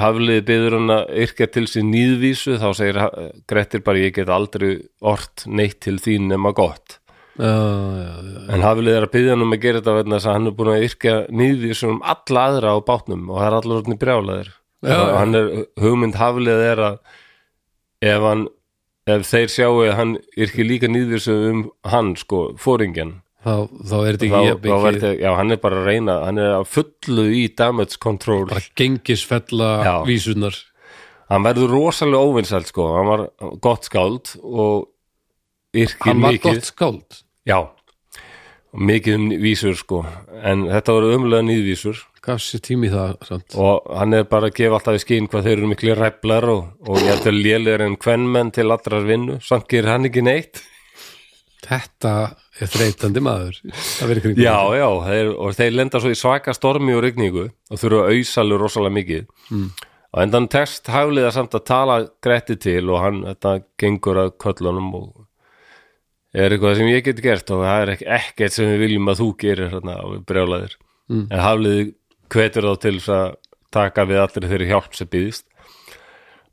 [SPEAKER 1] Hafliði byður hann að yrkja til sín nýðvísu þá segir Ha- Grettir bara ég get aldrei ort neitt til þín nema gott
[SPEAKER 2] já, já, já,
[SPEAKER 1] en Hafliði er að byðja hann um að gera þetta vegna þess að hann er búin að yrkja nýðvísu um alla aðra á bátnum og það er allar orðin brjálaðir
[SPEAKER 2] Já,
[SPEAKER 1] Og
[SPEAKER 2] já.
[SPEAKER 1] hann er, hugmynd Hafliði er að ef hann ef þeir sjáu að hann yrkja líka nýðvísu um hann sko, fóringjan
[SPEAKER 2] Þá, þá er þetta
[SPEAKER 1] þá,
[SPEAKER 2] ekki
[SPEAKER 1] þá
[SPEAKER 2] jafn
[SPEAKER 1] verði,
[SPEAKER 2] mikið
[SPEAKER 1] já, hann er bara að reyna hann er að fullu í damage control
[SPEAKER 2] bara gengisfella
[SPEAKER 1] Já.
[SPEAKER 2] vísunar
[SPEAKER 1] hann verður rosalega óvinsælt sko hann var gott skáld og yrkir
[SPEAKER 2] hann var
[SPEAKER 1] mikið
[SPEAKER 2] gott skáld
[SPEAKER 1] já, og mikið um vísur sko en þetta voru umlega nýðvísur
[SPEAKER 2] gaf sér tími í það samt.
[SPEAKER 1] og hann er bara að gefa alltaf í skinn hvað þeir eru miklu ræflar og, og ég ætla lélegur en kvenmenn til allrar vinnu samt gerir hann ekki neitt
[SPEAKER 2] þetta er þreytandi maður það verið kringum
[SPEAKER 1] já, já, þeir, og þeir lenda svo í svaka stormi og rigningu og þurfa að auðsalur rosalega mikið mm. og endan tekst hafliða samt að tala gretti til og hann þetta gengur að köllunum og er eitthvað sem ég get gert og það er ekki, ekkert sem við viljum að þú gerir hérna og við brjálaðir mm. en hafliði hvetur þá til þess að taka við allir þeirri hjálp sem býðist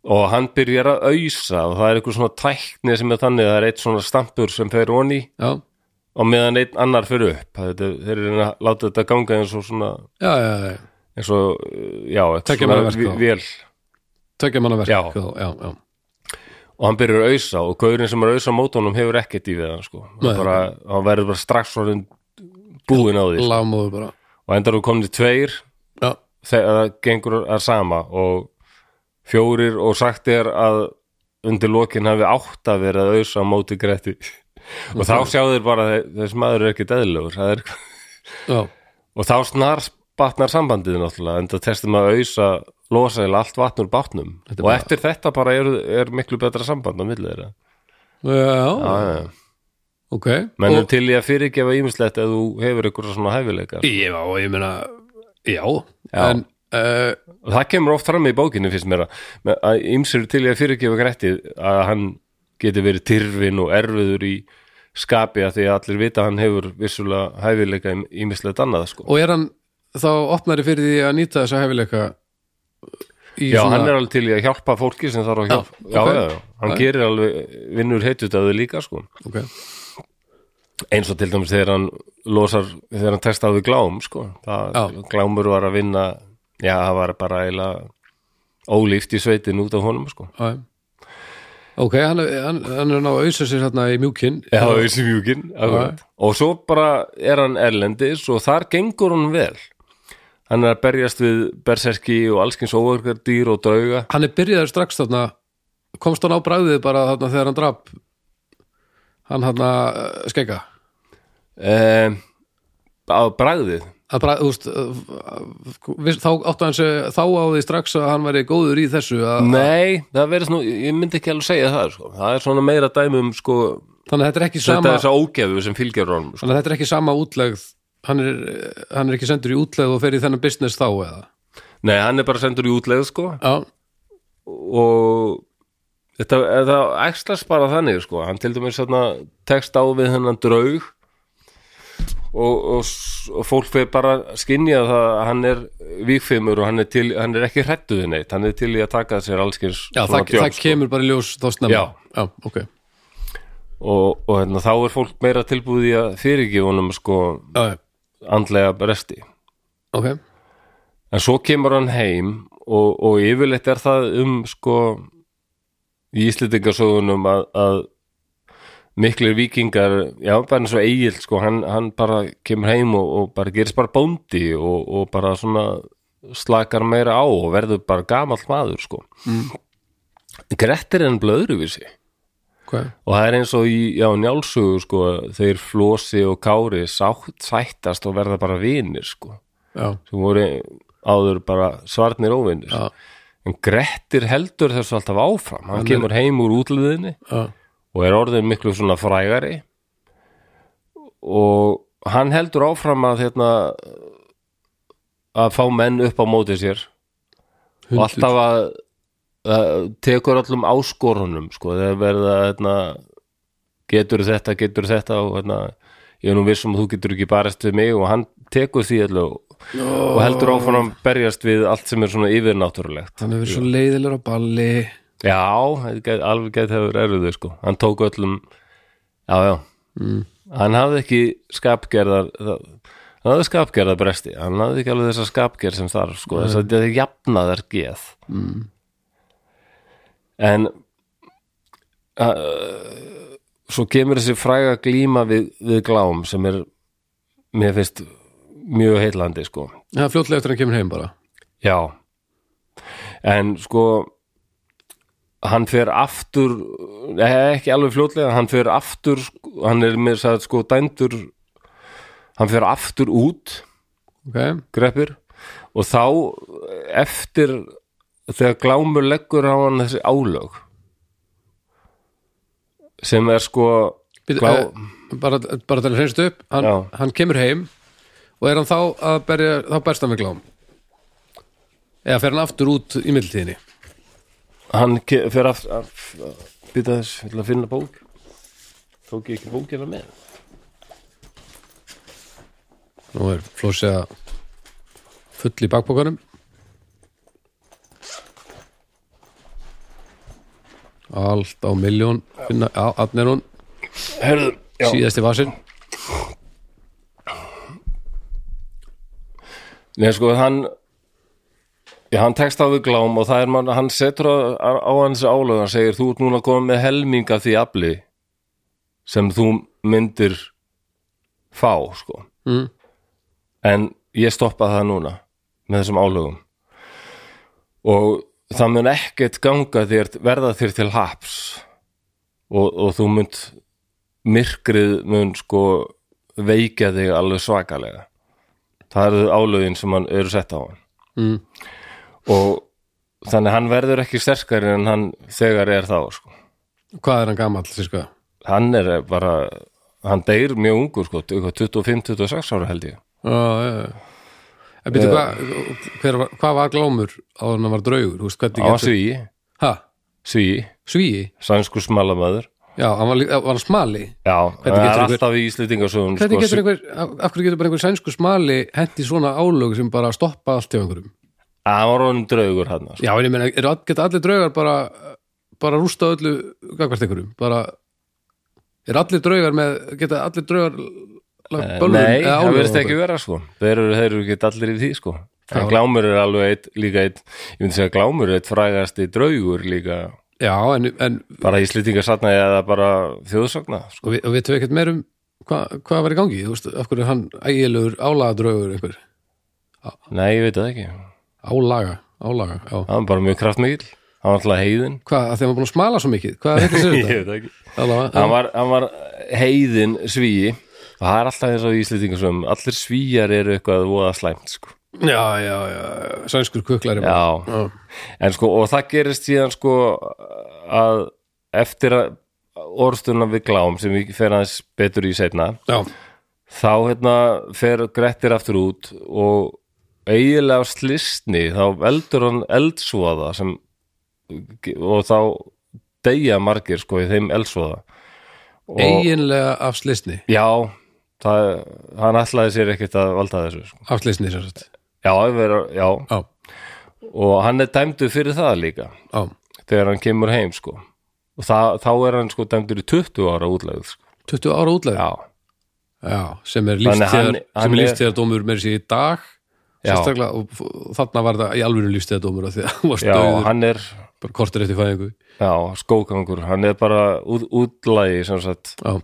[SPEAKER 1] og hann byrjar að ausa og það er eitthvað svona tækni sem er þannig það er eitt svona stampur sem fer onni
[SPEAKER 2] já,
[SPEAKER 1] og meðan einn annar fyrir upp þetta, þeir eru að reyna að láta þetta ganga eins og svona
[SPEAKER 2] já, já, já, já.
[SPEAKER 1] eins og, uh, já, eitthvað
[SPEAKER 2] Tveggja sko. manna verk
[SPEAKER 1] vé-
[SPEAKER 2] þá.
[SPEAKER 1] vél
[SPEAKER 2] tökja manna verk
[SPEAKER 1] Já.
[SPEAKER 2] þá, já, já.
[SPEAKER 1] og hann byrjar að ausa og gaurinn sem er að ausa á mótunum hefur ekkert í við hann sko Hann
[SPEAKER 2] Nei.
[SPEAKER 1] bara, hann verður bara strax orðin búin á því
[SPEAKER 2] lámóður bara
[SPEAKER 1] og endar þú komnir tveir
[SPEAKER 2] já,
[SPEAKER 1] þegar það gengur að sama og fjórir og sagt er að undir lokin hafi átt að vera að ausa á móti gretti og þá sjá þeir bara að þess maður er ekki dæðilegur það er eitthvað
[SPEAKER 2] já,
[SPEAKER 1] og þá snar batnar sambandið náttúrulega en það testum að auðsa losa eða allt vatn úr bátnum
[SPEAKER 2] Þetta er
[SPEAKER 1] og
[SPEAKER 2] bara-
[SPEAKER 1] eftir þetta bara er, er miklu betra samband á milli þeirra
[SPEAKER 2] já,
[SPEAKER 1] ah,
[SPEAKER 2] ok
[SPEAKER 1] menn
[SPEAKER 2] Og-
[SPEAKER 1] er til í að fyrirgefa ýmislegt ef þú hefur ykkur svona hæfileika
[SPEAKER 2] Já, ég meina, já,
[SPEAKER 1] Já.
[SPEAKER 2] en uh,
[SPEAKER 1] og það kemur oft fram í bókinu finnst mér að- með- að ýmsir eru til í að fyrirgefa grættið að hann geti verið tyrfin og erfiður í skapi að því að allir vita að hann hefur vissulega hæfileika í ýmislegt annað sko.
[SPEAKER 2] og er hann þá opnari fyrir því að nýta þessa hefileika í
[SPEAKER 1] Já, hann er alveg til í að hjálpa fólki sem þarf að hjálpa
[SPEAKER 2] ok.
[SPEAKER 1] Já, já, já, hann
[SPEAKER 2] Já.
[SPEAKER 1] gerir alveg vinnur heitut að þau líka sko
[SPEAKER 2] okay.
[SPEAKER 1] eins og til dæmis þegar hann losar, þegar hann testaði við glám sko. það,
[SPEAKER 2] Já.
[SPEAKER 1] glámur var að vinna já, það var bara eila ólíft í sveitin út af honum sko.
[SPEAKER 2] Já, já. Ok, hann, er- hann, hann er að ná að auðsa sér hérna í mjúkinn
[SPEAKER 1] Já, þessi mjúkin akkurat. og svo bara er hann erlendis og þar gengur hann vel hann er að berjast við berserki og allskins óverkar dýr og drauga
[SPEAKER 2] Hann er byrjaður strax þarna komst hann á bræðið bara þarna þegar hann drap hann hérna, hann að skegga
[SPEAKER 1] eh, á bragðið
[SPEAKER 2] að brað, úst, þá áttu hann sér þá á því strax að hann væri góður í þessu
[SPEAKER 1] Mm.
[SPEAKER 2] að,
[SPEAKER 1] nei, það verðist nú, ég myndi ekki alveg segja það sko. það er svona meira dæmi um sko,
[SPEAKER 2] þannig að þetta er ekki
[SPEAKER 1] þetta
[SPEAKER 2] sama
[SPEAKER 1] er þess að ógefu sem fylgjur honum sko.
[SPEAKER 2] þannig að þetta er ekki sama útlegð hann er, hann er ekki sendur í útlegð og fer í þennan business þá eða
[SPEAKER 1] nei, hann er bara sendur í útleið sko,
[SPEAKER 2] já,
[SPEAKER 1] og þetta, þetta ekstast bara þannig sko, hann til dæmis þarna tekst á við hennan draug og, og, s- og fólk fyrir bara að skynja það að hann er víkfimur og hann er, til, hann er ekki hrættuði neitt, hann er til í að taka að sér allskins
[SPEAKER 2] já það, það kemur bara í ljós þá snemma
[SPEAKER 1] Já.
[SPEAKER 2] ok
[SPEAKER 1] og, og hérna, þá er fólk meira tilbúið í að fyrirgefa honum sko
[SPEAKER 2] já, já.
[SPEAKER 1] andlega bresti
[SPEAKER 2] ok,
[SPEAKER 1] en svo kemur hann heim og, og yfirleitt er það um sko í Íslendingasögunum að, að miklir vikingar já, bara eins og eigild sko hann, hann bara kemur heim og, og bara gerist bara bóndi og, og bara svona slakar meira á og verður bara gamall maður sko mm. Grettir er enn blöðruvísi
[SPEAKER 2] ok
[SPEAKER 1] og það er eins og í já, njálsugu sko þeir flosi og kári sátt, sættast og verða bara vinir sko
[SPEAKER 2] já,
[SPEAKER 1] sem voru áður bara svarnir óvinnir
[SPEAKER 2] já,
[SPEAKER 1] en Grettir heldur þessu alltaf áfram hann
[SPEAKER 2] Hann er-
[SPEAKER 1] kemur heim úr útliðinni
[SPEAKER 2] já,
[SPEAKER 1] og er orðin miklu svona frægari og hann heldur áfram að hérna að fá menn upp á móti sér og
[SPEAKER 2] hundur
[SPEAKER 1] alltaf að, að tekur allum áskorunum sko, þegar verða hérna, getur þetta, getur þetta og hérna, ég er nú vissum að þú getur ekki barist við mig og hann tekur því alltaf og heldur áfram að berjast við allt sem er svona yfirnáttúrulegt
[SPEAKER 2] hann hefur verið svo leiðilegur á balli
[SPEAKER 1] Já, þetta gæti- alveg gæti hefur erfið sko. hann tók öllum já, já, hann hafði ekki skapgerðar það, hann hafði skapgerðar bresti, hann hafði ekki alveg þessa skapgerð sem þarf, sko, þess að þetta er jafnaðar geð mm. en uh, svo kemur þessi fræga glíma við, við glám sem er mér finnst mjög heillandi, sko
[SPEAKER 2] hann fljótlega eftir að hann kemur heim bara
[SPEAKER 1] Já En sko hann fer aftur eh, ekki alveg fljótlega, hann fer aftur sko, hann er með þess að sko dændur hann fer aftur út
[SPEAKER 2] ok,
[SPEAKER 1] greppir og þá eftir þegar glámur leggur á hann þessi álög sem er sko
[SPEAKER 2] Býtu,
[SPEAKER 1] glá,
[SPEAKER 2] eh, bara, bara til að hreinst upp hann,
[SPEAKER 1] Já.
[SPEAKER 2] hann kemur heim og er hann þá að berja, þá berst hann við glám eða fer hann aftur út í mildtíðinni
[SPEAKER 1] hann ke- fer aftur að, býta þess, ég ætla að finna bók tók ég ekki bókina með
[SPEAKER 2] nú er Flósi að full í bakbókanum allt á miljón finna, já, hann er hún
[SPEAKER 1] Herðu, já
[SPEAKER 2] síðasti vasinn
[SPEAKER 1] Nei, sko, hann já, hann tekst á við glám og það er mann, hann setur á, á hans álög hann segir, þú ert núna komið með helming af því afli sem þú myndir fá, sko
[SPEAKER 2] Mm.
[SPEAKER 1] en ég stoppa það núna með þessum álögum og það mun ekkert ganga þér, verða þér til haps og, og þú munt myrkrið mun sko veikja þig alveg svakalega það eru álögin sem hann eru sett á hann
[SPEAKER 2] Mm.
[SPEAKER 1] og þannig hann verður ekki sterkari en hann þegar er þá sko.
[SPEAKER 2] hvað er hann gamall sirka?
[SPEAKER 1] hann er bara hann deyr mjög ungur sko, 25-26 ára held ég
[SPEAKER 2] Já, já, já. En
[SPEAKER 1] Eh.
[SPEAKER 2] býtu, hvað, hver var- hvað var glámur á hann var draugur? Þú veist, hvernig
[SPEAKER 1] hann var
[SPEAKER 2] getur-
[SPEAKER 1] sví,
[SPEAKER 2] Ha,
[SPEAKER 1] sví,
[SPEAKER 2] svíi?
[SPEAKER 1] sænsku smalamöður
[SPEAKER 2] Já, hann var, lí- eh, var hann smali
[SPEAKER 1] já, hann
[SPEAKER 2] getur
[SPEAKER 1] er
[SPEAKER 2] einhver-
[SPEAKER 1] alltaf í Íslendingasögun
[SPEAKER 2] Hvernig
[SPEAKER 1] sko,
[SPEAKER 2] getur einhver, af, af hverju getur bara einhver sænsku smali hendi svona álög sem bara stoppa allt hjá einhverjum?
[SPEAKER 1] Ah, hann var honum draugur hann sko.
[SPEAKER 2] Já, en ég meina, eru all- geta allir draugar bara bara rústa öllu gagvart einhverjum? Bara er allir draugar með, geta allir draugar lagt
[SPEAKER 1] Eh,
[SPEAKER 2] bölvun
[SPEAKER 1] Nei,
[SPEAKER 2] eða
[SPEAKER 1] það
[SPEAKER 2] álögum
[SPEAKER 1] verðist
[SPEAKER 2] á
[SPEAKER 1] ekki
[SPEAKER 2] þau?
[SPEAKER 1] vera sko Þeir eru, þeir eru ekki allir í því sko En glámur er alveg eitt, líka eitt Ég myndi segja að glámur er eitt frægasti draugur líka
[SPEAKER 2] já, en, en
[SPEAKER 1] Bara íslýtingarsatna eða bara þjóðsagna sko.
[SPEAKER 2] og við, og við ekki meir um hvað, hvað var í gangi, þú veist, af hverju er hann ægilegur álagadraugur einhver
[SPEAKER 1] Nei, ég veit það ekki
[SPEAKER 2] álaga, álaga, já
[SPEAKER 1] Það var bara mjög kraftmikill Hann var alltaf heiðin
[SPEAKER 2] hvað, af því að maður búin að smala svo mikið, hvað er þetta sér þetta?
[SPEAKER 1] Ég veit það ekki
[SPEAKER 2] Allavega,
[SPEAKER 1] hann var, hann var heiðin svíi og það er alltaf eins og íslýtingar sem allir svíjar eru eitthvað voða slæmt sko.
[SPEAKER 2] já, já, já, sænskur kuklari
[SPEAKER 1] já,
[SPEAKER 2] Já.
[SPEAKER 1] en sko og það gerist síðan sko að eftir að orðstuna við glám sem við fer aðeins betur í seinna
[SPEAKER 2] já,
[SPEAKER 1] þá hérna fer Grettir aftur út og eiginlega á slisni þá eldur hann eldsvoða sem, og þá deyja margir sko í þeim eldsvoða Og-
[SPEAKER 2] eiginlega af slisni
[SPEAKER 1] Já, það, hann ætlaði sér ekkert að valda þessu sko.
[SPEAKER 2] af slisni sér sagt,
[SPEAKER 1] já, vera, já,
[SPEAKER 2] já,
[SPEAKER 1] og hann er dæmdur fyrir það líka
[SPEAKER 2] já
[SPEAKER 1] þegar hann kemur heim sko. og það, þá er hann sko dæmdur í 20 ára útlegð sko.
[SPEAKER 2] 20 ára útlega,
[SPEAKER 1] Já,
[SPEAKER 2] já, sem er
[SPEAKER 1] Þannig
[SPEAKER 2] lífstíðar
[SPEAKER 1] hann- hann
[SPEAKER 2] sem er
[SPEAKER 1] er-
[SPEAKER 2] lífstíðar dómur meir sér í dag
[SPEAKER 1] Já.
[SPEAKER 2] sérstaklega, og, og þarna var það í alvöru lífstíðar dómur því að hann var
[SPEAKER 1] já
[SPEAKER 2] stöður,
[SPEAKER 1] hann er
[SPEAKER 2] bara kortur eftir fæðingu
[SPEAKER 1] já, skókangur, hann er bara út, útlægi sem sagt
[SPEAKER 2] já,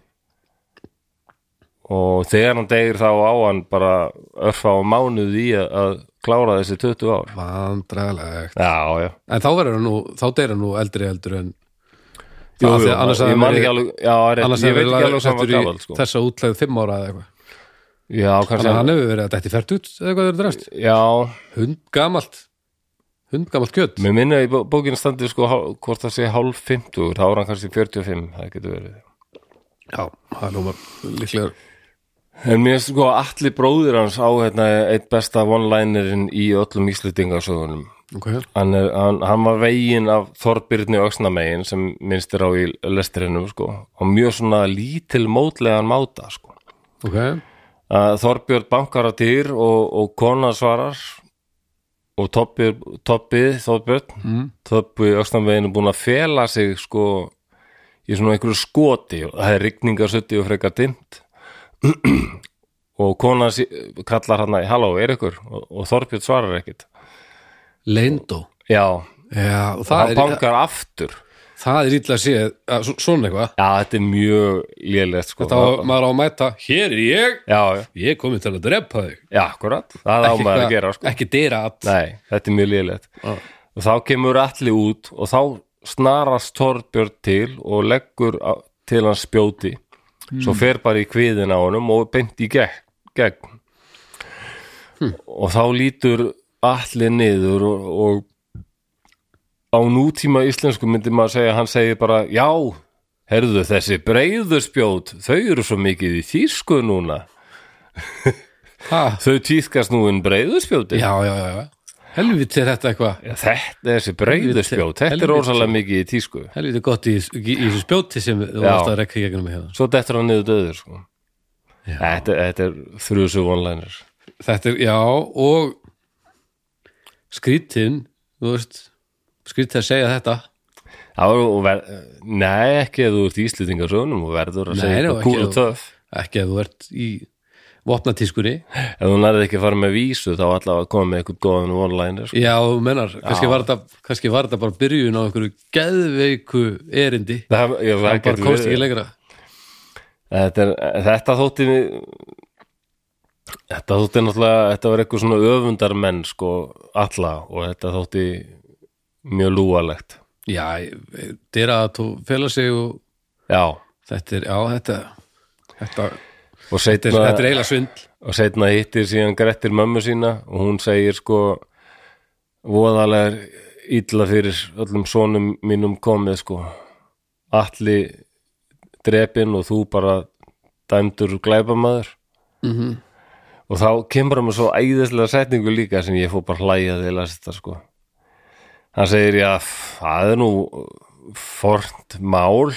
[SPEAKER 1] og þegar hann degir þá á hann bara örfa á mánuð í að, að klára þessi 20 ár
[SPEAKER 2] vandræðilegt
[SPEAKER 1] Já, já
[SPEAKER 2] En þá verður hann nú, þá deyra hann nú eldri eldur en
[SPEAKER 1] Jú,
[SPEAKER 2] Af því
[SPEAKER 1] jú,
[SPEAKER 2] að annars
[SPEAKER 1] ég
[SPEAKER 2] hefði
[SPEAKER 1] man
[SPEAKER 2] verið-
[SPEAKER 1] ekki alveg, já, rétt,
[SPEAKER 2] annars
[SPEAKER 1] ég veit
[SPEAKER 2] hefur
[SPEAKER 1] ekki alveg
[SPEAKER 2] verið
[SPEAKER 1] sem var
[SPEAKER 2] settur í
[SPEAKER 1] gafald sko.
[SPEAKER 2] þessa útlegð fimm ára eða eitthvað Þannig
[SPEAKER 1] Já,
[SPEAKER 2] að
[SPEAKER 1] kannski,
[SPEAKER 2] hann hefur verið að þetta er fært út eða eitthvað þeir drefst
[SPEAKER 1] já,
[SPEAKER 2] Hund gamalt, hund gamalt kjött
[SPEAKER 1] Mér minna í bó- bókinu standið sko hál- hvort það sé hálf 50, þá er hann kannski 45, það getur verið.
[SPEAKER 2] Já, það er lómar líklega
[SPEAKER 1] En mér finnst sko að allir bróðir hans á hérna, eitt besta one-linerinn í öllum íslitingarsögunum.
[SPEAKER 2] okay.
[SPEAKER 1] Hann, er, hann, hann var veginn af Þorbirni Öxnamegin sem minnst er á í lesturinnum sko og mjög svona lítil mótlegan máta sko.
[SPEAKER 2] ok,
[SPEAKER 1] að Þorbjörn bankar að dyr og, og kona svarar og Toppi, Toppi Þorbjörn, mm. Toppi Öxnamvegin er búin að fela sig sko í svona einhverju skoti og það er rigningarsutti og frekar dimmt og kona sí- kallar hann að halló, er ykkur? Og, og Þorbjörn svarar ekkit
[SPEAKER 2] leindó
[SPEAKER 1] Já,
[SPEAKER 2] Já, og
[SPEAKER 1] það
[SPEAKER 2] það, Ah, er,
[SPEAKER 1] bankar aftur
[SPEAKER 2] það er illa að sé að, svo- svona eitthvað
[SPEAKER 1] Já, þetta er mjög lélegt sko
[SPEAKER 2] Þá maður á að mæta, hér er ég
[SPEAKER 1] Já, já,
[SPEAKER 2] Ég er komin til að drepa þig
[SPEAKER 1] já, akkurat Það á maður
[SPEAKER 2] eitthvað-
[SPEAKER 1] að gera sko
[SPEAKER 2] ekki dyra að
[SPEAKER 1] Nei, þetta er mjög liðlegt og þá kemur allir út og þá snarast Þorbjörn til og leggur á- til hans spjóti svo fer bara í kviðin á honum og beint í gegn, gegn. og þá lítur allir niður og, og á nútíma íslensku myndi maður segja hann segir bara já, herðu þessi breiðu spjót þau eru svo mikið í þýsku núna
[SPEAKER 2] Ha,
[SPEAKER 1] þau týðkast nú en breiðu spjóti
[SPEAKER 2] Já, já, já, já Helviti er þetta eitthvað
[SPEAKER 1] Já, þetta er þessi breyðuspjót, þetta er
[SPEAKER 2] helviti.
[SPEAKER 1] rosalega mikið í tísku.
[SPEAKER 2] Helviti gott í, í, í þessu spjóti sem þú
[SPEAKER 1] Já.
[SPEAKER 2] varst að rekka í gegnum mig hérna.
[SPEAKER 1] Svo dettur hann niður döður, sko. Þetta, þetta er þrjusu vonlænir.
[SPEAKER 2] Þetta er, já, og skrítin, þú veist, skrítið að segja þetta.
[SPEAKER 1] Það var, og ver, nei, ekki ef þú ert íslýtingarsögnum og verður að
[SPEAKER 2] Nei,
[SPEAKER 1] segja
[SPEAKER 2] nei,
[SPEAKER 1] eitthvað
[SPEAKER 2] ekki
[SPEAKER 1] cool
[SPEAKER 2] ef
[SPEAKER 1] og
[SPEAKER 2] þú-
[SPEAKER 1] töff.
[SPEAKER 2] Ekki að þú ert í vopnatískunni.
[SPEAKER 1] Ef þú nærði ekki að fara með vísu, þá allavega að koma með eitthvað góðan vonlænir, sko.
[SPEAKER 2] Já, þú mennar, kannski var, þetta, kannski var þetta bara byrjun á einhverju geðveiku erindi.
[SPEAKER 1] Það, já,
[SPEAKER 2] Það
[SPEAKER 1] það
[SPEAKER 2] bara
[SPEAKER 1] getur
[SPEAKER 2] komst
[SPEAKER 1] verið.
[SPEAKER 2] ekki lengra.
[SPEAKER 1] Þetta, er, þetta þótti mig- þetta þótti náttúrulega þetta var eitthvað svona öfundar menn sko alla og þetta þótti mjög lúalegt
[SPEAKER 2] Já, dyra að þú fela sig og
[SPEAKER 1] já,
[SPEAKER 2] þetta er, já, þetta, þetta,
[SPEAKER 1] og seinna,
[SPEAKER 2] þetta, þetta er eiginlega svindl.
[SPEAKER 1] og setna hittir síðan Grettir mömmu sína og hún segir sko voðalega er illa fyrir öllum sonum mínum komið sko alli drepin og þú bara dæmdur glæpamaður
[SPEAKER 2] Mhm.
[SPEAKER 1] -hmm. og þá kemur hann með svo æðislega setningu líka sem ég fór bara hlæja þegar ég las þetta sko hann segir já, f- það er nú fornt mál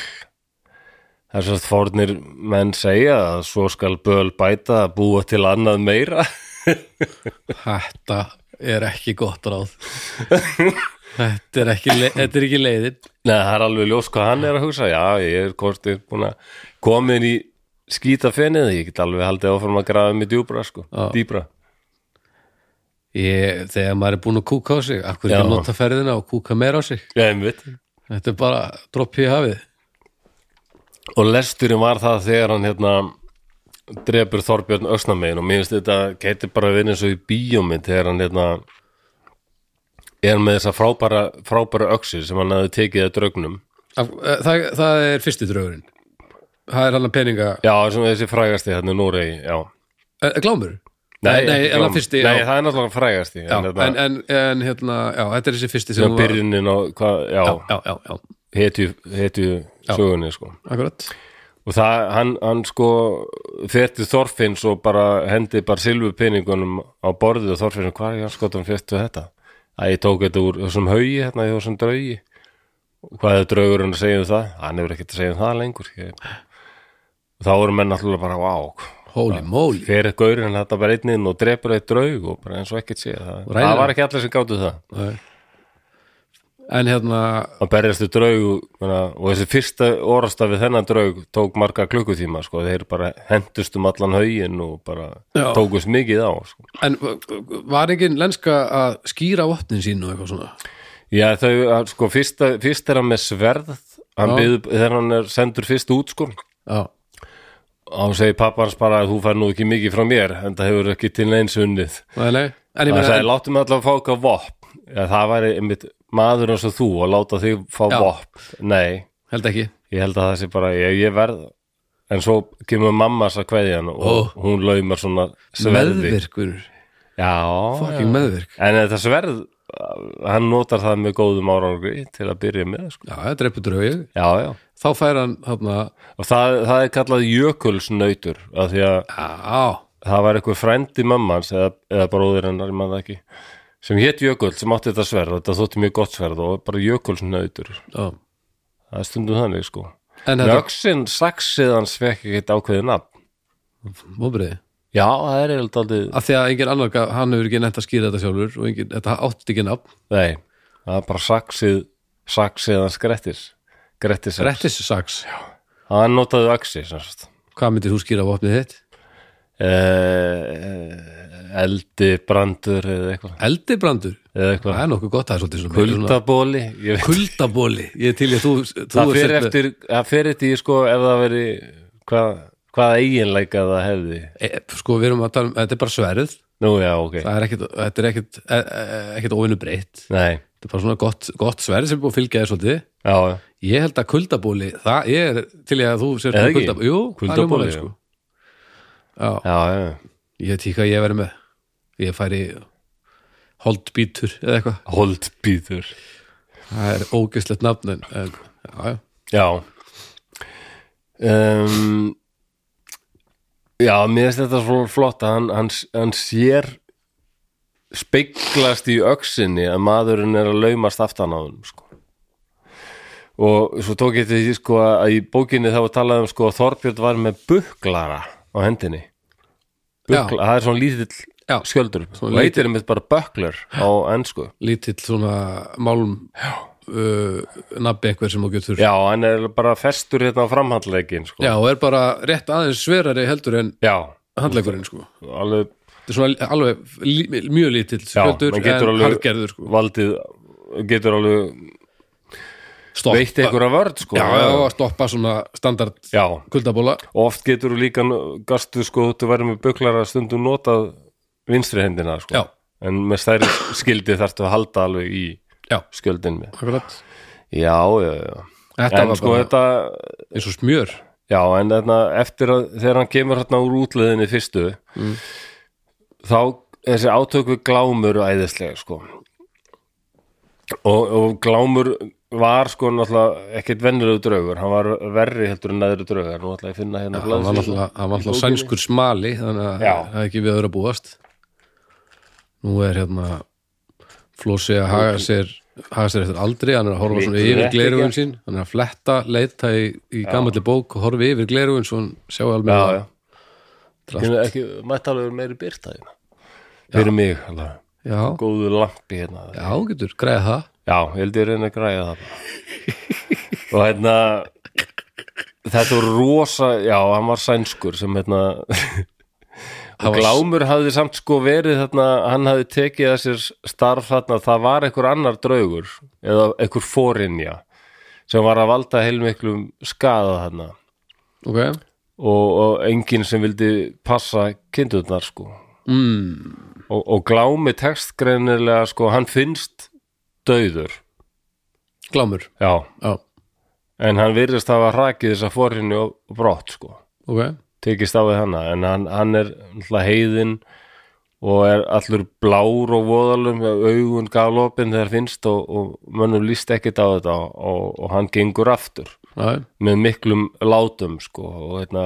[SPEAKER 1] Það er svo að fornir menn segja að svo skal böl bæta að búa til annað meira.
[SPEAKER 2] Þetta er ekki gott ráð. þetta er ekki, le- þetta er ekki leiðin
[SPEAKER 1] Nei, það er alveg ljós hvað hann er að hugsa Já, ég er hvort er búin að komin í skýta fennið Ég get alveg haldið áfram að grafa mig djúbra sko,
[SPEAKER 2] Já.
[SPEAKER 1] dýbra
[SPEAKER 2] ég, þegar maður er búin að kúka á sig akkur ekki
[SPEAKER 1] Já.
[SPEAKER 2] að nota ferðina og kúka meira á sig
[SPEAKER 1] Já, einmitt
[SPEAKER 2] þetta er bara droppi í hafið
[SPEAKER 1] Og lesturinn var það þegar hann hérna drepur Þorbjörn Öxnamegin og mér finnst þetta gæti bara að vinna eins og í bíómynd þegar hann hérna er með þessa frábæra, frábæra öxi sem hann hafði tekið að draugnum
[SPEAKER 2] Af, eh, það, það er fyrsti draugurinn það er hann að peninga
[SPEAKER 1] Já, sem þessi frægasti hérna í Noregi, já
[SPEAKER 2] eh, glámur Eh, nei,
[SPEAKER 1] ekki
[SPEAKER 2] en hann
[SPEAKER 1] Glám.
[SPEAKER 2] fyrsti
[SPEAKER 1] Nei,
[SPEAKER 2] já,
[SPEAKER 1] það er náttúrulega frægasti
[SPEAKER 2] já,
[SPEAKER 1] en, hérna,
[SPEAKER 2] en, en, en hérna, já, þetta er þessi fyrsti sem
[SPEAKER 1] en, byrjunin á, hvað, já,
[SPEAKER 2] já, já, já, já,
[SPEAKER 1] hetju, hetju sögunni sko.
[SPEAKER 2] akkurat
[SPEAKER 1] og það, hann, hann sko fer til Þorfinns og bara hendi bara silfurpenningunum á borðið og Þorfinns, hvað er hann skotum fyrstu þetta? Að ég tók þetta úr þessum haugi hérna, í þessum draugi Og hvað er draugurinn að segja um það? Hann hefur ekkert að segja um það lengur ég. og þá eru menn alltaf bara vá,
[SPEAKER 2] holy moly,
[SPEAKER 1] fer gaurinn þetta bara einn inn og drepur eitt draug og bara eins og ekkert sé það,
[SPEAKER 2] ræður
[SPEAKER 1] það var ekki allir sem gátu það
[SPEAKER 2] en hérna
[SPEAKER 1] að berjast við draug menna, og þessi fyrsta orasta við þennan draug tók marga klukkutíma sko. þeir bara hendust um allan haugin og bara
[SPEAKER 2] Já.
[SPEAKER 1] tókust mikið á sko.
[SPEAKER 2] en eh, var engin lenska að skýra vopnin sín og eitthvað svona
[SPEAKER 1] já þau, að, sko, fyrsta, fyrst er hann með sverð hann
[SPEAKER 2] Já.
[SPEAKER 1] byð, þegar hann er sendur fyrst út sko
[SPEAKER 2] já,
[SPEAKER 1] og hann segir pappa hans bara að þú fær nú ekki mikið frá mér en það hefur ekki til neins unnið
[SPEAKER 2] nei, nei en ég
[SPEAKER 1] hann
[SPEAKER 2] meina,
[SPEAKER 1] segir láttu mig allan að fá eitthvað vopp já, það væri einmitt maður eins og þú að láta þig fá
[SPEAKER 2] Já.
[SPEAKER 1] vopp nei,
[SPEAKER 2] held ekki
[SPEAKER 1] ég held að það sé bara ég, ég verð en svo kemur mamma að kveðja hann og
[SPEAKER 2] Ó.
[SPEAKER 1] hún laumar svona sverði
[SPEAKER 2] meðvirkur,
[SPEAKER 1] já,
[SPEAKER 2] fucking
[SPEAKER 1] já.
[SPEAKER 2] meðvirk
[SPEAKER 1] en þetta sverð hann notar það með góðum árangri til að byrja með sko.
[SPEAKER 2] já, það dreipur draugið,
[SPEAKER 1] já, já.
[SPEAKER 2] þá fær hann hérna,
[SPEAKER 1] og það, það er kallað jökulsnautur af því að
[SPEAKER 2] já,
[SPEAKER 1] það var eitthvað frændi mammans eða, eða bróðir hennar, ég maður ekki sem hétt Jökull, sem átti þetta sverð og þetta þótti mjög gott sverð og bara jökulsnautur
[SPEAKER 2] já
[SPEAKER 1] það er stundum þannig sko
[SPEAKER 2] en hérna, þetta,
[SPEAKER 1] Nöxin saxið hans fekk ekkert ákveðið nafn
[SPEAKER 2] móbriði
[SPEAKER 1] Já, það er eiginlega aldrei
[SPEAKER 2] af því að engin annar, gaf- hann hefur ekki nefnt að skýra þetta sjálfur og engin, þetta átti ekki nafn
[SPEAKER 1] Nei, það er bara saxið saxið hans Grettis Grettis, Grettis.
[SPEAKER 2] Rettis sax,
[SPEAKER 1] hann notaði axi sem sagt.
[SPEAKER 2] hvað myndir þú skýra vopnið þitt?
[SPEAKER 1] eh, eldi brandur eða eitthvað,
[SPEAKER 2] Eldibrandur,
[SPEAKER 1] eða eitthvað.
[SPEAKER 2] það er nokkuð gott það er svolítið svona svona-
[SPEAKER 1] kuldabóli ég veit-
[SPEAKER 2] kuldabóli, ég er til ég að þú, þú
[SPEAKER 1] það
[SPEAKER 2] ert hérna-
[SPEAKER 1] fer
[SPEAKER 2] með-
[SPEAKER 1] eftir, það fer eftir í, sko, ef það veri hvað, hvað eiginleika það hefði
[SPEAKER 2] e, sko við erum að tala um, þetta er bara sverð
[SPEAKER 1] nú já, ok,
[SPEAKER 2] það er ekkit, þetta er ekkit e, e, ekkit óvinnu breytt
[SPEAKER 1] nei
[SPEAKER 2] þetta er bara svona gott, gott sverð sem er búið að fylgja þér svolítið
[SPEAKER 1] já, já.
[SPEAKER 2] ég held að kuldabóli, það ég er til ég að þú sér
[SPEAKER 1] Eða ekki?
[SPEAKER 2] kuldabóli jú, það er
[SPEAKER 1] Kuldaboli,
[SPEAKER 2] umhverfið
[SPEAKER 1] já.
[SPEAKER 2] sko
[SPEAKER 1] já, já,
[SPEAKER 2] ég tíka að ég verið með ég færi holdbítur eða eitthvað
[SPEAKER 1] holdbýður
[SPEAKER 2] það er ógeðslegt nafn en, en já, já.
[SPEAKER 1] Já um, Já, mér finnst þetta svo flott að hann, hann, hann sér speiklast í öxinni að maðurinn er að laumast aftan á hann sko. og svo tók ég til því sko að í bókinni þá var talað um sko að Þorbjörn var með buklara á hendinni Bukla, það er svona lítill
[SPEAKER 2] Já.
[SPEAKER 1] skjöldur
[SPEAKER 2] Svona
[SPEAKER 1] og heitir einmitt bara böklar á ennsku
[SPEAKER 2] lítill svona málm uh, nabbi eitthvað sem þú getur
[SPEAKER 1] Já, hann er bara festur hérna á framhandleikin sko.
[SPEAKER 2] Já, og er bara rétt aðeins sverari heldur en
[SPEAKER 1] Já,
[SPEAKER 2] handlegurinn sko
[SPEAKER 1] alveg
[SPEAKER 2] þetta er svona alveg lí, mjög lítill skjöldur
[SPEAKER 1] menn
[SPEAKER 2] en
[SPEAKER 1] getur
[SPEAKER 2] alveg...
[SPEAKER 1] alveg-
[SPEAKER 2] hargerður sko
[SPEAKER 1] valdið getur alveg
[SPEAKER 2] stoppa,
[SPEAKER 1] veitt einhverja vörð sko.
[SPEAKER 2] já, já, að stoppa svona standard
[SPEAKER 1] Já.
[SPEAKER 2] kuldabóla
[SPEAKER 1] oft getur þú líka gastu sko þú verður með buklara stundum notað vinstri hendina sko.
[SPEAKER 2] já,
[SPEAKER 1] en með stærri skildi þarftu að halda alveg í
[SPEAKER 2] já,
[SPEAKER 1] skjöldin með
[SPEAKER 2] akkurat
[SPEAKER 1] já, já, já
[SPEAKER 2] þetta
[SPEAKER 1] en
[SPEAKER 2] var
[SPEAKER 1] sko
[SPEAKER 2] bara
[SPEAKER 1] þetta
[SPEAKER 2] eins og smjör
[SPEAKER 1] já, en þarna, eftir að þegar hann kemur hérna úr útleðinni fyrstu
[SPEAKER 2] Mm.
[SPEAKER 1] þá er þessi átök við glámur æðislega sko og, og glámur var sko náttúrulega ekkert vennilegu draugur hann var verri heldur en neðri draugur nú ætla ég að finna hérna
[SPEAKER 2] hann var
[SPEAKER 1] blaðsíðu.
[SPEAKER 2] náttúrulega hann var náttúrulega
[SPEAKER 1] bókinni.
[SPEAKER 2] sænskur smali þannig að
[SPEAKER 1] Já.
[SPEAKER 2] það er ekki við öðru að búast nú er hérna Flósi að haga sér haga sér eftir aldri, hann er að horfa svona
[SPEAKER 1] Lítur
[SPEAKER 2] yfir
[SPEAKER 1] rétt
[SPEAKER 2] glerugun
[SPEAKER 1] ekki.
[SPEAKER 2] sín, hann er að fletta leita í, í gamalli bók og horfa yfir glerugun svo hann sjáu alveg
[SPEAKER 1] já,
[SPEAKER 2] að-
[SPEAKER 1] já
[SPEAKER 2] Drast.
[SPEAKER 1] Kynna ekki, mætti alveg vera meiri byrta hérna. fyrir mig alveg.
[SPEAKER 2] já,
[SPEAKER 1] góðu lampi hérna
[SPEAKER 2] já, getur, græða það
[SPEAKER 1] Já, ég held ég reyna að græja það bara. og hérna þetta voru rosa já, hann var sænskur sem hérna
[SPEAKER 2] Hann
[SPEAKER 1] og
[SPEAKER 2] var-
[SPEAKER 1] Glámur hafði samt sko verið þarna, hann hafði tekið að sér starf þarna, það var einhver annar draugur eða einhver fórinja sem var að valda heilmiklum skaða þarna
[SPEAKER 2] ok
[SPEAKER 1] og, og enginn sem vildi passa kindurnar sko
[SPEAKER 2] mm.
[SPEAKER 1] og, og Glámi tekst greinilega sko, hann finnst döður,
[SPEAKER 2] glámur,
[SPEAKER 1] já
[SPEAKER 2] já,
[SPEAKER 1] en hann virðist hafa hrakið þessa forinu og og brott sko,
[SPEAKER 2] ok
[SPEAKER 1] tekist á við hana en hann, hann er náttúrulega heiðin og er allur blár og voðalum, augun galopin þegar finnst og, og mönnum líst ekkit á þetta og, og hann gengur aftur
[SPEAKER 2] já,
[SPEAKER 1] með miklum látum sko og hérna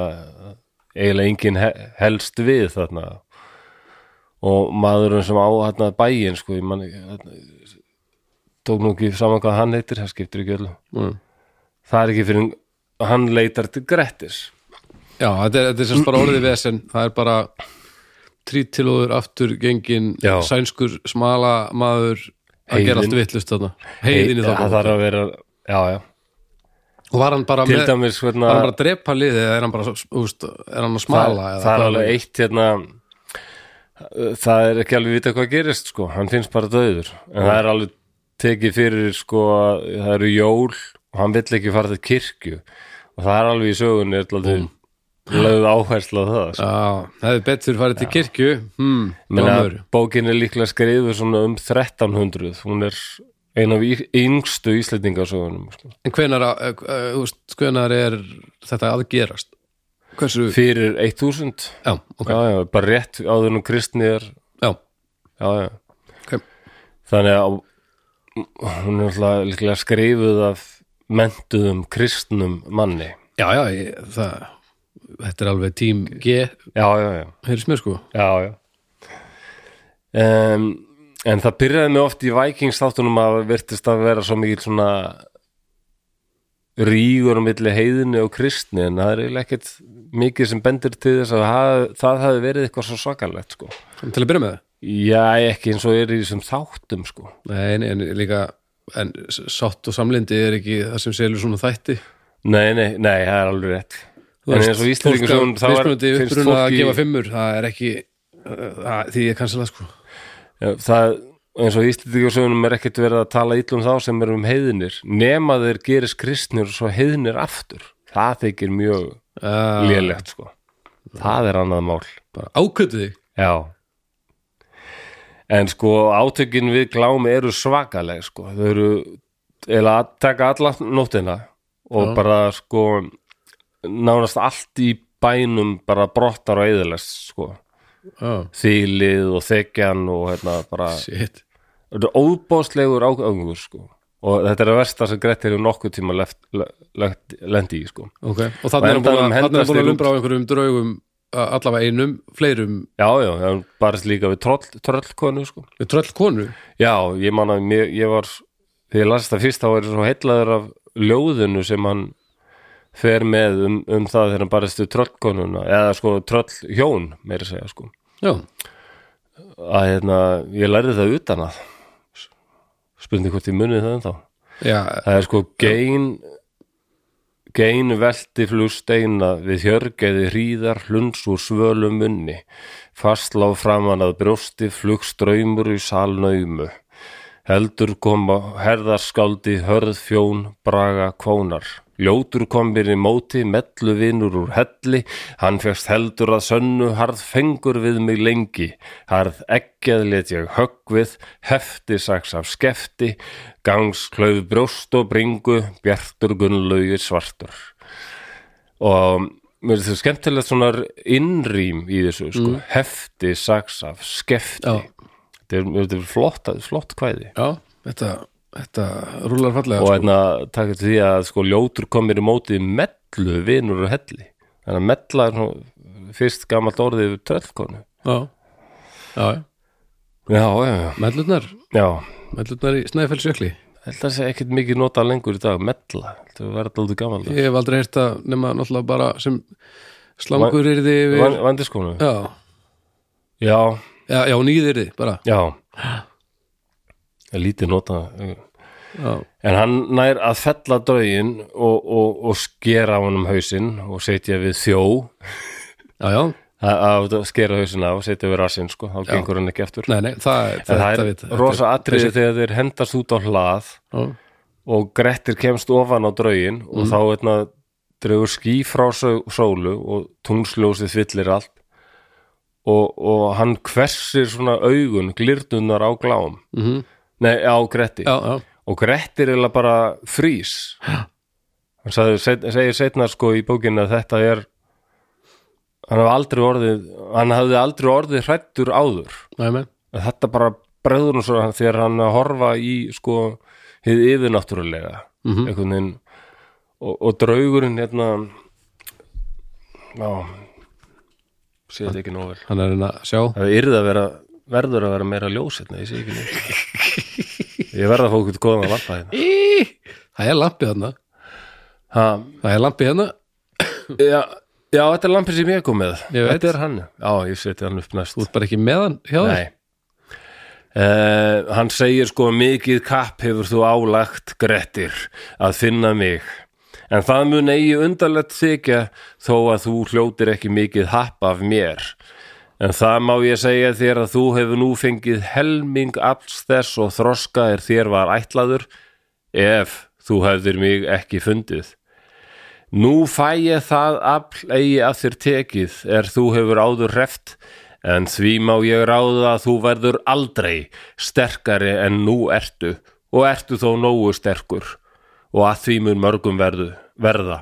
[SPEAKER 1] eiginlega enginn he- helst við þarna og maðurinn sem á hérna bæin sko, ég man ekki hérna, tók nú ekki saman hvað hann heitir, það skiptir ekki öllum
[SPEAKER 2] mm.
[SPEAKER 1] það er ekki fyrir hann leitar til Grettis
[SPEAKER 2] já þetta er, þetta er semst bara orðið vesen það er bara trítilóður aftur gengin
[SPEAKER 1] Já.
[SPEAKER 2] sænskur smala maður að
[SPEAKER 1] Heiðinn.
[SPEAKER 2] gera allt vittlust þarna heiðin í þá
[SPEAKER 1] það þarf að vera já, já.
[SPEAKER 2] og var hann bara
[SPEAKER 1] til
[SPEAKER 2] með
[SPEAKER 1] dæmis hérna,
[SPEAKER 2] var hann bara að drepa liðið eða er hann bara úst, er hann að
[SPEAKER 1] það,
[SPEAKER 2] smala eða
[SPEAKER 1] það er
[SPEAKER 2] hvað
[SPEAKER 1] alveg eitt hérna það er ekki alveg vita hvað gerist sko. hann finnst bara döður en það er alveg tekið fyrir sko, að það eru jól og hann vill ekki fara til kirkju og það er alveg í sögunni mm. lögð áherslu á það sko.
[SPEAKER 2] Já, það er betur farið til kirkju hmm,
[SPEAKER 1] Menna,
[SPEAKER 2] Glámur,
[SPEAKER 1] bókin er líklega skrifuð svona um 1300 hún er ein af í- yngstu íslendingasögunum sko.
[SPEAKER 2] en hvenar, uh, uh, úst, hvenar er þetta að gerast? Hversu?
[SPEAKER 1] fyrir 1000
[SPEAKER 2] Já, ok,
[SPEAKER 1] já, já, bara rétt áður nú kristni er
[SPEAKER 2] já,
[SPEAKER 1] já, já.
[SPEAKER 2] ok
[SPEAKER 1] þannig að hún er alltaf líklega skrifuð af mentuðum kristnum manni
[SPEAKER 2] Já, já, ég, það Þetta er alveg tím G
[SPEAKER 1] já, já, já,
[SPEAKER 2] Heyrðis mér sko
[SPEAKER 1] já, já. Um, en það byrjaði mig oft í Vikings þáttunum að virtist að vera svo mikið svona rígur á milli heiðinni og kristni en það er eiginlega ekkert mikið sem bendir til þess að það, það hafi verið eitthvað svo svakalegt sko.
[SPEAKER 2] Til að byrja með það
[SPEAKER 1] Já, ekki eins og er í þessum þáttum sko.
[SPEAKER 2] Nei, nei, en líka En s- sátt og samlindi er ekki það sem selur svona þætti
[SPEAKER 1] Nei, nei, nei, það er alveg rétt
[SPEAKER 2] Þú
[SPEAKER 1] En
[SPEAKER 2] veist,
[SPEAKER 1] eins og Íslendingur
[SPEAKER 2] tólka
[SPEAKER 1] sögum þá er,
[SPEAKER 2] mismunandi
[SPEAKER 1] finnst
[SPEAKER 2] uppruna að
[SPEAKER 1] fólki
[SPEAKER 2] gefa fimmur Það er ekki uh, það- Því ég kansla sko
[SPEAKER 1] Já, það, eins og Íslendingur sögum er ekkert verið að tala ítlum þá sem erum heiðinir nema þeir gerist kristnir og svo heiðinir aftur það þykir mjög
[SPEAKER 2] uh,
[SPEAKER 1] lélegt sko. það er annað mál
[SPEAKER 2] Bara ákvöldu þig
[SPEAKER 1] Já En sko átökin við glámi eru svakaleg sko Þau eru eða að taka alla nóttina og
[SPEAKER 2] Já.
[SPEAKER 1] bara sko nánast allt í bænum bara brottar og eðilest sko
[SPEAKER 2] Já,
[SPEAKER 1] þýlið og þekjan og hérna bara
[SPEAKER 2] shit
[SPEAKER 1] þetta er óbóðslegur ágangur sko og þetta er að versta sem Grett hefur nokkuð tíma left, left, lendi í sko
[SPEAKER 2] Ok, og þannig er hann
[SPEAKER 1] endanum
[SPEAKER 2] búin að, þarna er
[SPEAKER 1] hendast
[SPEAKER 2] hann búin að
[SPEAKER 1] þeir út.
[SPEAKER 2] lumbra á einhverjum draugum a- allavega einum, fleirum
[SPEAKER 1] Já, já, hann barist líka við troll, trollkonu sko
[SPEAKER 2] með tröll konu
[SPEAKER 1] Já, ég man að mér, ég var þegar ég las þetta fyrst þá er ég svo heillaður af ljóðinu sem hann fer með um, um það þegar hann barist við tröllkonuna eða sko tröllhjón meira að segja sko
[SPEAKER 2] Já,
[SPEAKER 1] að hérna, ég lærði það utan að spurning hvort ég munið það ennþá
[SPEAKER 2] já,
[SPEAKER 1] það er sko gein gein velti flugsteina við hjörgeði hríðar hluns úr svölum munni fastlá framan að brjósti flugströymur í salnaumu heldur koma herðarskáldi hörð fjón braga kónar ljótur kom mér í móti mellu vinur úr helli hann fegst heldur að sönnu harð fengur við mig lengi harð ekkjað let ég höggvið hefti saks af skefti gangs klauð brjóst og bringu bjartur gunnlaugir svartur og mér finnst þetta skemmtilegt svona innrým í þessu sko. hefti saks af skefti
[SPEAKER 2] Já.
[SPEAKER 1] þetta er, þetta er flott, flott kvæði
[SPEAKER 2] já þetta, þetta rúlar fallega
[SPEAKER 1] og
[SPEAKER 2] sko.
[SPEAKER 1] hérna takk eftir því að sko ljótur komir í mótið mellu vinur og helli þannig að mella er nú fyrst gamalt orðið við tröllkonu
[SPEAKER 2] Já, já, já.
[SPEAKER 1] já, já, já,
[SPEAKER 2] mellurnar
[SPEAKER 1] já
[SPEAKER 2] mellurnar í Snæfellsjökli
[SPEAKER 1] held að segja ekkert mikið nota lengur í dag mella, þetta verður alltaf gamalt
[SPEAKER 2] Ég hef aldrei heyrt það nema náttúrulega bara sem slangur yrði yfir
[SPEAKER 1] Van, vandiskonu,
[SPEAKER 2] Já,
[SPEAKER 1] já,
[SPEAKER 2] já, já nýð yrði bara
[SPEAKER 1] já lítið nota
[SPEAKER 2] já,
[SPEAKER 1] En hann nær að fella draugin og, og, og skera á honum hausinn og setja við þjó
[SPEAKER 2] já, já.
[SPEAKER 1] að að skera hausinn á og setja við rassinn sko, þá gengur hann ekki eftir
[SPEAKER 2] Nei, nei, það,
[SPEAKER 1] En það er
[SPEAKER 2] þetta vita-
[SPEAKER 1] rosa
[SPEAKER 2] þetta er-
[SPEAKER 1] atriði þegar þeir hendast út á hlað
[SPEAKER 2] Já.
[SPEAKER 1] og Grettir kemst ofan á draugin og
[SPEAKER 2] Mhm.
[SPEAKER 1] þá veitna, dregur ský frá só- sólu og tungsljósið fyllir allt og, og hann hversir svona augun glirtunar á gláum
[SPEAKER 2] Mhm.
[SPEAKER 1] nei, á Gretti
[SPEAKER 2] Já, já,
[SPEAKER 1] og Grettir er bara frýs hann sagði, seg, segir setna sko í bókinu að þetta er hann hafði aldrei orðið hann hafði aldrei orðið hrættur áður
[SPEAKER 2] næmi
[SPEAKER 1] að þetta bara bregður nú svo hann þegar hann að horfa í sko hið yfirnáttúrulega
[SPEAKER 2] Mhm.
[SPEAKER 1] einhvern veginn og, og draugurinn hérna já sé þetta ekki nóg vel
[SPEAKER 2] Hann er að reyna að sjá
[SPEAKER 1] það yrði að vera, verður að vera meira ljós hérna, ég sé ekki neitt ég verð að fá okkur góðan að lappa hérna
[SPEAKER 2] Í, Það er lampið þarna
[SPEAKER 1] ha,
[SPEAKER 2] Það er hérna. lampið þarna
[SPEAKER 1] já, já, þetta er lampið sem ég kom með
[SPEAKER 2] Ég veit.
[SPEAKER 1] þetta er hann, já, ég seti hann upp næst
[SPEAKER 2] Þú ert bara ekki með hann hjá þér
[SPEAKER 1] Nei uh, Hann segir sko mikið kapp hefur þú álagt Grettir að finna mig en það mun eigi undarlegt þykja þó að þú hljótir ekki mikið happ af mér en það má ég segja þér að þú hefur nú fengið helming alls þess og þroska er þér var ætlaður ef þú hefðir mig ekki fundið Nú fæ ég það afl eigi að þér tekið er þú hefur áður reft en því má ég ráða að þú verður aldrei sterkari en nú ertu og ertu þó nógu sterkur og að því mun mörgum verðu, verða.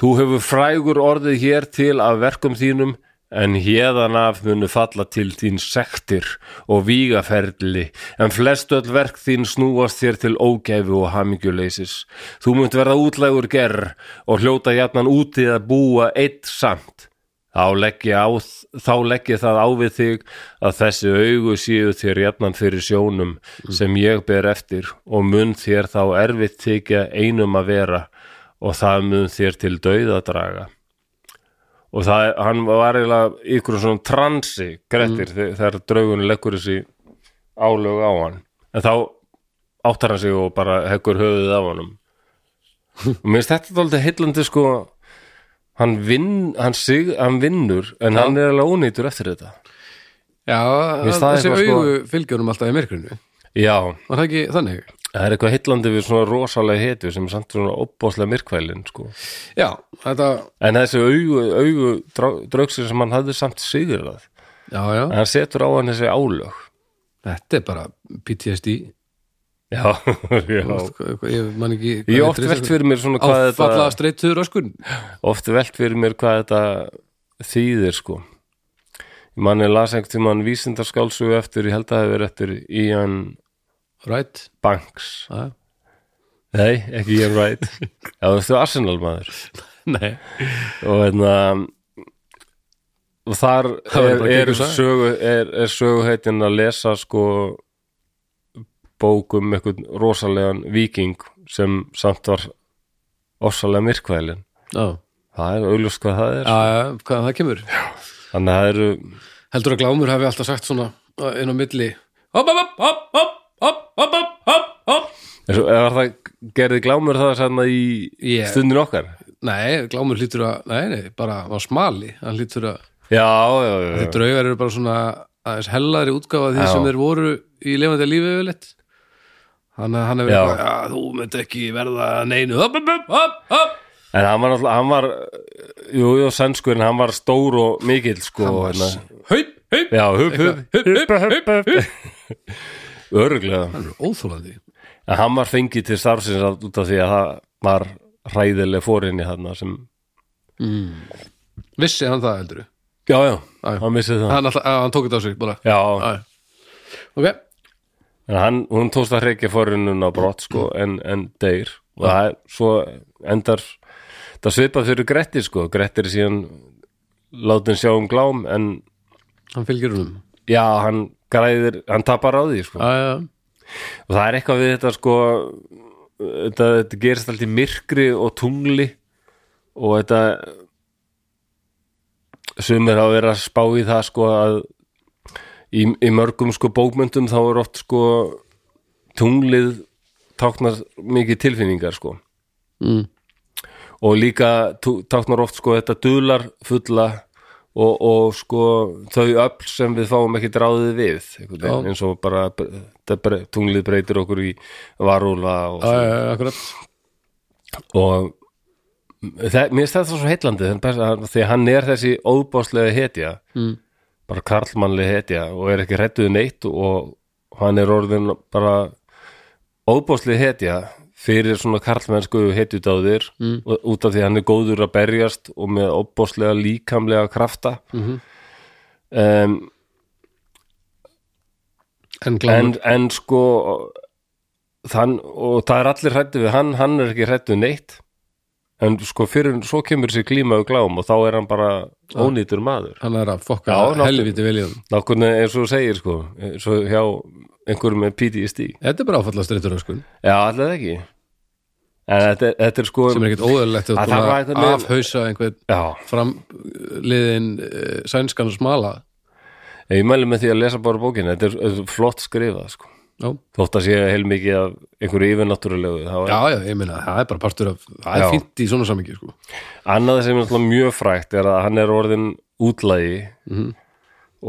[SPEAKER 1] Þú hefur frægur orðið hér til af verkum þínum en hérðan af munu falla til þín sektir og vígaferli en flest öll verk þín snúast þér til ógæfu og hamingjuleysis. Þú munt verða útlægur gerr og hljóta jafnan úti að búa eitt samt. Þá legg ég á, þá legg ég það á við þig að þessi augu séu þér jafnan fyrir sjónum sem ég ber eftir og mun þér þá erfitt þykja einum að vera og það mun þér til dauða draga. Og það, hann var eiginlega í ykkur svona transi, grettir, mm. þegar draugun leggur þessi álög á hann. En þá áttar hann sig og bara heggur höfuðið af honum. og mér finnst þetta dálítið heillandi sko hann, vinn, hann, sig, hann vinnur en hann er alveg ónýtur eftir þetta
[SPEAKER 2] Já,
[SPEAKER 1] Mér
[SPEAKER 2] hann-
[SPEAKER 1] staði
[SPEAKER 2] þessi
[SPEAKER 1] eitthvað, sko-
[SPEAKER 2] augu fylgjurum alltaf í myrkrinu
[SPEAKER 1] já,
[SPEAKER 2] Var það ekki þannig?
[SPEAKER 1] það er eitthvað heillandi við svona rosalega hetju sem er samt svona opbóðslega myrkvælin sko.
[SPEAKER 2] Já, þetta
[SPEAKER 1] en þessi augu, augu drá- draugsins sem hann hafði samt sigur að
[SPEAKER 2] Já, já,
[SPEAKER 1] en hann setur á hann þessi álög
[SPEAKER 2] þetta er bara PTSD
[SPEAKER 1] já, já
[SPEAKER 2] Hvað- hvað- Ég man ekki hvað
[SPEAKER 1] ég hef
[SPEAKER 2] heitir
[SPEAKER 1] oft
[SPEAKER 2] þessi-
[SPEAKER 1] velt fyrir mér svona
[SPEAKER 2] sko.
[SPEAKER 1] hvað
[SPEAKER 2] Áfalla
[SPEAKER 1] þetta
[SPEAKER 2] streittur öskun
[SPEAKER 1] oft velt fyrir mér hvað þetta þýðir sko manni las einhvern tímann vísindarskálsugu eftir, ég held að það hefur eftir Ian
[SPEAKER 2] Right,
[SPEAKER 1] Banks
[SPEAKER 2] já
[SPEAKER 1] Nei, ekki Ian Wright Já, þú veistu Arsenal maður
[SPEAKER 2] Nei,
[SPEAKER 1] og hérna og þar
[SPEAKER 2] Það verður
[SPEAKER 1] er,
[SPEAKER 2] bara
[SPEAKER 1] er,
[SPEAKER 2] gegnum saga.
[SPEAKER 1] sögu, er, er söguheitin að lesa sko bók um einhvern rosalegan viking sem samt var ofsalega myrkvælin
[SPEAKER 2] já,
[SPEAKER 1] það er auðlust hvað það er
[SPEAKER 2] já, já, hvað það kemur
[SPEAKER 1] þannig að það eru
[SPEAKER 2] Heldur að glámur hafi alltaf sagt svona uh, inn á milli Hopp, hopp, hopp, hopp, hopp, hopp, hopp, hopp, hopp
[SPEAKER 1] eins og- eða var það gerði glámur það sann í
[SPEAKER 2] Ég-
[SPEAKER 1] stundin okkar
[SPEAKER 2] Nei, glámur hlýtur að, nei, nei, bara var smali Hann hlýtur að,
[SPEAKER 1] Já, já, já, já.
[SPEAKER 2] þeir draugar eru bara svona aðeins hellaðri útgáfa af því
[SPEAKER 1] Já.
[SPEAKER 2] sem þeir voru í lefandi lífi yfirleitt Hann, hann hefur
[SPEAKER 1] Já.
[SPEAKER 2] bara, já, þú myndi ekki verða að neinu Hopp, hopp, hopp, hopp, hopp
[SPEAKER 1] En hann var náttúrulega, hann var jú, jú, sænskur, en hann var stór og mikill sko,
[SPEAKER 2] var
[SPEAKER 1] hérna.
[SPEAKER 2] Haup, haup,
[SPEAKER 1] Já, hup, hup,
[SPEAKER 2] Hup, hup, hup, hup, hup
[SPEAKER 1] öruglega
[SPEAKER 2] Hann er óþólandi
[SPEAKER 1] En hann var fengið til starfsins að- út af því að það var hræðileg fórinni þarna sem
[SPEAKER 2] Vissi hann það, heldur
[SPEAKER 1] Já, já,
[SPEAKER 2] Já, já.
[SPEAKER 1] hann missið það
[SPEAKER 2] Hann, alltaf, að, hann tók þetta á sig, bara
[SPEAKER 1] Já,
[SPEAKER 2] Já. Ok,
[SPEAKER 1] en hann, hún tókst að hreikja fórinnun á brott sko, en, en deyr og það er svo endar það svipað fyrir Grettir sko Grettir er síðan látin sjá um glám en
[SPEAKER 2] hann fylgir húnum
[SPEAKER 1] já, hann græðir, hann tapar á því sko
[SPEAKER 2] Já, já, já
[SPEAKER 1] og það er eitthvað við þetta sko þetta, þetta gerist allt í myrkri og tungli og þetta sumir hafa verið að spá í það sko að í, í mörgum sko bókmyndum þá er oft sko tunglið táknar mikið tilfinningar sko
[SPEAKER 2] Mm.
[SPEAKER 1] og líka tú- táknar oft sko þetta dular fulla og, og sko þau öll sem við fáum ekki dráðið við einhvern veginn,
[SPEAKER 2] Já.
[SPEAKER 1] eins og bara þetta bre- tunglið breytir okkur í varúla og,
[SPEAKER 2] Já, já, já, akkurat
[SPEAKER 1] og það, mér finnst þetta svo heitlandi þann best- að- því að hann er þessi óbáslega hetja
[SPEAKER 2] Mm.
[SPEAKER 1] bara karlmannlega hetja og er ekki hrædduð neitt og hann er orðin bara óbáslega hetja fyrir svona karlmennsku hetjudáðir mm. út af því að hann er góður að berjast og með óbáslega líkamlega krafta mm -hmm. um,
[SPEAKER 2] En
[SPEAKER 1] en,
[SPEAKER 2] glámur
[SPEAKER 1] en sko þann, og það er allir hrættu við hann, hann er ekki hrættu neitt en sko fyrir, svo kemur sér klíma og glám og þá er hann bara ónýtur maður
[SPEAKER 2] Hann er að fokka
[SPEAKER 1] Já, náttúrulega.
[SPEAKER 2] helviti veljan
[SPEAKER 1] nákvæmlega eins og þú segir sko eins og hjá einhverjum með PTSD
[SPEAKER 2] Þetta er bara áfallast sko, reytur öskun
[SPEAKER 1] já, allir ekki en þetta, þetta er sko
[SPEAKER 2] sem er ekkert óðurlegt
[SPEAKER 1] Það
[SPEAKER 2] að
[SPEAKER 1] þarf að
[SPEAKER 2] búin
[SPEAKER 1] einhvern
[SPEAKER 2] að
[SPEAKER 1] veginn-
[SPEAKER 2] afhausa einhvern
[SPEAKER 1] já,
[SPEAKER 2] framliðin uh, sænskan og smala
[SPEAKER 1] ég mæli með því að lesa bara bókina þetta er, þetta er flott skrifað sko
[SPEAKER 2] Já,
[SPEAKER 1] þótt að sé heilmikið af einhverju yfirnáttúrulegu þá er
[SPEAKER 2] já, já ég meina, það er bara partur af það
[SPEAKER 1] Já.
[SPEAKER 2] er fínt í svona samingi sko.
[SPEAKER 1] Annað sem er náttúrulega mjög frægt er að hann er orðin útlægi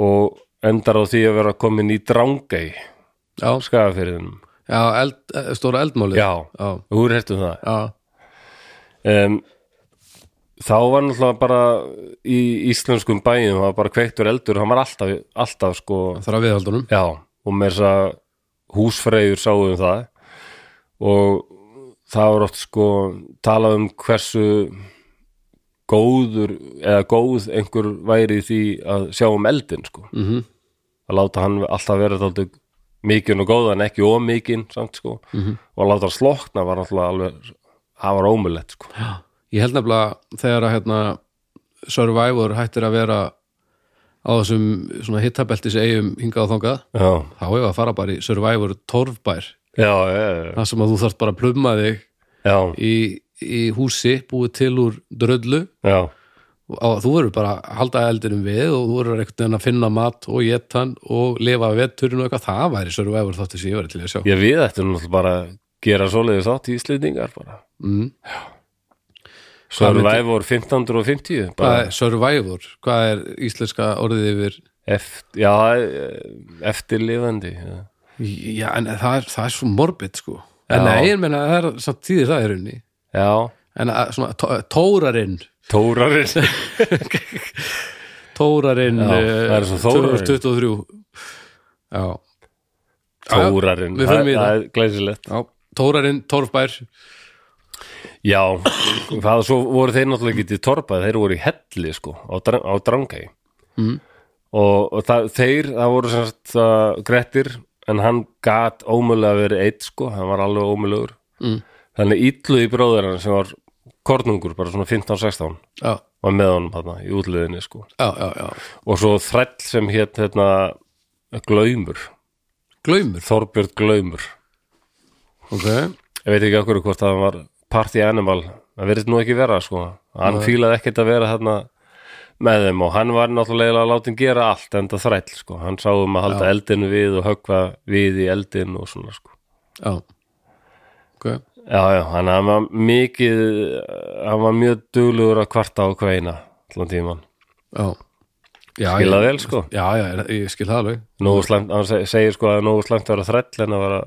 [SPEAKER 1] og endar á því að vera komin í drangæ
[SPEAKER 2] Já,
[SPEAKER 1] skafafyrðinum.
[SPEAKER 2] já eld, eh, stóra eldmálið
[SPEAKER 1] Já,
[SPEAKER 2] já,
[SPEAKER 1] húr hértum það.
[SPEAKER 2] já,
[SPEAKER 1] Um, þá var náttúrulega bara í íslenskum bæjum, það var bara kveiktur eldur, hann var alltaf, alltaf sko,
[SPEAKER 2] það þarf að viðhaldunum
[SPEAKER 1] já, og með þess að húsfreyjur sáum um það og það var oft sko talað um hversu góður eða góð einhver væri í því að sjá um eldin sko
[SPEAKER 2] mm -hmm.
[SPEAKER 1] að láta hann alltaf vera þáttu mikinn og góðan, ekki ómikinn samt sko, og að láta hann slokna var alltaf alveg, það var ómulett sko.
[SPEAKER 2] Ég held nefnilega þegar að hérna, Survivor hættir að vera á þessum svona hittabeltis eigum hingað og þangað
[SPEAKER 1] já,
[SPEAKER 2] þá hefur að fara bara í Survivor torfbær
[SPEAKER 1] já, já, já,
[SPEAKER 2] það sem að þú þarft bara að plumma þig
[SPEAKER 1] já,
[SPEAKER 2] í, í húsi búið til úr dröllu
[SPEAKER 1] já,
[SPEAKER 2] og á- þú verður bara að halda eldinum við og þú verður einhvern veginn að finna mat og geta hann og lifa veturinn og eitthvað það væri Survivor þáttu sem ég verið til að sjá
[SPEAKER 1] ég við ættum náttúrulega bara að gera svoleiðis átt í Íslendingar bara,
[SPEAKER 2] mm.
[SPEAKER 1] svo
[SPEAKER 2] Hvað
[SPEAKER 1] eru
[SPEAKER 2] myndi-
[SPEAKER 1] væfur 1550,
[SPEAKER 2] Hvað
[SPEAKER 1] bara
[SPEAKER 2] er Survivor? Hvað er íslenska orðið yfir
[SPEAKER 1] eftir, já, eh, eftirlifandi já.
[SPEAKER 2] Já, en það er, það er svo morbid sko En
[SPEAKER 1] Já.
[SPEAKER 2] nei, ég meina, það er samt tíðir það er unni
[SPEAKER 1] já,
[SPEAKER 2] En að, svona, tó- tórarinn
[SPEAKER 1] tórarinn
[SPEAKER 2] Tórarinn
[SPEAKER 1] Já, það er svo Þórarinn.
[SPEAKER 2] 2023 Já,
[SPEAKER 1] tórarinn,
[SPEAKER 2] Við förum í
[SPEAKER 1] það er glæsilegt
[SPEAKER 2] já Tórarinn, Torfbær
[SPEAKER 1] Já, það svo voru þeir náttúrulega ekki til torpað, þeir voru í helli sko, á, Dra- á drangæ
[SPEAKER 2] Mm.
[SPEAKER 1] og, og það, þeir það voru sem sagt uh, Grettir en hann gat ómögulega verið eitt sko, hann var alveg ómögulegur
[SPEAKER 2] Mm.
[SPEAKER 1] þannig illu í bróður hann sem var kornungur, bara svona 15-16
[SPEAKER 2] Já,
[SPEAKER 1] var með honum þarna í útliðinni sko
[SPEAKER 2] já, já, já
[SPEAKER 1] og svo þræll sem hétt hérna, Glaumur,
[SPEAKER 2] Glaumur,
[SPEAKER 1] Þorbjörn Glaumur
[SPEAKER 2] ok
[SPEAKER 1] ég veit ekki okkur hvort að hann var party animal, það verðist nú ekki vera sko, hann fílaði ekkert að vera þarna með þeim og hann var náttúrulega látin gera allt enda þræll sko, hann sá um að halda eldinu við og höggva við í eldin og svona sko
[SPEAKER 2] Já, ok
[SPEAKER 1] já, já, hann hann var mikið hann var mjög duglugur að kvarta á kveina allan tíman,
[SPEAKER 2] Já, já
[SPEAKER 1] skilað
[SPEAKER 2] ég,
[SPEAKER 1] vel sko
[SPEAKER 2] Já, já, ég, ég skil það alveg
[SPEAKER 1] nógu slæmt, hann seg- segir sko að nógu slæmt að vera þræll en að vera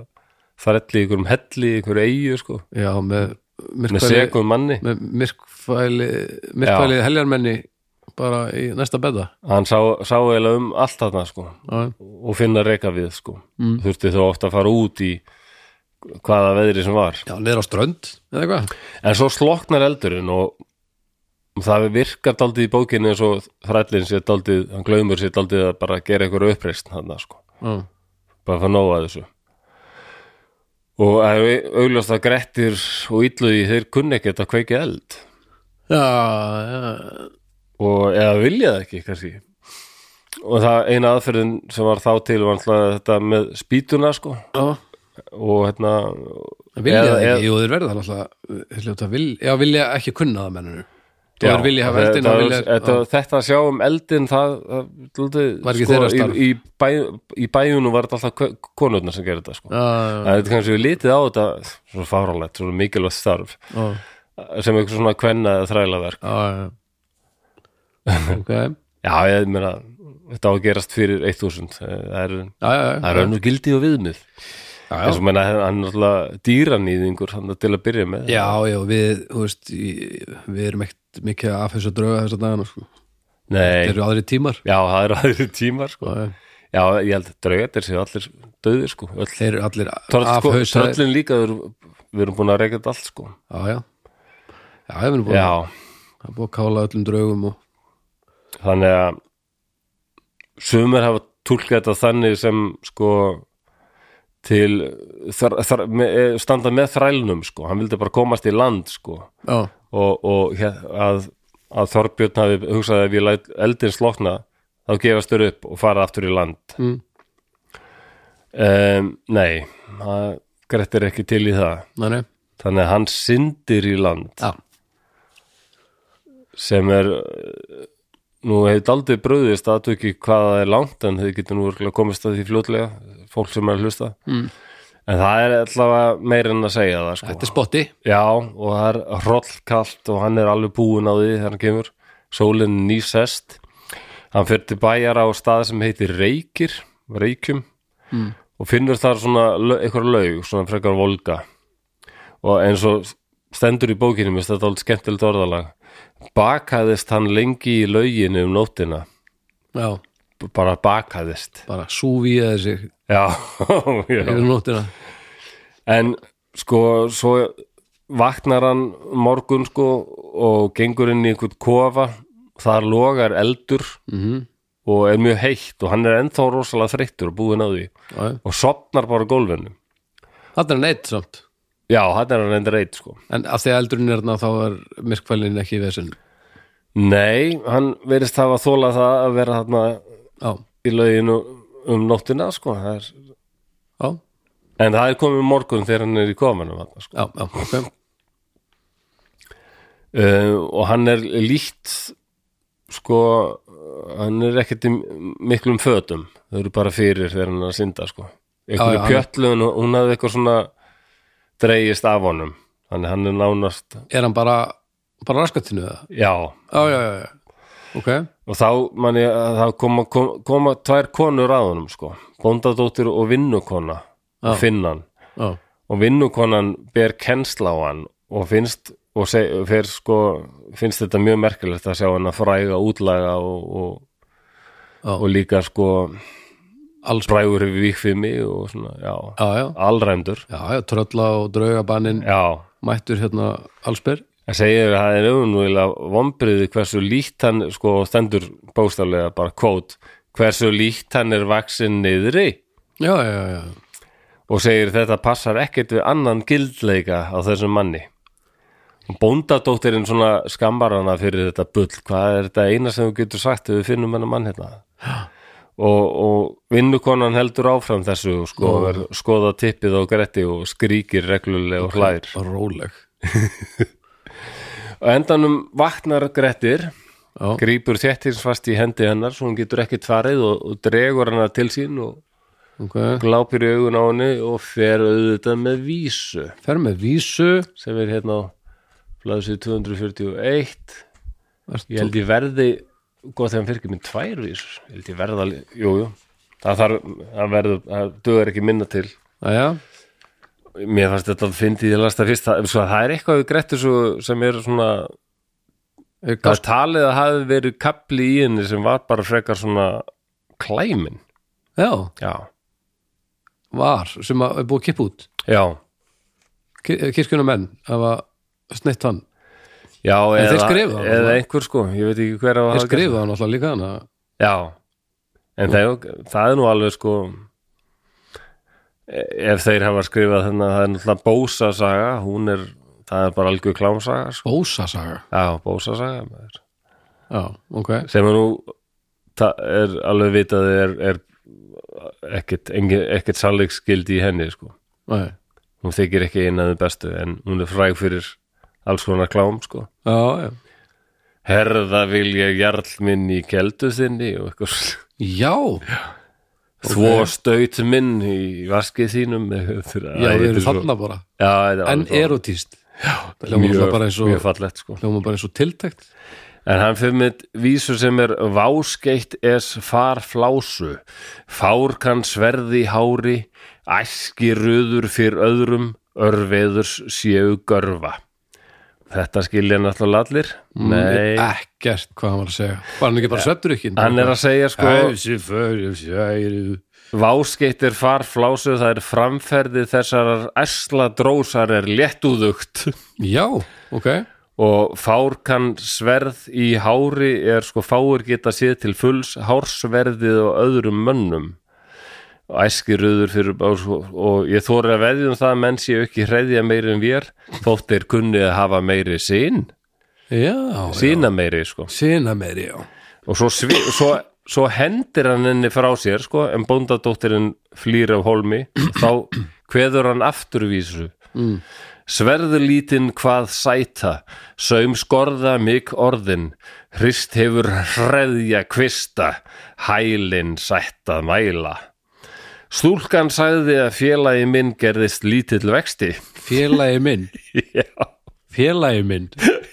[SPEAKER 1] þræll í ykkurum helli, í ykkur eigu sko
[SPEAKER 2] Já, með
[SPEAKER 1] með
[SPEAKER 2] myrkvæli,
[SPEAKER 1] segum manni
[SPEAKER 2] með myrkvæli, myrkvæli heljarmenni bara í næsta bedda
[SPEAKER 1] hann sá, sá eiginlega um allt þarna sko
[SPEAKER 2] Já,
[SPEAKER 1] og finna reyka við sko þurfti þó ofta að fara út í hvaða veðri sem var
[SPEAKER 2] já niður á strönd eða eitthvað
[SPEAKER 1] en svo sloknar eldurinn og það virkar daldið í bókinni eins og þrællin sér daldið hann glaumur sér daldið að bara gera einhverju uppreist þarna sko,
[SPEAKER 2] Já,
[SPEAKER 1] bara að fara nóga þessu og það er au- augljóst að grettir og illuði þeir kunni ekkert að kveiki eld
[SPEAKER 2] já,
[SPEAKER 1] og eða vilja það ekki kannski og það eina aðferðin sem var þá til var alltaf þetta með spýtuna sko
[SPEAKER 2] já.
[SPEAKER 1] og hérna
[SPEAKER 2] Vilja
[SPEAKER 1] eða-
[SPEAKER 2] það
[SPEAKER 1] eða-
[SPEAKER 2] ekki, jú þeir verða alltaf hljóta, vil, já vilja ekki kunna það mennur þú er vilja hafa eldin og
[SPEAKER 1] það,
[SPEAKER 2] vilja
[SPEAKER 1] þetta,
[SPEAKER 2] já,
[SPEAKER 1] þetta að sjá um eldin það, það, það
[SPEAKER 2] Var ekki þeirra starf.
[SPEAKER 1] í, í, bæ, í bæjunum var þetta alltaf konurnar sem gerir þetta sko.
[SPEAKER 3] já,
[SPEAKER 1] Það er kannski við litið á þetta svona fáralegt, svona mikilvægt starf
[SPEAKER 3] já,
[SPEAKER 1] sem eitthvað svona kvenna eða þrælaverk
[SPEAKER 3] já, já.
[SPEAKER 2] ok, já,
[SPEAKER 1] Já, ég meina, þetta á að gerast fyrir 1000 það er,
[SPEAKER 2] já,
[SPEAKER 1] það er önnur gildi og viðmið
[SPEAKER 2] já, já.
[SPEAKER 1] þess að meina, hann er alltaf dýranýðingur hann til að byrja með
[SPEAKER 2] já, já, við, þú veist í- við erum ekkert mikið af þessu að drauga þessa dagana, sko,
[SPEAKER 1] Nei,
[SPEAKER 2] þeir eru aðri tímar
[SPEAKER 1] já, það eru aðrir tímar sko.
[SPEAKER 2] Já, já.
[SPEAKER 1] Já, ég held að draugatir séu allir döðir sko, öll
[SPEAKER 2] þeir eru allir
[SPEAKER 1] Tröll, sko,
[SPEAKER 2] afhauðsaðir já,
[SPEAKER 1] tröllin líka, við erum- við erum búin að reyka þetta allt sko
[SPEAKER 2] já, já, við erum búin
[SPEAKER 1] Já,
[SPEAKER 2] það er búið að kála öllum draugum og,
[SPEAKER 1] þannig að sumir hafa tólkað þetta þannig sem sko til þar, þar, me, eh, standa með þrælnum sko, hann vildi bara komast í land sko
[SPEAKER 2] já,
[SPEAKER 1] og, og hér, að, að Þorbjörn hafi hugsað að ef ég læt eldin slokna þá gefast þurr upp og fara aftur í land
[SPEAKER 2] Mm.
[SPEAKER 1] um, Nei, það grettir ekki til í það
[SPEAKER 2] næ, næ,
[SPEAKER 1] þannig að hann syndir í land
[SPEAKER 2] já
[SPEAKER 1] sem er eh, nú hefði aldrei bröðist að ekki hvað það er langt en þið getur nú örgulega komist að því fljótlega fólk sem er að hlusta mm. en það er allavega meira en að segja það sko.
[SPEAKER 2] þetta er spotti,
[SPEAKER 1] já og það er hrollkalt og hann er alveg búinn á því þegar hann kemur sólinn er nýsest hann fyrir til bæjara á stað sem heitir Reykir Reykjum
[SPEAKER 2] Mm.
[SPEAKER 1] og finnur þar svona lau- einhver laug, svona frekar volga og eins og stendur í bókinu, mér finnst þetta alveg skemmtilegt orðalag bakaðist hann lengi í lauginu um nóttina
[SPEAKER 2] já,
[SPEAKER 1] B- bara bakaðist
[SPEAKER 2] bara súvíðaði sig
[SPEAKER 1] já, já.
[SPEAKER 2] yfir nóttina
[SPEAKER 1] en sko svo vaknar hann morgun sko og gengur inn í einhvern kofa þar logar eldur
[SPEAKER 2] mm -hmm.
[SPEAKER 1] og er mjög heitt og hann er ennþá rosalega þreyttur og búinn á því og sopnar bara á gólfinu
[SPEAKER 2] það er neitt samt
[SPEAKER 1] já, hann er hann endur eitt sko
[SPEAKER 2] en af því að eldurinn er þarna þá er myrkvælin ekki í vesinn
[SPEAKER 1] Nei, hann verðist hafa þólað það að vera þarna
[SPEAKER 2] já,
[SPEAKER 1] í lauginu um nóttina sko. það er,
[SPEAKER 2] já,
[SPEAKER 1] en það er komið morgun þegar hann er í komanum hann, sko.
[SPEAKER 2] já, já, ok
[SPEAKER 1] uh, og hann er líkt sko hann er ekkert í miklum fötum þau eru bara fyrir þegar hann er að synda sko.
[SPEAKER 2] Já, já,
[SPEAKER 1] einhverju
[SPEAKER 2] hann-
[SPEAKER 1] pjöllun og hún hafði eitthvað svona dreigist af honum þannig hann er nánast
[SPEAKER 2] er hann bara, bara raskatinu það
[SPEAKER 1] já,
[SPEAKER 2] já, já, já, já, ok
[SPEAKER 1] og þá man ég að það koma, kom, koma tvær konur að honum sko, bóndadóttir og vinnukona og finnan
[SPEAKER 2] já,
[SPEAKER 1] og vinnukonan ber kennsla á hann og finnst og seg, fer, sko, finnst þetta mjög merkilegt að sjá hann að fræga útlaga og, og,
[SPEAKER 2] Já.
[SPEAKER 1] og líka sko
[SPEAKER 2] alls
[SPEAKER 1] frægur yfir vikfimi og svona, já,
[SPEAKER 2] já, já,
[SPEAKER 1] alræmdur
[SPEAKER 2] já, já, trölla og draugabannin
[SPEAKER 1] já,
[SPEAKER 2] mættur hérna allsber
[SPEAKER 1] það segir að það er auðvunlega vombriði hversu líkt hann sko stendur bóstaflega bara kvót hversu líkt hann er vaksin niðri
[SPEAKER 2] já, já, já, já,
[SPEAKER 1] og segir þetta passar ekkert við annan gildleika á þessum manni og bóndadóttirinn svona skammar hana fyrir þetta bull hvað er þetta eina sem þú getur sagt ef við finnum hennar mann hérna og, og vinnukonan heldur áfram þessu sko, og er skoða tippið á gretti og skríkir reglulega og hlær
[SPEAKER 2] Bara róleg
[SPEAKER 1] og endanum vaknar grettir
[SPEAKER 2] já,
[SPEAKER 1] grípur þéttinsfast í hendi hennar svo hún getur ekki tvarið og, og dregur hana til sín og
[SPEAKER 2] ok,
[SPEAKER 1] glápir í augun á henni og fer auðvitað með vísu
[SPEAKER 2] fer með vísu
[SPEAKER 1] sem er hérna á blaðsvið 241
[SPEAKER 2] Ert
[SPEAKER 1] ég held ég verði gott þegar hann fyrir ekki minn tvær vísur ég held ég verða alveg, jú, jú það þarf, það verður, það dugar ekki minna til
[SPEAKER 2] já, já,
[SPEAKER 1] mér fannst þetta að fyndi ég lasta fyrst það, svo, það er eitthvað við grettu svo, sem er svona
[SPEAKER 2] er
[SPEAKER 1] það
[SPEAKER 2] gas-
[SPEAKER 1] er talið að hafi verið kapli í henni sem var bara frekar svona klæmin,
[SPEAKER 2] já,
[SPEAKER 1] já,
[SPEAKER 2] var sem að er búið að kippa út
[SPEAKER 1] já
[SPEAKER 2] kirkjuna menn hafa snett hann
[SPEAKER 1] Já,
[SPEAKER 2] þeir
[SPEAKER 1] eða,
[SPEAKER 2] skrifuðu það,
[SPEAKER 1] eða
[SPEAKER 2] svona.
[SPEAKER 1] einhver sko, ég veit ekki hver á
[SPEAKER 2] þeir
[SPEAKER 1] að hafa gert
[SPEAKER 2] skrifa hann alltaf líka hann að-
[SPEAKER 1] Já, en það, það er nú alveg sko e, ef þeir hafa skrifað þannig að það er náttúrulega bósasaga, hún er það er bara algjör klámsaga sko.
[SPEAKER 2] bósasaga
[SPEAKER 1] Já, bósasaga maður.
[SPEAKER 2] já, ok,
[SPEAKER 1] sem er nú það er alveg vitað er, er ekkert, engin- ekkert sannleiksgildi í henni sko.
[SPEAKER 2] Nei.
[SPEAKER 1] Hún þykir ekki einaðið bestu en hún er fræg fyrir alls konar klám sko.
[SPEAKER 2] já, já
[SPEAKER 1] herða vil ég jarl minn í keldu þinni og eitthvað svona.
[SPEAKER 2] Já,
[SPEAKER 1] þvó staut minn í vaskið þínum eða þeirra-
[SPEAKER 2] já,
[SPEAKER 1] Æ,
[SPEAKER 2] við
[SPEAKER 1] þetta er
[SPEAKER 2] erum
[SPEAKER 1] svo-
[SPEAKER 2] þarna bara
[SPEAKER 1] já, þetta er
[SPEAKER 2] En
[SPEAKER 1] alveg svo-
[SPEAKER 2] erotíst Það hljóma
[SPEAKER 1] mjög,
[SPEAKER 2] náttúrulega bara eins
[SPEAKER 1] mjög
[SPEAKER 2] og
[SPEAKER 1] fallegt sko
[SPEAKER 2] hljóma bara eins og tiltækt
[SPEAKER 1] En hann fyrir með vísu sem er váskeitt es farflásu, fárkan sverði hári, æski röður fyrir öðrum, örveðurs séu görfa. Þetta skilja náttúrulega allir.
[SPEAKER 2] Mm,
[SPEAKER 1] Nei,
[SPEAKER 2] Ekkert hvað hann var að segja Var hann ekki bara svefndur ekki?
[SPEAKER 1] hann er að segja sko,
[SPEAKER 2] Hæsi, fyrir, særi
[SPEAKER 1] váskeitt er farflásu, það er framferði þessarar æsla drósar er léttúðugt.
[SPEAKER 2] Já, ok
[SPEAKER 1] og fárkan sverð í hári er sko fáir geta séð til fulls hársverðið og öðrum mönnum og æskiröður fyrir og, sko, og ég þóri að veðja um það að menn séu ekki hreðja meiri en vér þótt þeir kunni að hafa meiri sín
[SPEAKER 2] Já,
[SPEAKER 1] sína meiri sko
[SPEAKER 2] sína meiri, já
[SPEAKER 1] og svo, svi, svo, svo hendir hann henni frá sér sko en bóndadóttirinn flýr af holmi þá kveður hann afturvísu mm. sverðlítinn hvað sæta saum skorða mig orðin hrist hefur hreðja kvista hælin sætta mæla stúlkan sagði að félagi minn gerðist lítill vexti
[SPEAKER 2] Félagi minn,
[SPEAKER 1] já,
[SPEAKER 2] félagi minn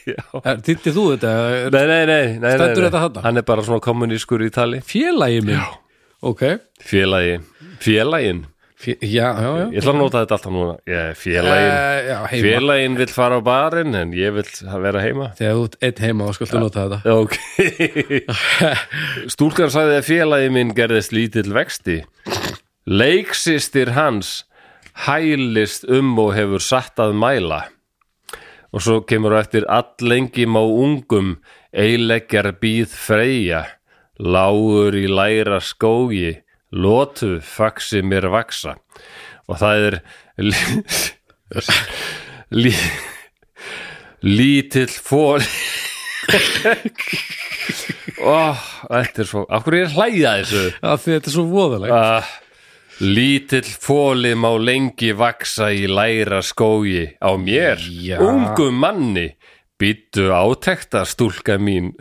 [SPEAKER 1] já
[SPEAKER 2] Týttir þú þetta? Er-
[SPEAKER 1] Nei, nei, nei, nei, nei,
[SPEAKER 2] Stendur
[SPEAKER 1] nei.
[SPEAKER 2] þetta þarna?
[SPEAKER 1] Hann er bara svona kommunískur í tali
[SPEAKER 2] Félagi minn Já Ok
[SPEAKER 1] Félagi, félagin
[SPEAKER 2] Fé, Já, já, já
[SPEAKER 1] Ég ætla að nota þetta alltaf núna ég, Félagin,
[SPEAKER 2] Eh, Já, heima
[SPEAKER 1] félagin vill fara á barinn en ég vill vera heima
[SPEAKER 2] Þegar þú ert einn heima og skaltu nota þetta
[SPEAKER 1] Ok Stúlkan sagði að félagi minn gerðist lítill vexti Leiksistir hans hælist um og hefur satt að mæla og svo kemur á eftir allengi má ungum eileggjar býð freyja lágur í læra skógi lotu faxi mér vaksa og það er lí- lí, lítill fól Ó, þetta er svo af hverju er ég að hlæja að þessu
[SPEAKER 2] Já, því þetta er svo voðalega
[SPEAKER 1] Ah, lítill fóli má lengi vaksa í læra skógi á mér,
[SPEAKER 2] Já.
[SPEAKER 1] ungum manni býttu átekta stúlka mín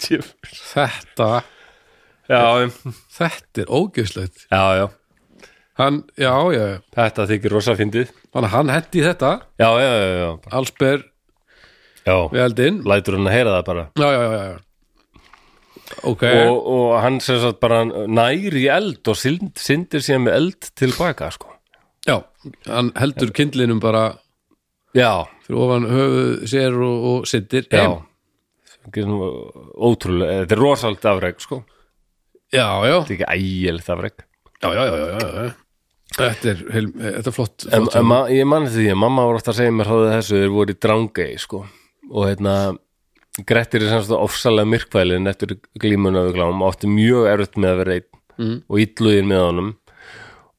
[SPEAKER 1] Djöfull.
[SPEAKER 2] Þetta,
[SPEAKER 1] já, em,
[SPEAKER 2] þetta er ógeðslegt
[SPEAKER 1] já, já
[SPEAKER 2] Hann, já, já, já
[SPEAKER 1] þetta þykir rosa fyndið
[SPEAKER 2] Þannig að hann hendi í þetta
[SPEAKER 1] já, já, já, já,
[SPEAKER 2] Allsber
[SPEAKER 1] já.
[SPEAKER 2] við eldinn
[SPEAKER 1] lætur hann að heyra það bara
[SPEAKER 2] Já, já, já, já Ok
[SPEAKER 1] og, og hann sem sagt bara næri eld og synd, syndir sér með eld tilbaka sko.
[SPEAKER 2] Já, hann heldur kindlinum bara
[SPEAKER 1] já,
[SPEAKER 2] fyrir ofan höfuð sér og, og sittir
[SPEAKER 1] já
[SPEAKER 2] heim.
[SPEAKER 1] Getum, ótrúlega, eh, þetta er rosalt afreg sko.
[SPEAKER 2] Já, já,
[SPEAKER 1] þetta er ekki ægjelt afreg
[SPEAKER 2] já, já, já, já, já, já. Þetta er, heil, þetta er flott,
[SPEAKER 1] En,
[SPEAKER 2] flott
[SPEAKER 1] en ma ég mann því að mamma var ofta að segja mér hróðu þessu þeir voru í drangei sko og hérna Grettir er semst ofsalega myrkvælin eftir glímuna við glám átti mjög erfitt með að vera einn mm. og illugin með honum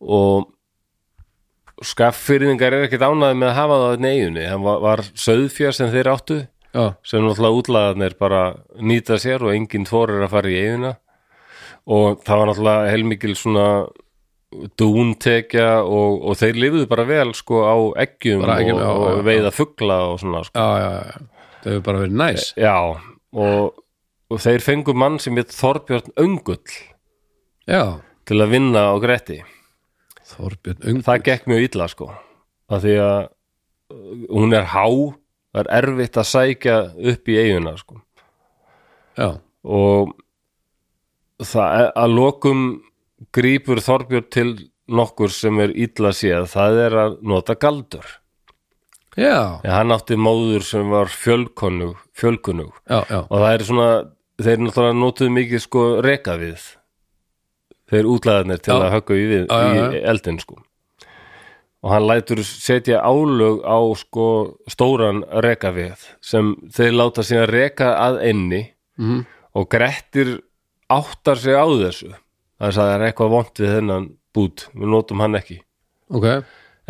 [SPEAKER 1] og skafffyrðingar er ekkert ánæði með að hafa það á neyjunni, hann var, var söðfjör sem þeir áttu
[SPEAKER 2] Já,
[SPEAKER 1] sem náttúrulega útlaðarnir bara nýta sér og enginn þorir að fara í eiguna og það var náttúrulega heilmikil svona dúntekja og, og þeir lifuðu bara vel sko á eggjum
[SPEAKER 2] Bara eggjum,
[SPEAKER 1] og,
[SPEAKER 2] já, já,
[SPEAKER 1] og
[SPEAKER 2] já.
[SPEAKER 1] veiða fugla og svona sko.
[SPEAKER 2] já, já, já Það hefur bara verið næs
[SPEAKER 1] já og, og þeir fengu mann sem heit Þorbjörn Öngull
[SPEAKER 2] Já,
[SPEAKER 1] til að vinna á Gretti
[SPEAKER 2] Þorbjörn Ung
[SPEAKER 1] það gekk mjög illa sko af því að uh, hún er há það er erfitt að sækja upp í eiguna sko
[SPEAKER 2] Já,
[SPEAKER 1] og það að lokum grípur Þorbjörn til nokkur sem er illa séð það er að nota galdur
[SPEAKER 2] já,
[SPEAKER 1] en hann átti móður sem var fjölkonug, fjölkonug
[SPEAKER 2] já, já
[SPEAKER 1] og það er svona þeir náttúrulega notuðu mikið sko reka við þeir útlaðarnir til
[SPEAKER 2] Já.
[SPEAKER 1] að höggu í, við,
[SPEAKER 2] Já, já,
[SPEAKER 1] í eldin sko og hann lætur setja álög á sko stóran reka við sem þeir láta síðan reka að enni
[SPEAKER 2] Mhm.
[SPEAKER 1] og Grettir áttar sig á þessu þess að það er eitthvað vont við þennan bút við notum hann ekki
[SPEAKER 2] Ok,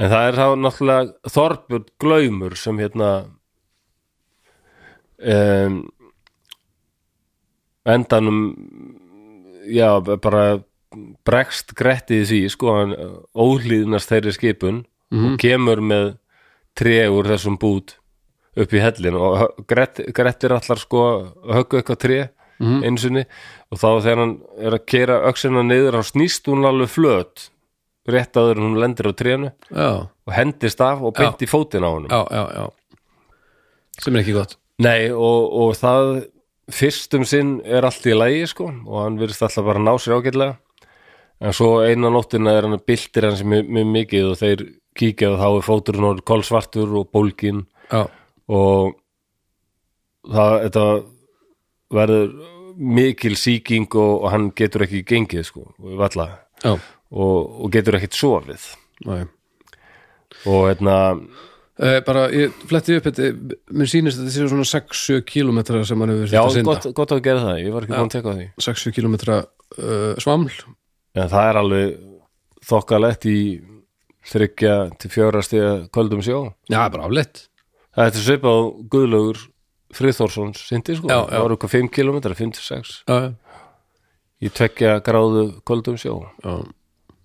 [SPEAKER 1] en það er þá náttúrulega Þorbjörn Glaumur sem hérna um, endanum já, bara bregst grettið því, sko hann
[SPEAKER 2] Mhm.
[SPEAKER 1] Mm. ólíðnast þeirri skipun og kemur með tré úr þessum bút upp í hellin og hö- Grett- grettir allar sko að höggu eitthvað tré mm
[SPEAKER 2] Mhm.
[SPEAKER 1] -hmm. einsunni og þá þegar hann er að kera öxina niður þá snýst hún alveg flöt rétt áður en hún lendir á trénu
[SPEAKER 2] já,
[SPEAKER 1] og hendist af og beint í fótinn á honum
[SPEAKER 2] já, já, já sem er ekki gott
[SPEAKER 1] Nei og, og það fyrst um sinn er allt í lægi sko og hann virðist alltaf bara að ná sér ágætlega en svo eina nóttina er hann að byltir hans mjög, mjög mikið og þeir kíkja og þá er fóturinn orðið kolsvartur og bólgin
[SPEAKER 2] já,
[SPEAKER 1] og það þetta verður mikil sýking og, og hann getur ekki gengið sko valla,
[SPEAKER 2] já,
[SPEAKER 1] og, og getur ekkit sofið
[SPEAKER 2] næ
[SPEAKER 1] og hérna
[SPEAKER 2] Eh, bara, ég fletti upp þetta, mér sýnist að þetta séu svona 6-7 kilometra sem hann hefur
[SPEAKER 1] já,
[SPEAKER 2] þurft að synda
[SPEAKER 1] gott, gott að gera það, ég var ekki búin að teka á því
[SPEAKER 2] 6-7 kilometra uh, svaml
[SPEAKER 1] en það er alveg þokkalett í þryggja til fjóra stiga kvöldum sjó
[SPEAKER 2] já, bara afleitt
[SPEAKER 1] það er til svipað á Guðlaugur Friðþórsson sindi sko,
[SPEAKER 2] Já, já.
[SPEAKER 1] það var eitthvað 5 km 5-6
[SPEAKER 2] já,
[SPEAKER 1] í tveggja gráðu kvöldum sjó
[SPEAKER 2] já,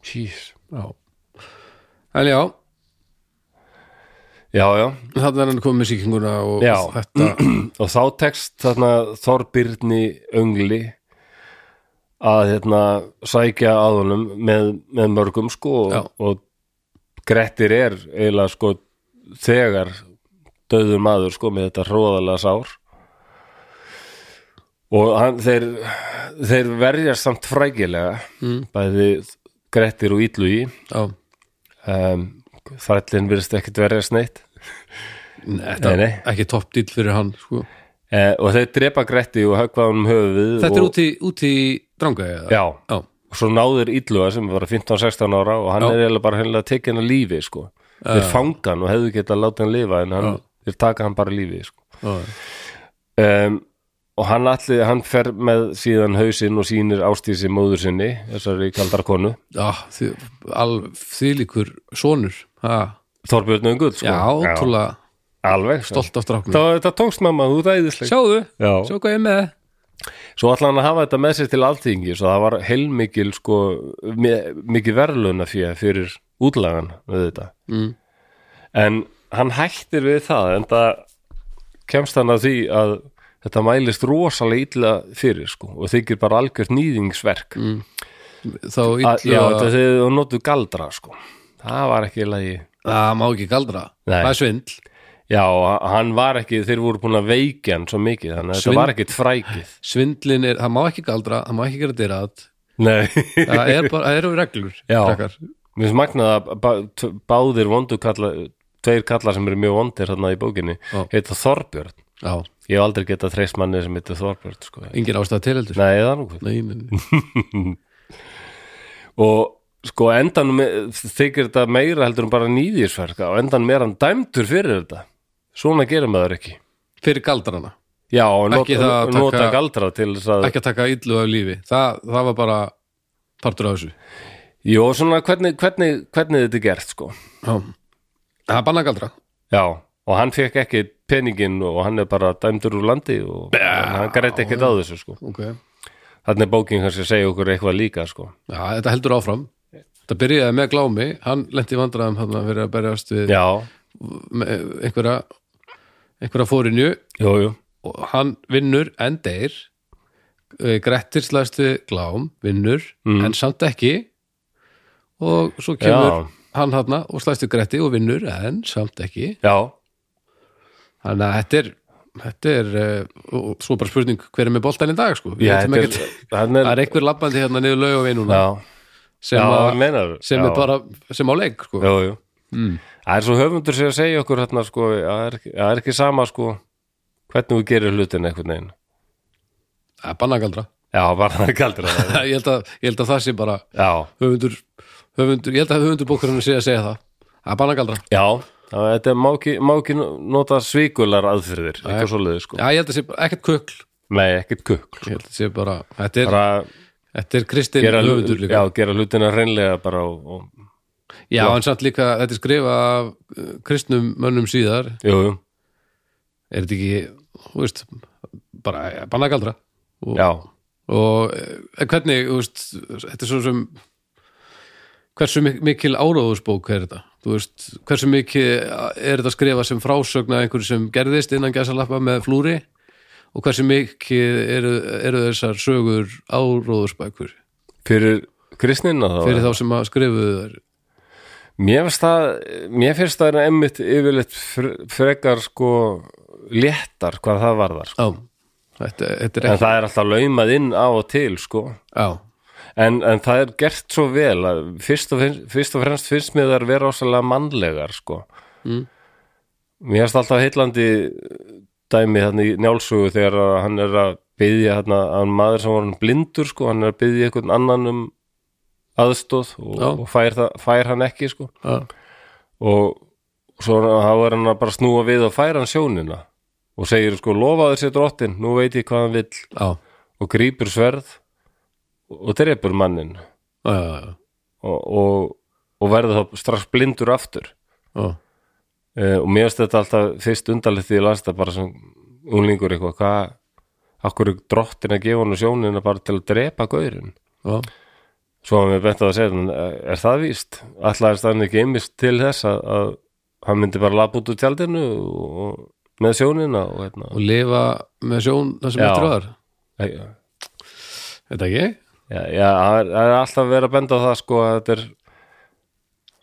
[SPEAKER 1] Jeez.
[SPEAKER 2] já en já,
[SPEAKER 1] já, já,
[SPEAKER 2] þannig er hann komið með sýkinguna og
[SPEAKER 1] Já.
[SPEAKER 2] þetta
[SPEAKER 1] og þá tekst þarna Þorbirni Öngli að hérna sækja að honum með, með mörgum sko
[SPEAKER 2] Já.
[SPEAKER 1] og, og Grettir er eiginlega sko þegar döður maður sko með þetta hróðalega sár og hann, þeir, þeir verjast samt frækilega mm. bæði Grettir og Ítlugi
[SPEAKER 2] já,
[SPEAKER 1] um, þrællin virðist ekkit verjast neitt
[SPEAKER 2] Nei, þetta
[SPEAKER 1] Nei, nei.
[SPEAKER 2] ekki topp dýl fyrir hann sko.
[SPEAKER 1] eh, og þeir drepa Gretti og höggva honum höfuð
[SPEAKER 2] þetta
[SPEAKER 1] og,
[SPEAKER 2] er út í, út í dranga eða?
[SPEAKER 1] Já,
[SPEAKER 2] já,
[SPEAKER 1] og svo náður Illuga sem var 15-16 ára og hann
[SPEAKER 2] Já.
[SPEAKER 1] er eiginlega bara hennilega tekinn að lífi sko. þeir fanga hann og hefðu getað að láta hann lifa en hann, þeir taka hann bara að lífi sko.
[SPEAKER 2] já,
[SPEAKER 1] um, og hann allir, hann fer með síðan hausinn og sýnir ástísi móður sinni þessari kaldar konu
[SPEAKER 2] já því, al, því líkur sonur ha.
[SPEAKER 1] Þorbjörn Öngull sko.
[SPEAKER 2] já, ótrúlega
[SPEAKER 1] alveg sko.
[SPEAKER 2] stolt af stráknum
[SPEAKER 1] það, það tókst mamma, þú dæðisleg
[SPEAKER 2] sjáðu,
[SPEAKER 1] Já.
[SPEAKER 2] sjá hvað ég er með
[SPEAKER 1] Svo ætlaði hann að hafa þetta með sér til alltingi svo það var heilmikil sko, mi- mikið verðluna fyrir útlagan við þetta mm. en hann hættir við það en það kemst hann að því að þetta mælist rosalega illa fyrir sko, og þykir bara algjört nýðingsverk mm.
[SPEAKER 2] þá
[SPEAKER 1] að, já, þetta
[SPEAKER 2] illa,
[SPEAKER 1] þegar þú notu galdra sko. það var ekki í lagi
[SPEAKER 2] það má ekki galdra
[SPEAKER 1] Nei.
[SPEAKER 2] það er svindl,
[SPEAKER 1] já, hann var ekki, þeir voru búin að veikja hann svo mikið, þannig að
[SPEAKER 2] Svin-
[SPEAKER 1] þetta var ekkit frækið
[SPEAKER 2] svindlin er það má ekki galdra, það má ekki gera dyrat
[SPEAKER 1] nei
[SPEAKER 2] það er bara, það eru reglur
[SPEAKER 1] Já.
[SPEAKER 2] krakkar.
[SPEAKER 1] Mér finnst magnað að bá, t- báðir vondu kalla, tveir kallar sem eru mjög vondir hérna í bókinni,
[SPEAKER 2] Já.
[SPEAKER 1] heita Þorbjörn.
[SPEAKER 2] já,
[SPEAKER 1] Ég hef aldrei getað treyst manni sem heita Þorbjörn, sko.
[SPEAKER 2] engin ástæða til heldur
[SPEAKER 1] Nei, það er nú hvað.
[SPEAKER 2] nei, nei, nei.
[SPEAKER 1] Og sko endan me- þykir þetta meira heldur um bara nýðisverka og endan meira hann dæmdur fyrir þetta. Svona gerir maður ekki.
[SPEAKER 2] fyrir galdrana,
[SPEAKER 1] Já, og not,
[SPEAKER 2] Ekki það að taka-
[SPEAKER 1] nota galdra til þess að...
[SPEAKER 2] ekki að taka illu af lífi það, það var bara partur af þessu
[SPEAKER 1] Jó, svona hvernig, hvernig, hvernig þetta er gert, sko.
[SPEAKER 2] já. það er banna galdra
[SPEAKER 1] Já, og hann fekk ekki peningin og hann er bara dæmdur úr landi og hann græti ekkert á þessu, sko.
[SPEAKER 2] okay.
[SPEAKER 1] Þannig er bókin kannski að segja okkur eitthvað líka sko.
[SPEAKER 2] já, þetta heldur áfram það byrjaði með glámi, hann lenti í vandræðum hann fyrir að berjast við
[SPEAKER 1] Já,
[SPEAKER 2] með einhverja einhverja fórinju
[SPEAKER 1] jú, jú
[SPEAKER 2] og hann vinnur en deyr Eh, Grettir slæðst við glám vinnur,
[SPEAKER 1] Mm.
[SPEAKER 2] en samt ekki og svo kemur
[SPEAKER 1] Já.
[SPEAKER 2] hann hana og slæðst við Gretti og vinnur en samt ekki
[SPEAKER 1] Já,
[SPEAKER 2] þannig að þetta er, þetta er eh, og og svo bara spurning hver er með boltan í dag sko, Við
[SPEAKER 1] já
[SPEAKER 2] vitum
[SPEAKER 1] þetta
[SPEAKER 2] ekkert-
[SPEAKER 1] hann
[SPEAKER 2] það
[SPEAKER 1] er,
[SPEAKER 2] er einhver labbandi hérna niður laug og vinuna
[SPEAKER 1] Já,
[SPEAKER 2] sem,
[SPEAKER 1] já
[SPEAKER 2] að-
[SPEAKER 1] hann meinar
[SPEAKER 2] sem
[SPEAKER 1] já,
[SPEAKER 2] er bara sem á leik sko.
[SPEAKER 1] Jú, jú Það er svo höfundur sér að segja okkur hérna sko, að það er, ekki- að það er ekki sama sko hvernig við gerir hlutin einhvern veginn
[SPEAKER 2] það er bannagaldra
[SPEAKER 1] Já, bara það er kaldur að það
[SPEAKER 2] ég, held að, ég held að það sé bara
[SPEAKER 1] Já,
[SPEAKER 2] höfundur, höfundur ég held að höfundur bókurinn sé að segja það það er bannagaldra
[SPEAKER 1] já það, Þetta er- má ekki, má ekki nota svíkular aðfyrðir, eitthvað svoleiði sko
[SPEAKER 2] Já, ég held að sé bara- ekkert kökl
[SPEAKER 1] Nei, ekkert kukl
[SPEAKER 2] Ég held að sé bara, þetta er,
[SPEAKER 1] bara
[SPEAKER 2] þetta er Kristinn
[SPEAKER 1] gera,
[SPEAKER 2] höfundur líka.
[SPEAKER 1] já, gera hlutina reynlega bara og, og,
[SPEAKER 2] Já, en samt líka, þetta er skrifa af uh, kristnum mönnum síðar.
[SPEAKER 1] Jú, jú,
[SPEAKER 2] Er þetta ekki, þú veist, bara ja, bannagaldra. Og,
[SPEAKER 1] já
[SPEAKER 2] og eh, hvernig, þú veist, þetta er svo sem, hversu mik- mikil áróðusbók er þetta? Þú þú veist, hversu mikið eh, er þetta skrifa sem frásögn að einhverju sem gerðist innan gæsalappa með flúri og hversu mikið eru, eru þessar sögur áróðursbækur
[SPEAKER 1] fyrir kristnina þá
[SPEAKER 2] fyrir þá sem að skrifuðu þær
[SPEAKER 1] mér finnst það mér finnst það er emmitt yfirleitt fre- frekar sko léttar hvað það varðar sko.
[SPEAKER 2] Já, þetta, þetta er
[SPEAKER 1] en
[SPEAKER 2] ekki
[SPEAKER 1] það er alltaf laumað inn á og til sko
[SPEAKER 2] Já,
[SPEAKER 1] En, en það er gert svo vel að fyrst og, fyrst, fyrst og fremst finnst mér þar vera ásalega mannlegar sko. mm. mér finnst alltaf heillandi dæmi þannig í njálsugu þegar að hann er að byðja þarna að maður sem var hann blindur sko, hann er að byðja einhvern annan um aðstóð og,
[SPEAKER 2] Já.
[SPEAKER 1] og fær, það, fær hann ekki sko.
[SPEAKER 2] já,
[SPEAKER 1] og svo er- þá er hann að bara snúa við og færa hann sjónina og segir sko lofaður sér drottin, nú veit ég hvað hann vill
[SPEAKER 2] já,
[SPEAKER 1] og grípur sverð og drepur mannin
[SPEAKER 2] já, já,
[SPEAKER 1] og, og, og verður þá strax blindur aftur
[SPEAKER 2] já.
[SPEAKER 1] uh, og mér finnst þetta alltaf fyrst undarlegt því ég las þetta bara sem unglingur eitthvað hvað, akkur er drottin að gefa hann sjónina bara til að drepa gaurin
[SPEAKER 2] já.
[SPEAKER 1] svo hann mér bent á að segja "En, eh, er það víst, ætlaðist hann ekki einmist til þess að, að hann myndi bara lapp út úr tjaldinu og, og með sjónina og hérna
[SPEAKER 2] Og lifa með sjón það sem
[SPEAKER 1] Já.
[SPEAKER 2] eftir var
[SPEAKER 1] já,
[SPEAKER 2] Þetta ekki?
[SPEAKER 1] já, já, það er- það er alltaf verið að benda á það sko að þetta er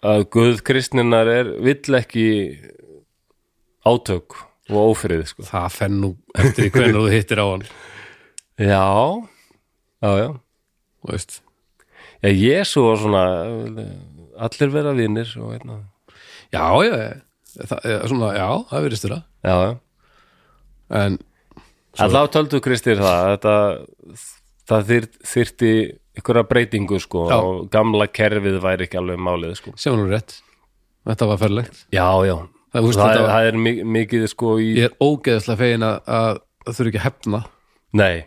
[SPEAKER 1] að Guð kristninar er vill ekki átök og ófriði sko
[SPEAKER 2] Það fenn nú eftir því hvernig þú hittir á hann
[SPEAKER 1] Já, já, já.
[SPEAKER 2] þú veist.
[SPEAKER 1] Já, Jésu var svona, eh, allir vera vinnir og hérna.
[SPEAKER 2] Já, já, já það, eh, svona, Já, það verðist þér að
[SPEAKER 1] Já, já.
[SPEAKER 2] En
[SPEAKER 1] Allá töldu Kristir það, þetta, það þyr, þyrti einhverja breytingu sko
[SPEAKER 2] Já.
[SPEAKER 1] og gamla kerfið væri ekki alveg málið sko.
[SPEAKER 2] sem hann er rétt Þetta var ferlegt
[SPEAKER 1] Já, já.
[SPEAKER 2] Það, þú veist,
[SPEAKER 1] Það,
[SPEAKER 2] þetta
[SPEAKER 1] er-
[SPEAKER 2] var-
[SPEAKER 1] það er mi- mikið sko í,
[SPEAKER 2] Ég er ógeðslega fegin að, að það þurfi ekki að hefna
[SPEAKER 1] nei,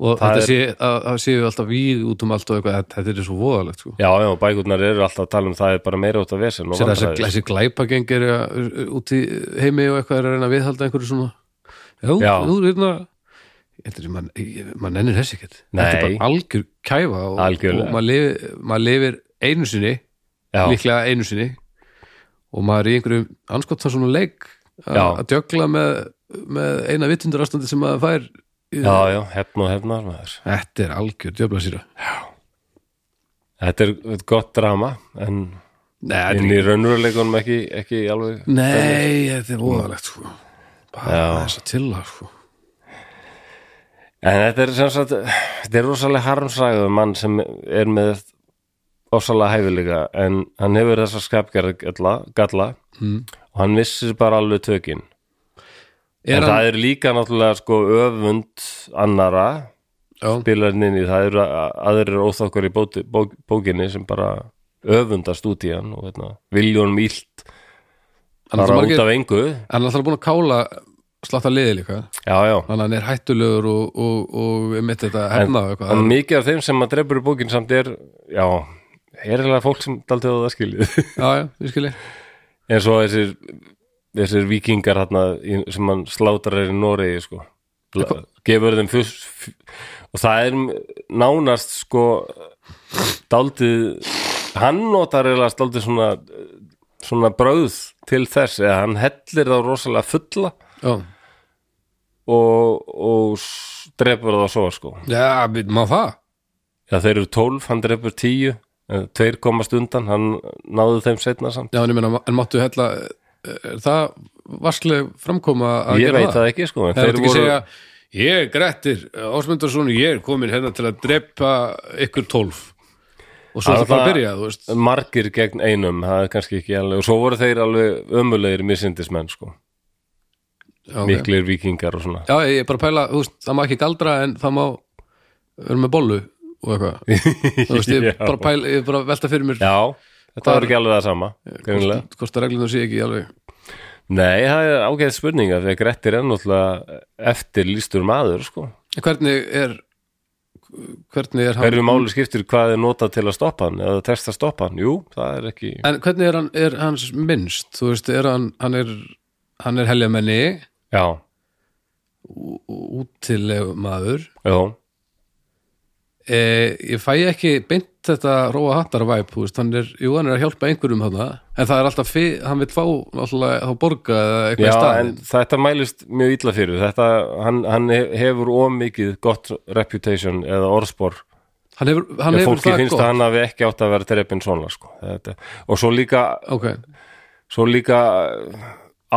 [SPEAKER 2] og
[SPEAKER 1] Það
[SPEAKER 2] þetta
[SPEAKER 1] er-
[SPEAKER 2] sé, að, að séu alltaf víð út um allt og eitthvað, þetta, þetta er svo voðalegt sko.
[SPEAKER 1] já, já, bækurnar eru alltaf að tala um það er bara meira út af vesinn og
[SPEAKER 2] Sér þessi,
[SPEAKER 1] vandræði.
[SPEAKER 2] þessi glæpagengir út í heimi og eitthvað er að reyna að viðhalda einhverju svona Jú,
[SPEAKER 1] Já.
[SPEAKER 2] þú hérna, reyna Þetta er, mann man ennir þessi ekkert
[SPEAKER 1] Nei.
[SPEAKER 2] Þetta er bara algjör kæfa og,
[SPEAKER 1] Algjörlega.
[SPEAKER 2] og maður lifir, maður lifir einu sinni
[SPEAKER 1] Já,
[SPEAKER 2] líklega einu sinni og maður er í einhverjum anskottan svona leik a-
[SPEAKER 1] Já.
[SPEAKER 2] að djögla með, með eina vittundur ástandi sem maður fær í-
[SPEAKER 1] já, já, hefn og hefnar maður.
[SPEAKER 2] Þetta er algjör djöfla síra
[SPEAKER 1] Þetta er gott drama en
[SPEAKER 2] Nei, þetta
[SPEAKER 1] inn
[SPEAKER 2] er,
[SPEAKER 1] í raunveruleikunum ekki, ekki alveg.
[SPEAKER 2] nei, þetta er voðalegt sko. bara
[SPEAKER 1] Já.
[SPEAKER 2] þess að tilla sko.
[SPEAKER 1] En þetta er sem sagt, þetta er rosalega harmsræðu mann sem er með rosalega hæfilega en hann hefur þessa skapgerð galla, galla
[SPEAKER 2] Mm.
[SPEAKER 1] og hann missir bara alveg tökin.
[SPEAKER 2] Er
[SPEAKER 1] en
[SPEAKER 2] hann-
[SPEAKER 1] það er líka náttúrulega sko öfund annara
[SPEAKER 2] Já.
[SPEAKER 1] bilarnin í það eru a- aðrir óþokkar í bóti, bó, bókinni sem bara öfundast út í hann og veitna, viljónum ílt
[SPEAKER 2] Hann er
[SPEAKER 1] bara
[SPEAKER 2] margir-
[SPEAKER 1] út af engu.
[SPEAKER 2] hann er alltaf búin að kála slatta liði líka
[SPEAKER 1] Já, já.
[SPEAKER 2] þannig að hann er hættulegur og, og, og mitt þetta hefna og eitthvað
[SPEAKER 1] En mikið af þeim sem að drefur í bókin samt er, já, er eiginlega fólk sem daldið á það skiljið.
[SPEAKER 2] já, já, ég skilji
[SPEAKER 1] En svo þessir, þessir vikingar þarna, í- sem hann slátrar er í Noregi sko. La- gefur þeim fyrst og það er nánast sko daldið hann notar eiginlega daldið svona svona bröð til þess eða hann hellir þá rosalega fulla
[SPEAKER 2] já,
[SPEAKER 1] og, og s- drepur þá svo sko
[SPEAKER 2] já við- má það
[SPEAKER 1] já þeir eru 12, hann drepur 10 en tveir komast undan, hann náðu þeim setna samt,
[SPEAKER 2] já, en, ég meina, en máttu hella er það vaskleg framkoma að
[SPEAKER 1] ég
[SPEAKER 2] gera
[SPEAKER 1] veit það ekki sko en
[SPEAKER 2] Nei, máttu ekki segja, ég er Grettir Ásmundarsson, ég er komin hérna til að drepa ykkur tólf og svo er
[SPEAKER 1] Það
[SPEAKER 2] það bara að
[SPEAKER 1] var-
[SPEAKER 2] byrja, þú veist
[SPEAKER 1] margir gegn einum það er kannski ekki alveg og svo voru þeir alveg ömulegir misindismenn sko
[SPEAKER 2] já, ok.
[SPEAKER 1] miklir vikingar og svona
[SPEAKER 2] já, ég er bara að pæla, þú veist, það má ekki galdra en það má vera með bollu og eitthvað Þú veist, ég er bara að pæla, ég er bara að velta fyrir mér
[SPEAKER 1] já, þetta var ekki alveg það sama greinilega.
[SPEAKER 2] hvort, hvort að reglunum sé ekki alveg
[SPEAKER 1] nei, það er ágæð spurninga því að Grettir er náttúrulega eftir lístur maður sko
[SPEAKER 2] En hvernig er hvernig er hann
[SPEAKER 1] hverju máli skiptir hvað er notað til að stoppa hann eða testa að stoppa hann, jú, það er ekki
[SPEAKER 2] en hvernig er, hann, er hans minnst þú veist, er hann, hann er hann er heljamenni,
[SPEAKER 1] já,
[SPEAKER 2] útilegu maður
[SPEAKER 1] já,
[SPEAKER 2] e, Eh, ég fæ ekki beint þetta róa hattar væp, þú veist, hann er, jú, hann er að hjálpa einhverjum þarna, en það er alltaf fyr, hann vil fá alltaf þá borga eða eitthvað í
[SPEAKER 1] Já, en
[SPEAKER 2] staðinn.
[SPEAKER 1] þetta mælist mjög illa fyrir þetta, hann, hann he- hefur ómikið gott reputation eða orðspor
[SPEAKER 2] hann hefur, hann
[SPEAKER 1] ef
[SPEAKER 2] hefur
[SPEAKER 1] fólki
[SPEAKER 2] það
[SPEAKER 1] finnst
[SPEAKER 2] gott
[SPEAKER 1] að hann hafi ekki átt að vera drepin svona sko. þetta, og svo líka,
[SPEAKER 2] ok,
[SPEAKER 1] svo líka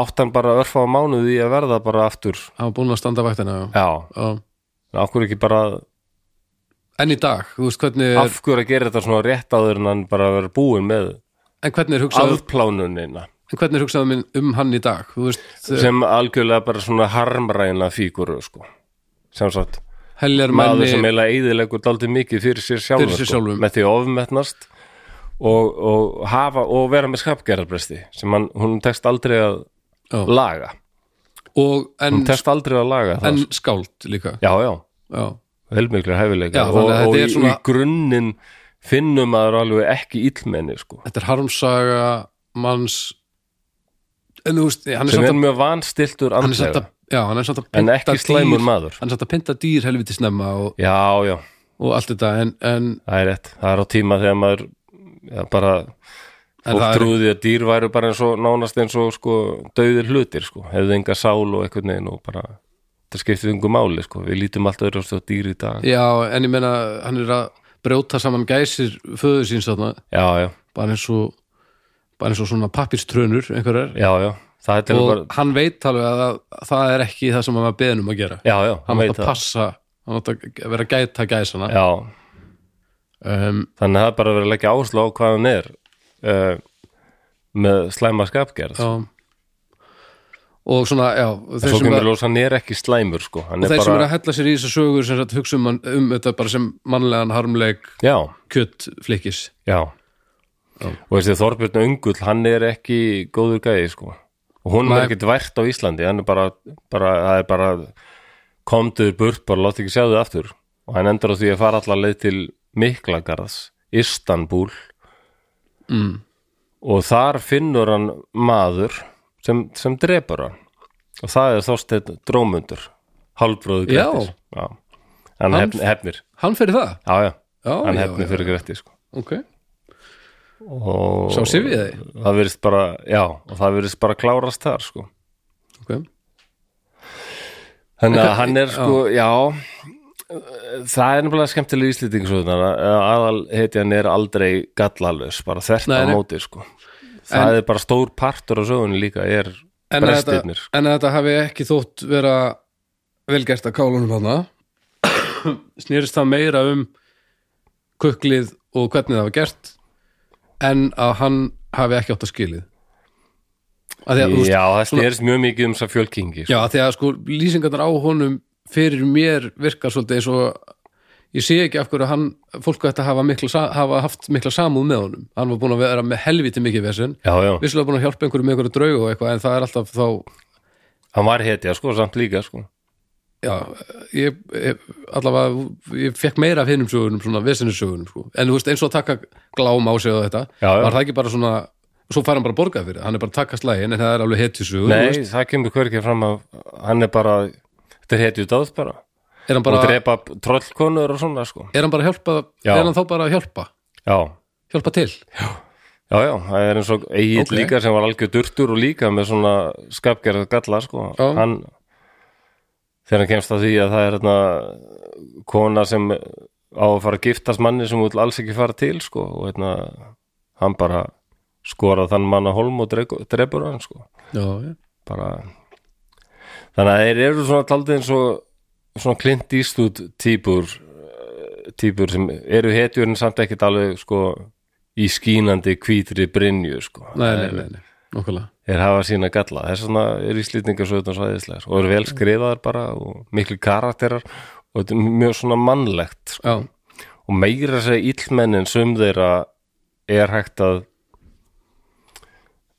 [SPEAKER 1] átt hann bara örfa á mánuði í að verða bara aftur
[SPEAKER 2] hann var búin að standa vaktina já.
[SPEAKER 1] já,
[SPEAKER 2] Já.
[SPEAKER 1] af hverju ekki bara
[SPEAKER 2] en í dag, þú veist hvernig er,
[SPEAKER 1] af hverju að gera þetta svona rétt áður en hann bara verið búin með
[SPEAKER 2] en hvernig er hugsað
[SPEAKER 1] afplánunina
[SPEAKER 2] en hvernig er hugsað minn um hann í dag þú veist,
[SPEAKER 1] sem algjörlega bara svona harmræna fíguru sko. sem sagt
[SPEAKER 2] heljar
[SPEAKER 1] maður
[SPEAKER 2] manni
[SPEAKER 1] sem eiginlega eyðilegur daldið mikið fyrir sér sjálfur, sko.
[SPEAKER 2] Fyrir sér sjálfum.
[SPEAKER 1] með því að ofmetnast og, og, hafa, og vera með skapgerðarbresti sem hann, hún tekst aldrei að
[SPEAKER 2] Já.
[SPEAKER 1] laga
[SPEAKER 2] og, en,
[SPEAKER 1] hún tekst aldrei að laga
[SPEAKER 2] Mm,
[SPEAKER 1] það
[SPEAKER 2] en
[SPEAKER 1] sko.
[SPEAKER 2] skáld líka
[SPEAKER 1] já, já,
[SPEAKER 2] já,
[SPEAKER 1] heilmiklir
[SPEAKER 2] Já,
[SPEAKER 1] hæfileika
[SPEAKER 2] þannig
[SPEAKER 1] og,
[SPEAKER 2] að
[SPEAKER 1] og
[SPEAKER 2] þetta
[SPEAKER 1] í,
[SPEAKER 2] er svona-
[SPEAKER 1] í grunninn finnum maður alveg ekki illmenni sko.
[SPEAKER 2] þetta er harmsaga manns en þú veist, hann er
[SPEAKER 1] sem
[SPEAKER 2] samt
[SPEAKER 1] er
[SPEAKER 2] að,
[SPEAKER 1] mjög vanstiltur
[SPEAKER 2] hann er samt
[SPEAKER 1] andlega
[SPEAKER 2] að já, hann er samt að
[SPEAKER 1] en
[SPEAKER 2] pynta
[SPEAKER 1] ekki
[SPEAKER 2] dýr-
[SPEAKER 1] slæmur maður
[SPEAKER 2] hann er samt að pynta dýr helviti snemma og,
[SPEAKER 1] já, já,
[SPEAKER 2] og allt þetta en, en,
[SPEAKER 1] það er rétt það er á tíma þegar maður já, bara
[SPEAKER 2] en
[SPEAKER 1] fólk
[SPEAKER 2] það er,
[SPEAKER 1] trúði að dýr væru bara eins og nánast eins og sko döðir hlutir sko, hefðu enga sál og eitthvað neginn og bara, þetta skiptið yngur máli sko, við lítum allt öðru á dýr í dag
[SPEAKER 2] já, en ég meina hann er að brjóta saman gæsir föður síns þarna,
[SPEAKER 1] já, já,
[SPEAKER 2] bara eins og bara eins og svona pappirströnur einhverjar,
[SPEAKER 1] já, já það er til
[SPEAKER 2] og
[SPEAKER 1] að bara,
[SPEAKER 2] hann veit alveg að það, það er ekki það sem hann var beðin um að gera
[SPEAKER 1] já, já,
[SPEAKER 2] hann átt
[SPEAKER 1] veit
[SPEAKER 2] að
[SPEAKER 1] það
[SPEAKER 2] passa hann átt að vera að gæta gæsana
[SPEAKER 1] já,
[SPEAKER 2] um,
[SPEAKER 1] þannig að það er bara að vera að leggja áslá hvað hann er uh, með slæma skapgerð
[SPEAKER 2] já. og svona, já
[SPEAKER 1] en
[SPEAKER 2] þeir
[SPEAKER 1] svo
[SPEAKER 2] sem,
[SPEAKER 1] kemur
[SPEAKER 2] að,
[SPEAKER 1] ljós, hann er ekki slæmur sko, hann
[SPEAKER 2] þeir
[SPEAKER 1] er
[SPEAKER 2] sem er
[SPEAKER 1] bara
[SPEAKER 2] að hella sér í þessu sögur sem sagt, hugsa um, hann- um þetta bara sem mannlegan harmleik
[SPEAKER 1] já,
[SPEAKER 2] kjött flikkis
[SPEAKER 1] já
[SPEAKER 2] Já.
[SPEAKER 1] og þessi Þorbjörn Öngull, hann er ekki góður gæði sko og hún
[SPEAKER 2] Nei.
[SPEAKER 1] er ekkert vært á Íslandi hann er bara, bara, það er bara komduður burt, bara látt ekki sjá þau aftur og hann endur á því að fara allar leið til Miklagarðs, Istanbul
[SPEAKER 2] mm.
[SPEAKER 1] og þar finnur hann maður sem, sem drepur hann og það er Þorsteinn Drómundur hálfbróðu
[SPEAKER 2] Já.
[SPEAKER 1] Grettis já. hann
[SPEAKER 2] Hann-
[SPEAKER 1] hefn, hefnir
[SPEAKER 2] hann fyrir það
[SPEAKER 1] já, já,
[SPEAKER 2] já,
[SPEAKER 1] hann
[SPEAKER 2] já,
[SPEAKER 1] hefnir
[SPEAKER 2] já,
[SPEAKER 1] fyrir Grettis sko.
[SPEAKER 2] ok
[SPEAKER 1] og
[SPEAKER 2] Sá syfjaði?
[SPEAKER 1] það verðist bara, já, og það verðist bara klárast þar sko
[SPEAKER 2] ok
[SPEAKER 1] Þannig að hann er sko, já það er nefnilega skemmtilega íslýtingasöðunar aðal heitjan er aldrei gallalus, bara þvert
[SPEAKER 2] Nei,
[SPEAKER 1] á
[SPEAKER 2] nei.
[SPEAKER 1] móti sko. það er bara stór partur á sögunni líka, er
[SPEAKER 2] en að, þetta,
[SPEAKER 1] brestirnir sko.
[SPEAKER 2] en að þetta hafi ekki þótt vera velgert að kálunum hana snýrist það meira um kuklið og hvernig það var gert en að hann hafi ekki átt að skilið að því að, þú veist,
[SPEAKER 1] Já, það snýrist mjög mikið um þess að fjölkingi sko.
[SPEAKER 2] já, að því að sko lýsingarnar á honum fyrir mér virkar svolítið eins og ég sé ekki af hverju hann, fólk ætti að hafa, mikla, sa- hafa haft mikla samúð með honum hann var búin að vera með helviti mikið vesinn
[SPEAKER 1] Já, já,
[SPEAKER 2] vissulega búin að hjálpa einhverju með einhverju draug og eitthvað en það er alltaf þá
[SPEAKER 1] hann var hetja sko, samt líka sko.
[SPEAKER 2] já, ég, ég allavega, ég fekk meira af hinnum sögunum, svona vesinusögunum, sko. en þú veist, eins og að taka glám á sig og þetta,
[SPEAKER 1] Já, já.
[SPEAKER 2] var það ekki bara svona svo fær hann bara borgað fyrir, það, hann er bara að taka slægin en það er alveg hetjusögun, þú
[SPEAKER 1] Nei, það kemur hvergi fram að hann er bara, þetta er hetju dáð bara,
[SPEAKER 2] er hann
[SPEAKER 1] og
[SPEAKER 2] bara,
[SPEAKER 1] drepa trollkonur og svona, sko
[SPEAKER 2] er hann bara að hjálpa
[SPEAKER 1] Já.
[SPEAKER 2] er hann þá bara að hjálpa,
[SPEAKER 1] Já,
[SPEAKER 2] hjálpa til
[SPEAKER 1] Já, já, það er eins og Egil
[SPEAKER 2] Ok.
[SPEAKER 1] líka sem var algjör durtur og líka með svona skapgerða galla, sko
[SPEAKER 2] Já.
[SPEAKER 1] hann, þegar hann kemst að því að það er hérna kona sem á að fara að giftast manni sem hún vil alls ekki fara til, sko og hérna, hann bara skorað þann mann að holm og dreg- drepur hann, sko
[SPEAKER 2] já, já,
[SPEAKER 1] bara þannig að þeir eru svona taldið eins og svona Clint Eastwood típur eh, típur sem eru hetjur en samt ekkert alveg sko í skínandi hvítri brinju sko
[SPEAKER 2] nei, nei, nei, nei. nokkulega
[SPEAKER 1] þeir hafa sína galla, þess vegna er íslýtingar svo þetta svæðislegar og eru vel skrifaðar bara og miklu karakterar og þetta er mjög svona mannlegt sko.
[SPEAKER 2] já,
[SPEAKER 1] og meira að segja illmennin sum þeirra er hægt að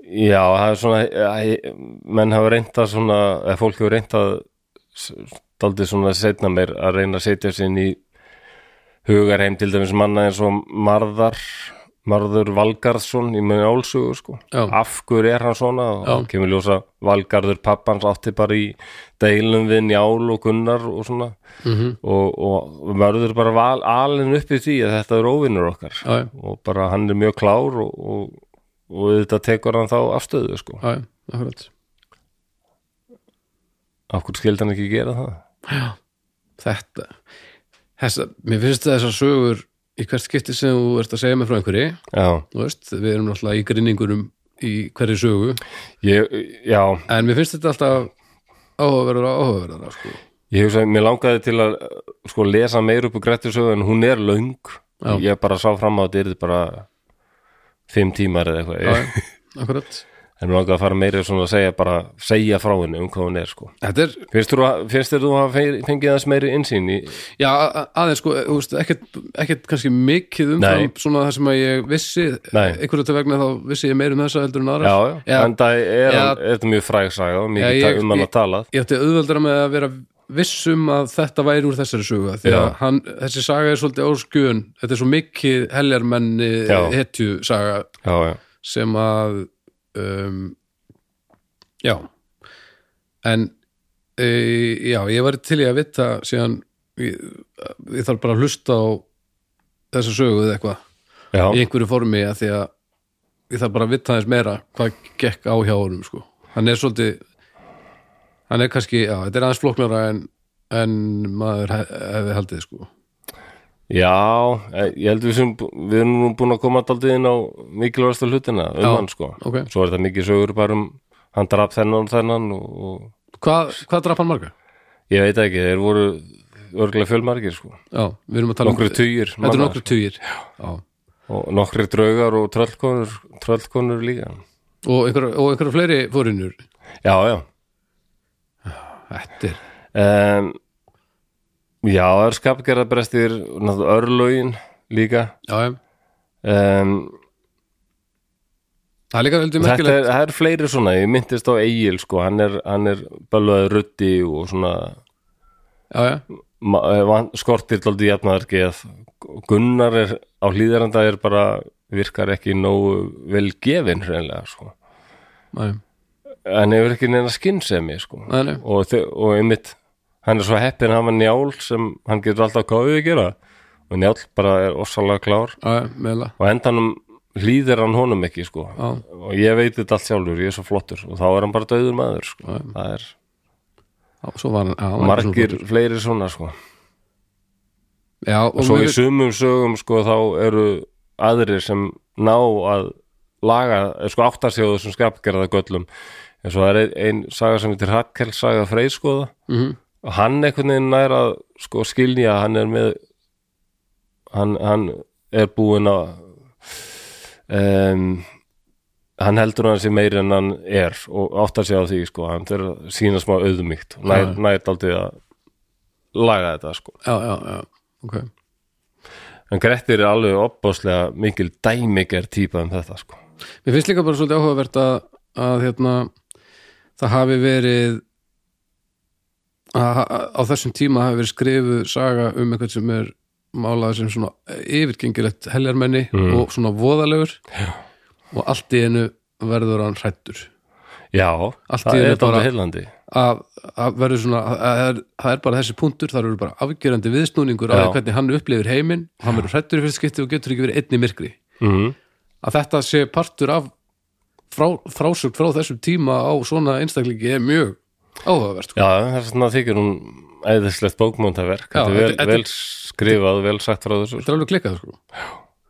[SPEAKER 1] já, það er svona æ, menn hafa reynt að svona eða fólk hefur reynt að daldið svona setna mér að reyna að setja sér inn í hugarheim til dæmis manna eins og marðar Marður Valgarðsson í mjög álsugu sko.
[SPEAKER 2] Já.
[SPEAKER 1] af hverju er hann svona og
[SPEAKER 2] Já.
[SPEAKER 1] kemur ljósa Valgarður pappans átti bara í deilum við Njál og Gunnar og svona
[SPEAKER 2] Mhm.
[SPEAKER 1] -hmm. og, og Marður bara val, alin upp í því að þetta er óvinnur okkar
[SPEAKER 2] já, já,
[SPEAKER 1] og bara hann er mjög klár og, og, og þetta tekur hann þá afstöðu sko.
[SPEAKER 2] já, já, akkurat
[SPEAKER 1] af hverju skildi hann ekki gera það
[SPEAKER 2] þetta þessa, mér finnst þessar sögur í hvert skipti sem þú ert að segja mig frá einhverju
[SPEAKER 1] Já,
[SPEAKER 2] þú veist, við erum náttúrulega í grinningunum í hverju sögu,
[SPEAKER 1] ég, já
[SPEAKER 2] en mér finnst þetta alltaf áhugaverðara, áhugaverðara sko.
[SPEAKER 1] Ég hugsa, mér langaði til að uh, sko lesa meir upp úr Grettisögu en hún er löng
[SPEAKER 2] Já.
[SPEAKER 1] ég bara sá fram á að þetta yrði bara fimm tímar eða eitthvað
[SPEAKER 2] já, já, akkurat
[SPEAKER 1] en mér langaði að fara meira svona að segja bara segja frá henni um hvað hún er sko
[SPEAKER 2] þetta er,
[SPEAKER 1] Finnst þér þú að- finnst þér þú að fe- fengið þess meiri innsýn í
[SPEAKER 2] já, a- aðeins sko þú veist, ekkert, ekkert kannski mikið um
[SPEAKER 1] Nei.
[SPEAKER 2] svona það sem að ég vissi
[SPEAKER 1] Nei.
[SPEAKER 2] einhverju til vegna þá vissi ég meir um þessa heldur en
[SPEAKER 1] Já,
[SPEAKER 2] aðra
[SPEAKER 1] já, en það er,
[SPEAKER 2] Já.
[SPEAKER 1] hann- þetta er mjög fræg saga og mikið
[SPEAKER 2] Já, ég-
[SPEAKER 1] ta- um hann
[SPEAKER 2] ég-
[SPEAKER 1] að talað
[SPEAKER 2] ég átti auðveldara með að vera vissum að þetta væri úr þessari sögu af því að
[SPEAKER 1] Já.
[SPEAKER 2] hann, þessi saga er svolítið áskjöun þetta er svo mikið heljarmenni
[SPEAKER 1] Já.
[SPEAKER 2] hetju saga
[SPEAKER 1] Já, já,
[SPEAKER 2] sem að um, já en e, já, ég var til í að vita síðan ég, ég þarf bara að hlusta á þessa sögu eða eitthvað í
[SPEAKER 1] já,
[SPEAKER 2] einhverju formi að því að ég þarf bara að vita aðeins meira hvað gekk á hjá honum sko. hann er svolítið hann er kannski, já, þetta er aðeins flóknara en, en maður hef- hefði haldið sko.
[SPEAKER 1] já eh, ég held við sem, við erum nú búin að koma daldið inn á mikilvægasta hlutina um
[SPEAKER 2] Já.
[SPEAKER 1] hann sko
[SPEAKER 2] ok,
[SPEAKER 1] svo er þetta mikið sögur bara um hann draf þennan og þennan og, og
[SPEAKER 2] hvað, hvað draf hann marga?
[SPEAKER 1] ég veit ekki, þeir voru örglega fjölmargir sko,
[SPEAKER 2] já, við erum að tala
[SPEAKER 1] nokkri tugir
[SPEAKER 2] um- þetta er
[SPEAKER 1] manna, sko.
[SPEAKER 2] nokkru tugir já.
[SPEAKER 1] og nokkri draugar og tröllkonur, tröllkonur líka
[SPEAKER 2] og einhverja og einhver fleiri fórinur
[SPEAKER 1] já, já
[SPEAKER 2] þetta er,
[SPEAKER 1] um, já, það er skapgerðabrestir náttúrulega örlögin líka
[SPEAKER 2] já, já
[SPEAKER 1] um,
[SPEAKER 2] það er líka heldur
[SPEAKER 1] þetta
[SPEAKER 2] merkilegt
[SPEAKER 1] er, það er fleiri svona ég myndist á Egil sko, hann er, hann er bölvaði ruddi og svona
[SPEAKER 2] já, já,
[SPEAKER 1] ma- eh, van- skortir daldi jafnaðarki að Gunnar er á hlýðaranda er bara virkar ekki nógu vel gefin hreinlega sko.
[SPEAKER 2] já, já,
[SPEAKER 1] en hefur ekki neina skinnsemi sko.
[SPEAKER 2] Nei, nei.
[SPEAKER 1] og, þe- og einmitt hann er svo heppin að hafa njál sem hann getur alltaf káðið að gera og njál bara er ossalega klár
[SPEAKER 2] já, meðla
[SPEAKER 1] og á endanum hlýðir hann honum ekki sko.
[SPEAKER 2] já,
[SPEAKER 1] og ég veit þetta allt sjálfur, ég er svo flottur og þá er hann bara döður maður sko. það er
[SPEAKER 2] já, svo var hann já, hann var ekki
[SPEAKER 1] margir fleiri svona sko.
[SPEAKER 2] svona- já, og
[SPEAKER 1] svo
[SPEAKER 2] mér
[SPEAKER 1] í sumum sögum sko þá eru aðrir sem ná að laga, eh, sko áttasjóðu sem skapgerða göllum en svo er ein, ein saga sem heitir Rakel saga Freyskoða
[SPEAKER 2] Mhm.
[SPEAKER 1] og hann einhvern veginn nær að sko skilja að hann er með hann, hann er búin að um, hann heldur hann sér meiri en hann er og áttar sér á því sko hann fyrir að sína smá auðmygt og nær, nær daldið að laga þetta sko
[SPEAKER 2] já, já, já, ok
[SPEAKER 1] En Grettir er alveg opbáslega mikil dæmiger típa um þetta sko.
[SPEAKER 2] Mér finnst líka bara svolítið áhugavert að, að hérna, það hafi verið að, að, á þessum tíma hafi verið skrifuð saga um eitthvað sem er málað sem svona yfirgengilegt heljarmenni
[SPEAKER 1] Mm.
[SPEAKER 2] og svona voðalegur Já. og allt í einu verður hann hrættur
[SPEAKER 1] Já,
[SPEAKER 2] Allt í
[SPEAKER 1] það
[SPEAKER 2] einu
[SPEAKER 1] er
[SPEAKER 2] bara-
[SPEAKER 1] bara heilandi.
[SPEAKER 2] að, að verður svona að, að, að, það er bara þessi punktur, það eru bara afgjörandi viðsnúningur á
[SPEAKER 1] Já.
[SPEAKER 2] því hvernig hann upplifir heiminn og hann verður hrættur í fyrst skipti og getur ekki verið einni myrkri
[SPEAKER 1] Mm.
[SPEAKER 2] Mhm. að þetta sé partur af frá, frásögn frá þessum tíma á svona einstaklingi er mjög áhugavert sko.
[SPEAKER 1] Já, þess vegna þykir hún æðislegt bókmöntaverk.
[SPEAKER 2] Já,
[SPEAKER 1] Þetta er vel,
[SPEAKER 2] þetta- þetta-
[SPEAKER 1] vel skrifað, vel sagt frá þessu.
[SPEAKER 2] þetta er alveg klikkað sko.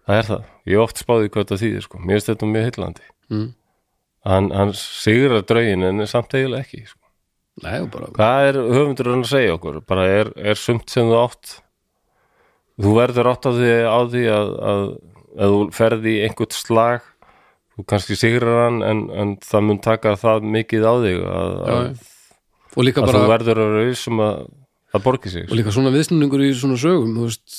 [SPEAKER 1] Það er það. Ég hef oft spáði hvað þetta þýðir sko. Mér finnst þetta mjög heilandi.
[SPEAKER 2] Mm.
[SPEAKER 1] Hann, hann sigrar draugin en er samt eiginlega ekki. Sko.
[SPEAKER 2] Nei, og bara,
[SPEAKER 1] Hvað er höfundur hann að segja okkur? Bara er, er sumt sem þú átt þú verður átt á því, á því að, að, að þú ferði í einhvert slag þú kannski sigrar hann en, en það mun taka það mikið á þig að, að,
[SPEAKER 2] og líka
[SPEAKER 1] að þú
[SPEAKER 2] bara
[SPEAKER 1] verður að rausum að það borgi sig sko.
[SPEAKER 2] og líka svona viðsnúningur í svona sögum þú veist,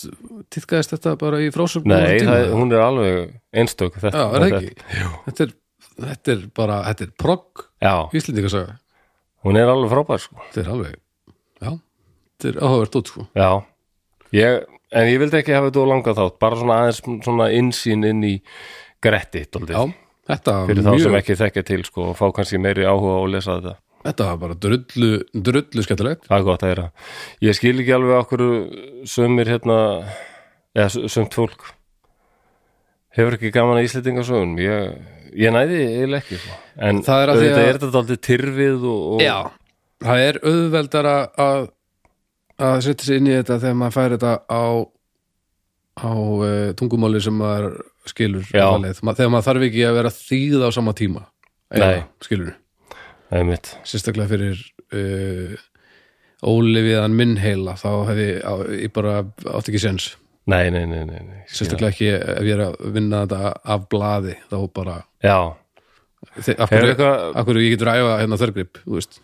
[SPEAKER 2] týðkaðist þetta bara í frásögn
[SPEAKER 1] Nei, það, hún er alveg einstök þetta,
[SPEAKER 2] Já, er það ekki?
[SPEAKER 1] þetta-
[SPEAKER 2] Þetta er, þetta er bara, þetta er progg
[SPEAKER 1] Já,
[SPEAKER 2] íslendingasaga,
[SPEAKER 1] hún er alveg frábær sko
[SPEAKER 2] þetta er alveg já, þetta er áhugavert út sko
[SPEAKER 1] Já, Ég, en ég vildi ekki hafa þetta og langa þátt, bara svona aðeins svona innsýn inn í gretti
[SPEAKER 2] já,
[SPEAKER 1] tóldi,
[SPEAKER 2] þetta var
[SPEAKER 1] fyrir þá sem
[SPEAKER 2] mjög
[SPEAKER 1] ekki þekkja til sko, og fá kannski meiri áhuga og lesa þetta.
[SPEAKER 2] þetta var bara drullu, drullu skemmtilegt
[SPEAKER 1] Það er gott að heyra. Ég skil ekki alveg okkur sömur hérna, eða s- sumt fólk hefur ekki gaman að Íslendingasögun. Ég, ég næði eiginlega ekki. sko. En
[SPEAKER 2] Það er að því
[SPEAKER 1] auðvitað
[SPEAKER 2] að-
[SPEAKER 1] er þetta daldið tyrfið og, og
[SPEAKER 2] já, það er auðveldar að að setja sig inn í þetta þegar maður fær þetta á á uh, tungumáli sem maður skilur
[SPEAKER 1] Já.
[SPEAKER 2] alla leið. Ma- þegar maður þarf ekki að vera þýð á sama tíma
[SPEAKER 1] Nei.
[SPEAKER 2] skilur
[SPEAKER 1] það er mitt.
[SPEAKER 2] sérstaklega fyrir uh, ólifiðan minn heila þá hef ég, á, ég bara átt ekki sens
[SPEAKER 1] Nei, nei, nei, nei. nei.
[SPEAKER 2] sérstaklega ekki ef ég er að vinna þetta af blaði þá bara
[SPEAKER 1] Já,
[SPEAKER 2] þe- af
[SPEAKER 1] hefur
[SPEAKER 2] hverju,
[SPEAKER 1] eitthvað,
[SPEAKER 2] af hverju ég getur æfa hérna þörgrip þú veist.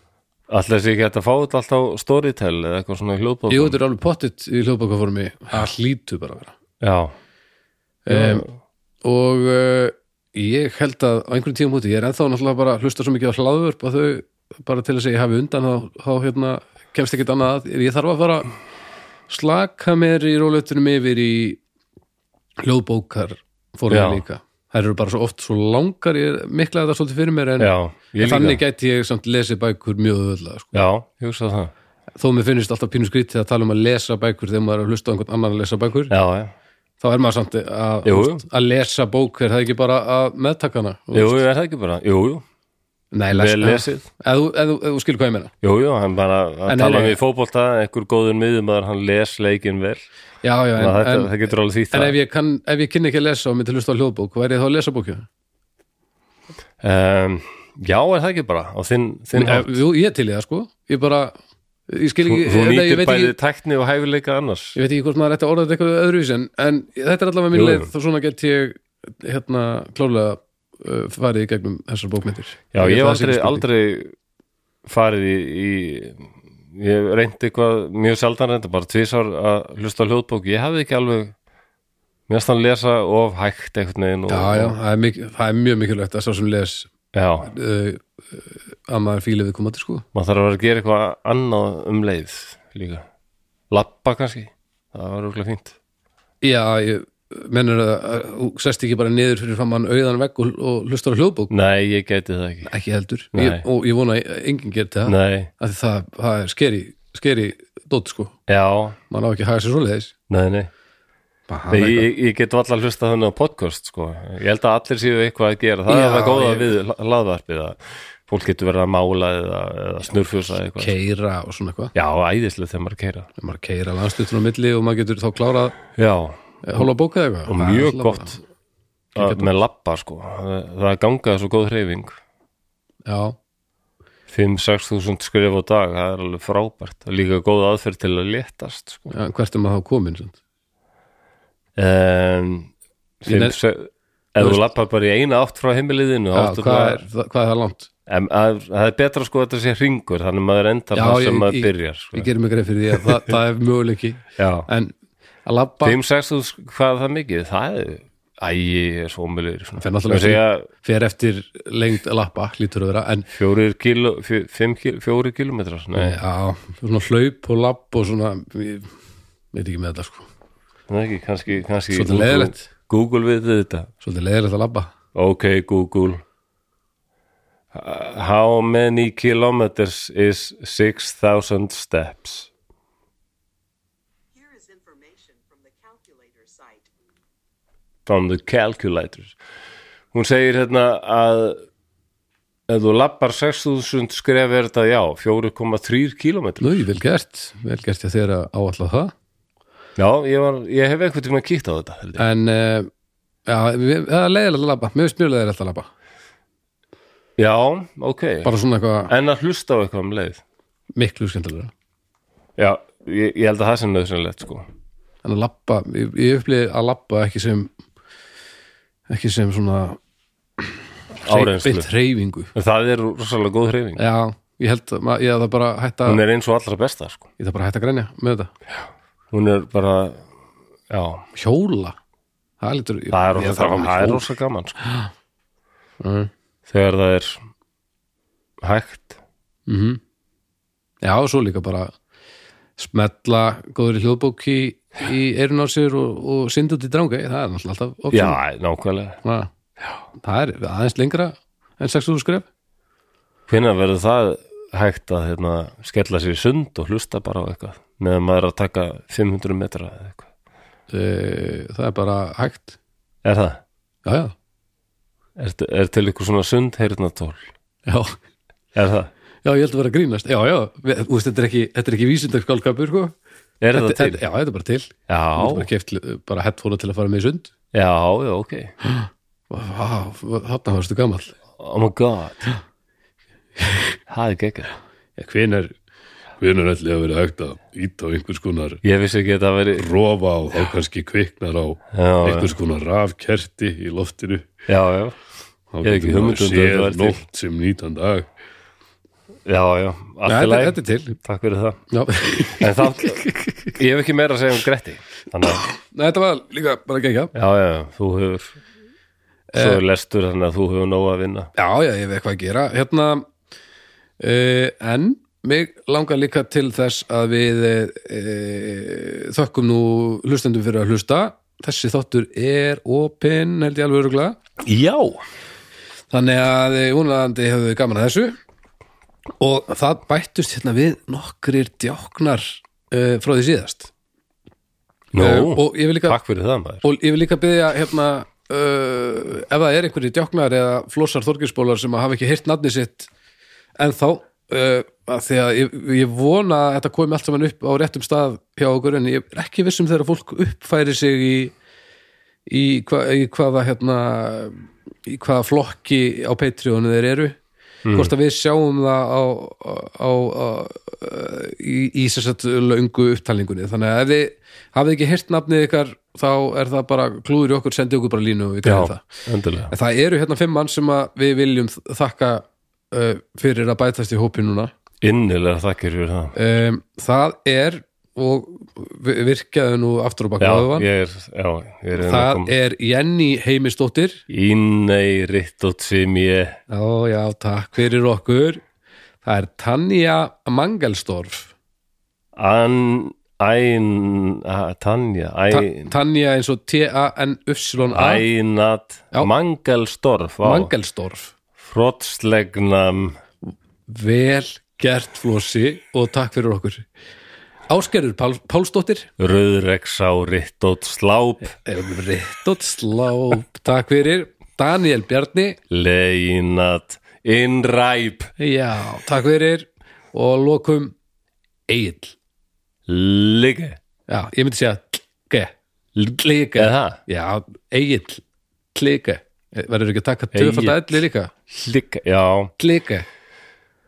[SPEAKER 1] allir þessi ekki hægt að fá þetta allt á storytel eða eitthvað svona hljóðbók.
[SPEAKER 2] jú, þetta er alveg pottitt í hljóðbakaformi það hlýtu bara að vera
[SPEAKER 1] Já,
[SPEAKER 2] um, og uh, ég held að á einhverjum tíum úti, ég er ennþá náttúrulega bara að hlusta svo mikið á hlaðvörp að þau bara til þess að ég hafi undan þá, þá hérna, kemst ekkert annað að ég þarf að fara að slaka mér í rólutunum yfir í hljóðbókar
[SPEAKER 1] Já.
[SPEAKER 2] fórum líka þær eru bara svo oft svo langar ég mikla þetta svolítið fyrir mér en,
[SPEAKER 1] já,
[SPEAKER 2] en
[SPEAKER 1] ég líka.
[SPEAKER 2] þannig gæti ég samt lesið bækur mjög öðvöldlega sko.
[SPEAKER 1] Já, ég hugsa það.
[SPEAKER 2] þó mér finnist alltaf pínu skrítið að tala um að lesa bækur þegar maður er að hlusta á einhvern annan að lesa bækur
[SPEAKER 1] Já, já.
[SPEAKER 2] þá er maður samt að,
[SPEAKER 1] Jú,
[SPEAKER 2] veist, að lesa bók er það ekki bara að meðtaka hana
[SPEAKER 1] Jú, jú, er það ekki bara? Jú, jú,
[SPEAKER 2] nei,
[SPEAKER 1] vel
[SPEAKER 2] les,
[SPEAKER 1] lesið.
[SPEAKER 2] eða þú- eða þú- eða þú skilur hvað ég meina
[SPEAKER 1] Jú, jú, hann bara að
[SPEAKER 2] En
[SPEAKER 1] tala
[SPEAKER 2] er-
[SPEAKER 1] um í fótbolta einhver góður miðumæður, hann les leikinn vel
[SPEAKER 2] já, já, en,
[SPEAKER 1] en, þetta,
[SPEAKER 2] en,
[SPEAKER 1] það getur alveg þýtt
[SPEAKER 2] en
[SPEAKER 1] það
[SPEAKER 2] ef, ég kann, ef ég kynni ekki að lesa og myndi hlusta á hljóðbók, væri ég þá að lesa bókju?
[SPEAKER 1] um, Já, er það ekki bara og þinn, þinn hátt
[SPEAKER 2] jú, ég er til í það sko ég bara, ég skil
[SPEAKER 1] Þú,
[SPEAKER 2] ekki
[SPEAKER 1] þú
[SPEAKER 2] eða ég,
[SPEAKER 1] nýtir
[SPEAKER 2] veit
[SPEAKER 1] bæði
[SPEAKER 2] ekki
[SPEAKER 1] tækni og hæfileika annars
[SPEAKER 2] ég veit ekki hvort maður ætti að orða þetta eitthvað öðruvísi en, en þetta er allavega
[SPEAKER 1] Jú,
[SPEAKER 2] mín leið
[SPEAKER 1] jú.
[SPEAKER 2] þá svona get ég hérna klárlega uh, farið í gegnum þessar bókmyndir
[SPEAKER 1] Já,
[SPEAKER 2] held
[SPEAKER 1] ég hef
[SPEAKER 2] að það sé
[SPEAKER 1] aldrei,
[SPEAKER 2] ekki spurning.
[SPEAKER 1] aldrei farið í, í ég hef reyndi eitthvað mjög sjaldan reynda, bara tvisar að hlusta á hljóðbók, ég hafði ekki alveg mjög stann lesa of hægt einhvern veginn og,
[SPEAKER 2] já, já, það er, mik það er mjög mikilvægt að sá sem les
[SPEAKER 1] já,
[SPEAKER 2] uh, að maður fíli við komandi sko
[SPEAKER 1] maður þarf að vera að gera eitthvað annað um leið líka lappa kannski, það var rúklega fínt
[SPEAKER 2] já, ég mennur að að þú sest ekki bara niður fyrir framann auðan vegg og, og hlustar á hljóðbók
[SPEAKER 1] nei, ég geti það ekki
[SPEAKER 2] ekki heldur,
[SPEAKER 1] Nei.
[SPEAKER 2] ég, og ég vona að enginn geti það,
[SPEAKER 1] nei,
[SPEAKER 2] af því það, það er skeri skeri dótt sko
[SPEAKER 1] já,
[SPEAKER 2] maður á ekki að haga sér svoleiðis
[SPEAKER 1] nei, nei
[SPEAKER 2] Bara
[SPEAKER 1] Nei,
[SPEAKER 2] hafa eitthvað.
[SPEAKER 1] ég, ég get alltaf hlusta þannig á podcast sko. ég held að allir séu eitthvað að gera það
[SPEAKER 2] Já,
[SPEAKER 1] er það góða
[SPEAKER 2] ég-
[SPEAKER 1] við hla- hlaðvarpið að fólk getur verið að mála eða, eða snurfjósa eða eitthvað
[SPEAKER 2] keira og svona eitthvað
[SPEAKER 1] já, æðislega þegar maður er að keira
[SPEAKER 2] Ef maður keira landstutun á milli og maður getur þá klárað
[SPEAKER 1] já,
[SPEAKER 2] eh, hálfa bók eða eitthvað
[SPEAKER 1] og
[SPEAKER 2] Það er
[SPEAKER 1] mjög
[SPEAKER 2] alltaf
[SPEAKER 1] gott að, með lappa sko. það það gangaði svo góð hreyfing
[SPEAKER 2] bara- já,
[SPEAKER 1] 5-6 þúsund skrif á dag það er alveg frábært og líka góð aðferð til að léttast sko.
[SPEAKER 2] já, hvert er maður þá komin sant?
[SPEAKER 1] um,
[SPEAKER 2] Ég nefn-
[SPEAKER 1] 5, 6, ef þú lappar bara í eina átt frá heimiliðinu
[SPEAKER 2] já,
[SPEAKER 1] þá áttu
[SPEAKER 2] hvað,
[SPEAKER 1] bara-
[SPEAKER 2] er, það- hvað er það langt?
[SPEAKER 1] En að, það er betra sko að þetta sé hringur þannig maður endar
[SPEAKER 2] Já,
[SPEAKER 1] það sem
[SPEAKER 2] ég-
[SPEAKER 1] maður
[SPEAKER 2] ég-
[SPEAKER 1] byrjar sko.
[SPEAKER 2] ég gerir mig greið fyrir því að það, það er möguleiki
[SPEAKER 1] Já,
[SPEAKER 2] en að labba
[SPEAKER 1] 5-6 hvað er það mikið? Það er, æ, ég er svo sko. omulur
[SPEAKER 2] Fer náttúrulega
[SPEAKER 1] segja,
[SPEAKER 2] fer eftir lengd lappa, lítur að vera en
[SPEAKER 1] fjórir kíló, fjó, fimm kíló, fjórir kílómetrar Nei,
[SPEAKER 2] já, svona hlaup og lapp og svona, ég veit ekki með þetta sko
[SPEAKER 1] það er ekki, kannski, kannski
[SPEAKER 2] Svolítið leiðilegt.
[SPEAKER 1] Google við þetta
[SPEAKER 2] svolítið leiðilegt að labba
[SPEAKER 1] Ok, Google Uh, How many kilometers is 6,000 steps?
[SPEAKER 3] Here is information from the calculator site.
[SPEAKER 1] from the calculator hún segir hérna að ef þú lappar 6000 skref er þetta já 4,3 kilometr
[SPEAKER 2] Nú, vel gert, vel gert ég þegar að áalla það
[SPEAKER 1] já, ég, var, ég hef einhvern tímann kýtt á þetta held ég.
[SPEAKER 2] en uh, já, við- það er leiðilegt að labba mér finnst mjög leiðilegt að labba
[SPEAKER 1] já, ok
[SPEAKER 2] bara svona eitthvað
[SPEAKER 1] en að hlusta á eitthvað um leið
[SPEAKER 2] miklu skemmtilega
[SPEAKER 1] já, ég, ég held að það sem nöðsynlegt sko
[SPEAKER 2] en að labba, ég, ég upplýði að labba ekki sem ekki sem svona
[SPEAKER 1] Áreynslu.
[SPEAKER 2] beitt reyfingu
[SPEAKER 1] en það er rosalega góð hreyfing
[SPEAKER 2] já, ég held að ma- ég það bara að hætta
[SPEAKER 1] hún er eins og allra besta sko
[SPEAKER 2] ég það bara að hætta að grænja með þetta
[SPEAKER 1] hún er bara já,
[SPEAKER 2] hjóla það er lítur
[SPEAKER 1] það er
[SPEAKER 2] Ég
[SPEAKER 1] rosa,
[SPEAKER 2] þarf
[SPEAKER 1] það
[SPEAKER 2] að
[SPEAKER 1] er
[SPEAKER 2] hjóla.
[SPEAKER 1] rosa gaman sko.
[SPEAKER 2] Mm.
[SPEAKER 1] þegar það er hægt
[SPEAKER 2] Mhm. já og svo líka bara smetla góður í hljóðbóki í eirun á sér og, og synd út í drangei það er náttúrulega alltaf option.
[SPEAKER 1] Já, nákvæmlega
[SPEAKER 2] Svona, já, það er aðeins lengra en 6.000 skref
[SPEAKER 1] Hvenær verður það hægt að hérna, skella sér í sund og hlusta bara á eitthvað meðan maður er að taka 500 metra eða eitthvað.
[SPEAKER 2] Eh, það er bara hægt
[SPEAKER 1] Er það?
[SPEAKER 2] já, já,
[SPEAKER 1] Er, er til ykkur svona sund heyrnatól?
[SPEAKER 2] já
[SPEAKER 1] Er það?
[SPEAKER 2] Já, ég held að vera að grínast. Já, já, við, þú veist, þetta er ekki, þetta er ekki vísindakálkapur, sko.
[SPEAKER 1] Er
[SPEAKER 2] þetta,
[SPEAKER 1] það til?
[SPEAKER 2] Þetta, já, þetta er bara til. Þú getur bara
[SPEAKER 1] Já,
[SPEAKER 2] keft bara headphone til að fara með í sund.
[SPEAKER 1] já, já, ok.
[SPEAKER 2] Vá, þarna varstu gamall.
[SPEAKER 1] Oh my god. Það er gekkar.
[SPEAKER 2] Já, hvenar, hvenar ætli að vera hægt að íta á einhvers konar
[SPEAKER 1] Ég vissi ekki að það veri...
[SPEAKER 2] rofa og þá kannski kviknar á
[SPEAKER 1] Já,
[SPEAKER 2] einhvers konar rafkerti í loftinu.
[SPEAKER 1] já, já,
[SPEAKER 2] Þá
[SPEAKER 1] Ég hef ekki
[SPEAKER 2] getur maður
[SPEAKER 1] hugmynd um þetta
[SPEAKER 2] séð
[SPEAKER 1] væri til.
[SPEAKER 2] nótt sem nýtan dag.
[SPEAKER 1] já, já,
[SPEAKER 2] Já,
[SPEAKER 1] allt í
[SPEAKER 2] þetta,
[SPEAKER 1] lagi.
[SPEAKER 2] þetta er til.
[SPEAKER 1] Takk fyrir það.
[SPEAKER 2] Já.
[SPEAKER 1] En þá, ég hef ekki meira að segja um Gretti. Þannig að,
[SPEAKER 2] Nei, þetta var líka bara að gegja.
[SPEAKER 1] já, já, þú hefur, svo
[SPEAKER 2] Eh.
[SPEAKER 1] er lestur þannig að þú hefur nóg að vinna.
[SPEAKER 2] Já, já, ég hef eitthvað að gera hérna, uh, en mig langar líka til þess að við uh, þökkum nú hlustendum fyrir að hlusta þessi þáttur er opinn held ég alveg öruglega
[SPEAKER 1] Já.
[SPEAKER 2] þannig að eh, vonandi hefur við gaman að þessu og það bættust hérna við nokkrir djáknar uh, frá því síðast
[SPEAKER 1] Nú,
[SPEAKER 2] Eh, og ég vil líka
[SPEAKER 1] Takk fyrir það maður
[SPEAKER 2] Og ég vil líka byggja hérna uh, ef það er einhverjir djáknar eða flossar þorginsbólar sem að hafa ekki heyrt nafni sitt en þá uh, að því að ég, ég vona að þetta komi allt saman upp á réttum stað hjá okkur en ég er ekki vissum þegar fólk uppfæri sig í, í, hva, í hvaða hérna í hvaða flokki á Patreonu þeir eru
[SPEAKER 1] Mm.
[SPEAKER 2] hvort að við sjáum það á, á, á, á í, í sérstætt löngu upptalningunni þannig að ef þið hafið ekki hirt nafnið ykkar þá er það bara klúður í okkur sendið okkur bara línu og við græðum það
[SPEAKER 1] endilega
[SPEAKER 2] en það eru hérna fimm mann sem að við viljum þakka uh, fyrir að bætast í hópi núna
[SPEAKER 1] Innilega þakkir fyrir það
[SPEAKER 2] um, það er og vi- virkaðu nú aftur á baka áðuvan
[SPEAKER 1] ég er, já, ég er
[SPEAKER 2] það er Jenny Heimisdóttir
[SPEAKER 1] Ínei Rittótsi mér
[SPEAKER 2] já já takk fyrir okkur það er Tanja Mangelsdorf
[SPEAKER 1] An, Æn a- Tanja
[SPEAKER 2] Ta-
[SPEAKER 1] Æn
[SPEAKER 2] Tanja eins og T-A-N-Y-A
[SPEAKER 1] Ænat
[SPEAKER 2] Já.
[SPEAKER 1] Mangelstorf
[SPEAKER 2] Mangelsdorf
[SPEAKER 1] Frottslegnam
[SPEAKER 2] Vel gert Flossi og takk fyrir okkur Ásgerður Pál, Pálsdóttir
[SPEAKER 1] Röðreksá Rittótt Sláp
[SPEAKER 2] Rittot Sláp Takk fyrir Daniel Bjarni
[SPEAKER 1] Leinat Innræp
[SPEAKER 2] Já, takk fyrir og lokum Egil
[SPEAKER 1] Lige
[SPEAKER 2] Já, ég myndi segja klike
[SPEAKER 1] Er
[SPEAKER 2] Klike
[SPEAKER 1] það?
[SPEAKER 2] Já, Egil Klike Verður ekki að taka töfald að elli líka
[SPEAKER 1] Lige, já
[SPEAKER 2] Klike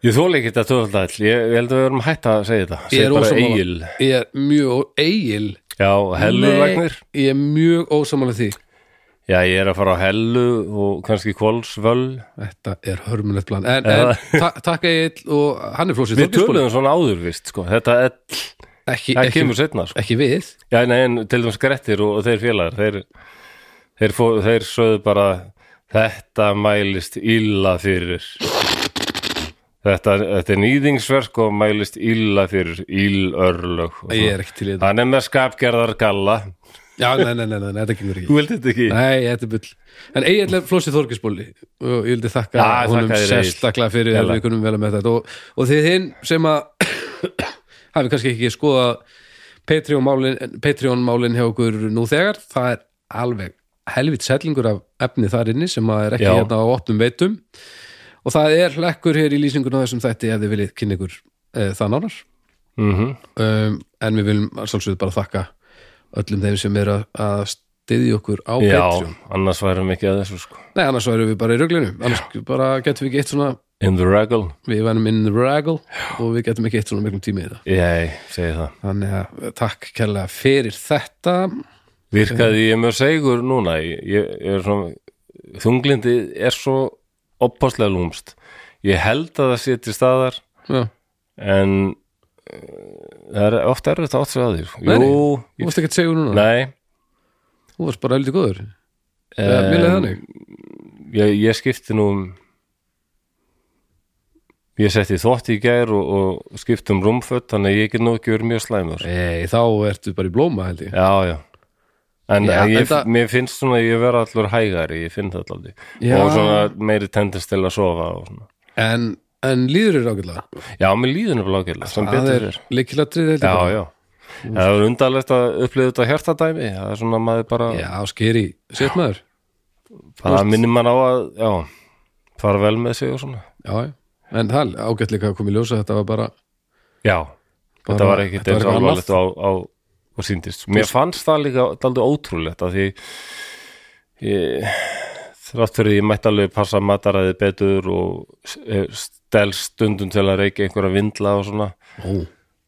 [SPEAKER 1] Ég þóla ekki þetta töfaldall, ég, ég held að við erum hætt að segja þetta
[SPEAKER 2] Ég er
[SPEAKER 1] Segðu bara
[SPEAKER 2] ósammála.
[SPEAKER 1] Egil
[SPEAKER 2] Ég er mjög ó- Egil
[SPEAKER 1] Já, hellu
[SPEAKER 2] Nei,
[SPEAKER 1] Ragnir
[SPEAKER 2] Ég er mjög ósamála því
[SPEAKER 1] Já, ég er að fara á hellu og kannski kvolsvöll
[SPEAKER 2] Þetta er hörmulegt plan En,
[SPEAKER 1] Já.
[SPEAKER 2] en ta takk Egil og hann er flósið
[SPEAKER 1] Við töluðum svona áður vist, sko Þetta ell,
[SPEAKER 2] ekki,
[SPEAKER 1] það
[SPEAKER 2] ekki,
[SPEAKER 1] kemur setna, sko
[SPEAKER 2] ekki við
[SPEAKER 1] Já, nei, en til dæmis Grettir og, og þeir félagar Þeir, þeir, fó, þeir sögðu bara Þetta mælist illa fyrir Þetta, þetta er nýðingsverk og mælist illa fyrir ílörlög og
[SPEAKER 2] Ég
[SPEAKER 1] svona.
[SPEAKER 2] er ekki til í þetta
[SPEAKER 1] Hann er með skapgerðar galla
[SPEAKER 2] Já, nei, nei, nei, nei, nei þetta gengur ekki
[SPEAKER 1] Þú vildi þetta ekki?
[SPEAKER 2] Nei, þetta er bull En Egil er flósið Þorgisbóli og ég vildi þakka
[SPEAKER 1] Já,
[SPEAKER 2] honum
[SPEAKER 1] þakka þér, Egill.
[SPEAKER 2] sérstaklega fyrir að
[SPEAKER 1] Jæja.
[SPEAKER 2] við kunum vel með þetta og, og þið hinn sem að hafi kannski ekki skoða Patreon-málin Patreon málin hjá okkur nú þegar það er alveg helvit sellingur af efni þar inni sem að er ekki
[SPEAKER 1] Já.
[SPEAKER 2] hérna á opnum veitum og það er hlekkur hér í lýsingun á þessum þætti ef þið viljið kynna ykkur e, það nánar
[SPEAKER 1] Mm
[SPEAKER 2] um, en við viljum að sjálfsögðu bara þakka öllum þeim sem er að, að styðja okkur á
[SPEAKER 1] Já,
[SPEAKER 2] Patreon
[SPEAKER 1] annars værum við ekki að þessu sko
[SPEAKER 2] Nei, annars værum við bara í röglinu annars bara getum við ekki eitt svona
[SPEAKER 1] In the regal,
[SPEAKER 2] við værum in the raggle og við getum ekki eitt svona miklum tími í það
[SPEAKER 1] ég segi það
[SPEAKER 2] þannig að eh, takk kærlega fyrir þetta
[SPEAKER 1] Virkaði ég mjög segur núna ég, ég er svona, Þunglindi er svo oppáslega lúmst Ég held að það sé til staðar
[SPEAKER 2] Já,
[SPEAKER 1] En eh, Það er oft erfitt að átt sig að því sko.
[SPEAKER 2] Nei,
[SPEAKER 1] Jú,
[SPEAKER 2] þú
[SPEAKER 1] ég,
[SPEAKER 2] varst ekki að segja núna
[SPEAKER 1] nei
[SPEAKER 2] þú varst bara heldur góður Eða, mér leiði
[SPEAKER 1] um,
[SPEAKER 2] þannig
[SPEAKER 1] ég, ég skipti nú um Ég setti þvott í gær og, og skipti um rúmföt þannig að ég get nú ekki verið mjög slæmur
[SPEAKER 2] Nei, þá ertu bara í blóma held ég
[SPEAKER 1] Já, já En
[SPEAKER 2] Já,
[SPEAKER 1] en ég,
[SPEAKER 2] enda-
[SPEAKER 1] mér finnst svona að ég vera allur hægari, ég finn það alltaf
[SPEAKER 2] Já.
[SPEAKER 1] og svona meiri tendist til að sofa og svona.
[SPEAKER 2] En, en líður er ágætlega
[SPEAKER 1] Já, mér líður nefnilega ágætlega, sem
[SPEAKER 2] Það
[SPEAKER 1] betur
[SPEAKER 2] er
[SPEAKER 1] er
[SPEAKER 2] líkilatrið held ég
[SPEAKER 1] Já,
[SPEAKER 2] bara.
[SPEAKER 1] já Það er undarlegt að upplifa þetta hjartadæmi það er svona að maður bara,
[SPEAKER 2] Já, skeri, sétt maður
[SPEAKER 1] það minnir mann á að já, fara vel með sig og svona
[SPEAKER 2] Já, já En það er ágætt líka að koma í ljósa Þetta var bara
[SPEAKER 1] Já, þetta
[SPEAKER 2] Bara-
[SPEAKER 1] var ekkit
[SPEAKER 2] þetta var
[SPEAKER 1] eins
[SPEAKER 2] eitthvað
[SPEAKER 1] alvarlegt á, á, og síndist Mér fannst það líka daldið ótrúlegt að því ég, þrátt fyrir ég mætti alveg passa mataræði betur og stelst stundum til að reykja einhverja vindla og svona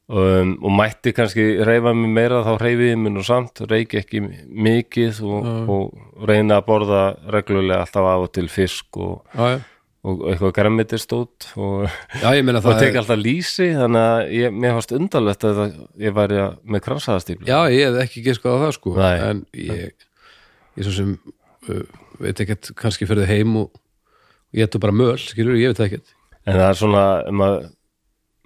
[SPEAKER 2] Ó,
[SPEAKER 1] um, og mætti kannski reyfa mig meira þá reyfi ég minn og samt reyki ekki mikið og, og reyna að borða reglulega alltaf af og til fisk og,
[SPEAKER 2] já, já
[SPEAKER 1] og eitthvað græmitist út og,
[SPEAKER 2] Já, ég meina
[SPEAKER 1] og
[SPEAKER 2] það
[SPEAKER 1] teka alltaf lýsi þannig að ég, mér fannst undarlegt að það- ég væri að- með kransæðastíflu
[SPEAKER 2] Já, ég hef ekki geskað á það sko
[SPEAKER 1] Nei.
[SPEAKER 2] En ég, ég svo sem uh, veit ekkert kannski ferði heim og ég ætla bara möl, skilur, ég veit það ekkert
[SPEAKER 1] en það er svona maður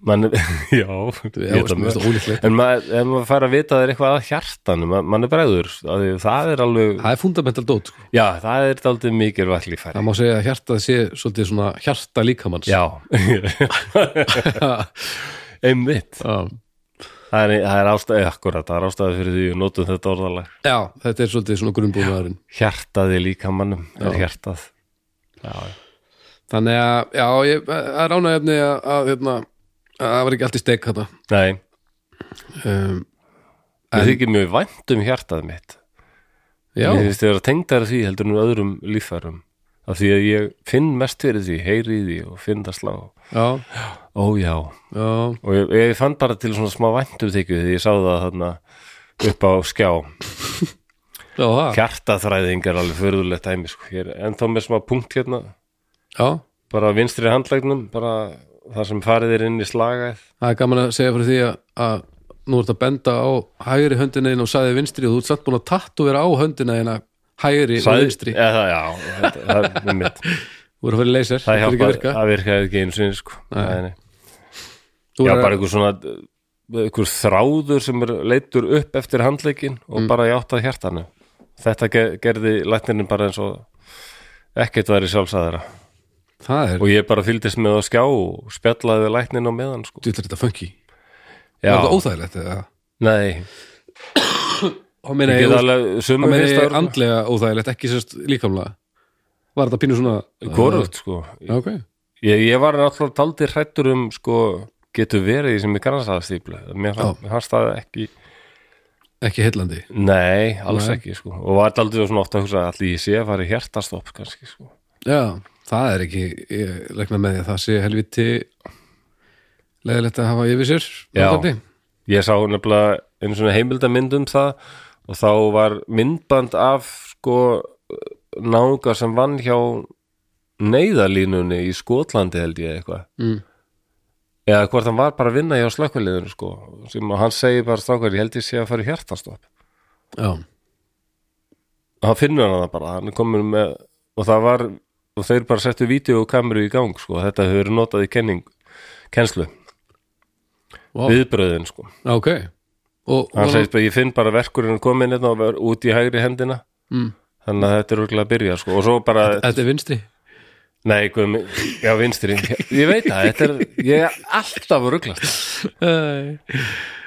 [SPEAKER 1] Man, já,
[SPEAKER 2] Já,
[SPEAKER 1] ég veit
[SPEAKER 2] veist,
[SPEAKER 1] það
[SPEAKER 2] veist, ólíklegt.
[SPEAKER 1] en maður, ef maður fær að vita að það er eitthvað að hjartanum, ma- mann er bregður af því það er alveg,
[SPEAKER 2] Það er fundamental dót sko
[SPEAKER 1] já, það er daldið mikið vatnlífæri
[SPEAKER 2] Það má segja að hjartað sé svolítið svona hjarta líkamanns
[SPEAKER 1] Já Einmitt
[SPEAKER 2] já.
[SPEAKER 1] Það er, það er ástæði akkurat, það er ástæði fyrir því við notum þetta orðalag
[SPEAKER 2] já, þetta er svolítið svona grunnbúnaðurinn
[SPEAKER 1] Hjartaði líka mannum, er hjartað Já, já.
[SPEAKER 2] Þannig að, já, ég það er ránaefni að, að, hérna, að það var ekki allt í steik þetta
[SPEAKER 1] nei,
[SPEAKER 2] um,
[SPEAKER 1] ég þykir mjög vænt um hjartað mitt
[SPEAKER 2] Já,
[SPEAKER 1] Ég finnst þeirra tengdara því heldur en öðrum líffærum af því að ég finn mest fyrir því, heyri í því og finn það slá
[SPEAKER 2] já,
[SPEAKER 1] Ó já, og
[SPEAKER 2] já
[SPEAKER 1] ég, ég fann bara til svona smá væntum þykju því ég sá það þarna upp á skjá
[SPEAKER 2] Já, það,
[SPEAKER 1] Hjartaþræðing er alveg förðulegt dæmi sko. Ég er ennþá með smá punkt hérna
[SPEAKER 2] já
[SPEAKER 1] bara vinstri handlægnum bara það sem farið er inn í slagæð
[SPEAKER 2] Það er gaman að segja fyrir því að, að nú ert að benda á hægri höndina þín og sæði vinstri og þú ert samt búin að tattúvera á höndina þín að hægri og vinstri
[SPEAKER 1] eða, það- Já, þetta- það er með mitt
[SPEAKER 2] Þú ert að fara í leysir,
[SPEAKER 1] Það
[SPEAKER 2] er ekki að
[SPEAKER 1] hjálpar,
[SPEAKER 2] virka
[SPEAKER 1] það virkaði ekki einu sinni sko. Nei, nei.
[SPEAKER 2] Þú
[SPEAKER 1] Já,
[SPEAKER 2] er
[SPEAKER 1] bara
[SPEAKER 2] að,
[SPEAKER 1] einhver svona einhver þráður sem er leittur upp eftir handlegin
[SPEAKER 2] Mm.
[SPEAKER 1] og bara játtað hjartanu Þetta ge- gerði læknirinn bara eins og ekkert væri sjálfsæðara
[SPEAKER 2] það er,
[SPEAKER 1] og ég bara fylgdist með á skjá og spjallaði við lækninn á meðan sko.
[SPEAKER 2] þú ætlar þetta funky
[SPEAKER 1] Já,
[SPEAKER 2] Var það óþægilegt eða?
[SPEAKER 1] nei,
[SPEAKER 2] Og meina
[SPEAKER 1] ég
[SPEAKER 2] ég,
[SPEAKER 1] get
[SPEAKER 2] ég,
[SPEAKER 1] alveg
[SPEAKER 2] ég
[SPEAKER 1] sömu
[SPEAKER 2] meina
[SPEAKER 1] fyrsta
[SPEAKER 2] ég
[SPEAKER 1] örugglega.
[SPEAKER 2] andlega óþægilegt, ekki sérst líkamlega Var þetta pínu svona
[SPEAKER 1] Hvorugt sko
[SPEAKER 2] Já, ok
[SPEAKER 1] Ég, ég var náttúrulega daldið hrættur um sko, getur verið í sem ég grannsæðastíflu mér fann- mér fannst það ekki
[SPEAKER 2] Ekki heillandi
[SPEAKER 1] nei, alls
[SPEAKER 2] Nei.
[SPEAKER 1] ekki sko og var daldið svona oft að hugsa allir ég sé að fara í hjertastopp kannski sko
[SPEAKER 2] Já, það er ekki, ég regna með því að það sé helviti leðilegt að hafa yfir sér
[SPEAKER 1] Já.
[SPEAKER 2] notandi.
[SPEAKER 1] ég sá nefnilega einu svona heimildamynd um það og þá var myndband af sko náunga sem vann hjá neyðarlínunni í Skotlandi held ég eitthvað
[SPEAKER 2] Mm.
[SPEAKER 1] eða hvort hann var bara að vinna hjá slökkuliðinu sko sem hann segir bara strákar ég held ég sé að fara í hjertastopp
[SPEAKER 2] Já,
[SPEAKER 1] hann finnur hann það bara, hann er komin með og það var, og þeir bara settu vídeokameru í gang, sko, þetta hefur verið notað í kenning, kennslu
[SPEAKER 2] Vá.
[SPEAKER 1] viðbröðin, sko
[SPEAKER 2] Já, ok Og,
[SPEAKER 1] hann
[SPEAKER 2] og
[SPEAKER 1] segist bara, ég finn bara verkurinn komin hérna og var út í hægri hendina
[SPEAKER 2] Mm.
[SPEAKER 1] þannig að þetta er örgulega að byrja, sko og svo bara,
[SPEAKER 2] þetta er vinstri
[SPEAKER 1] nei, hvað, já, vinstri ég veit það, þetta er, ég er alltaf örgulega,
[SPEAKER 2] Nei,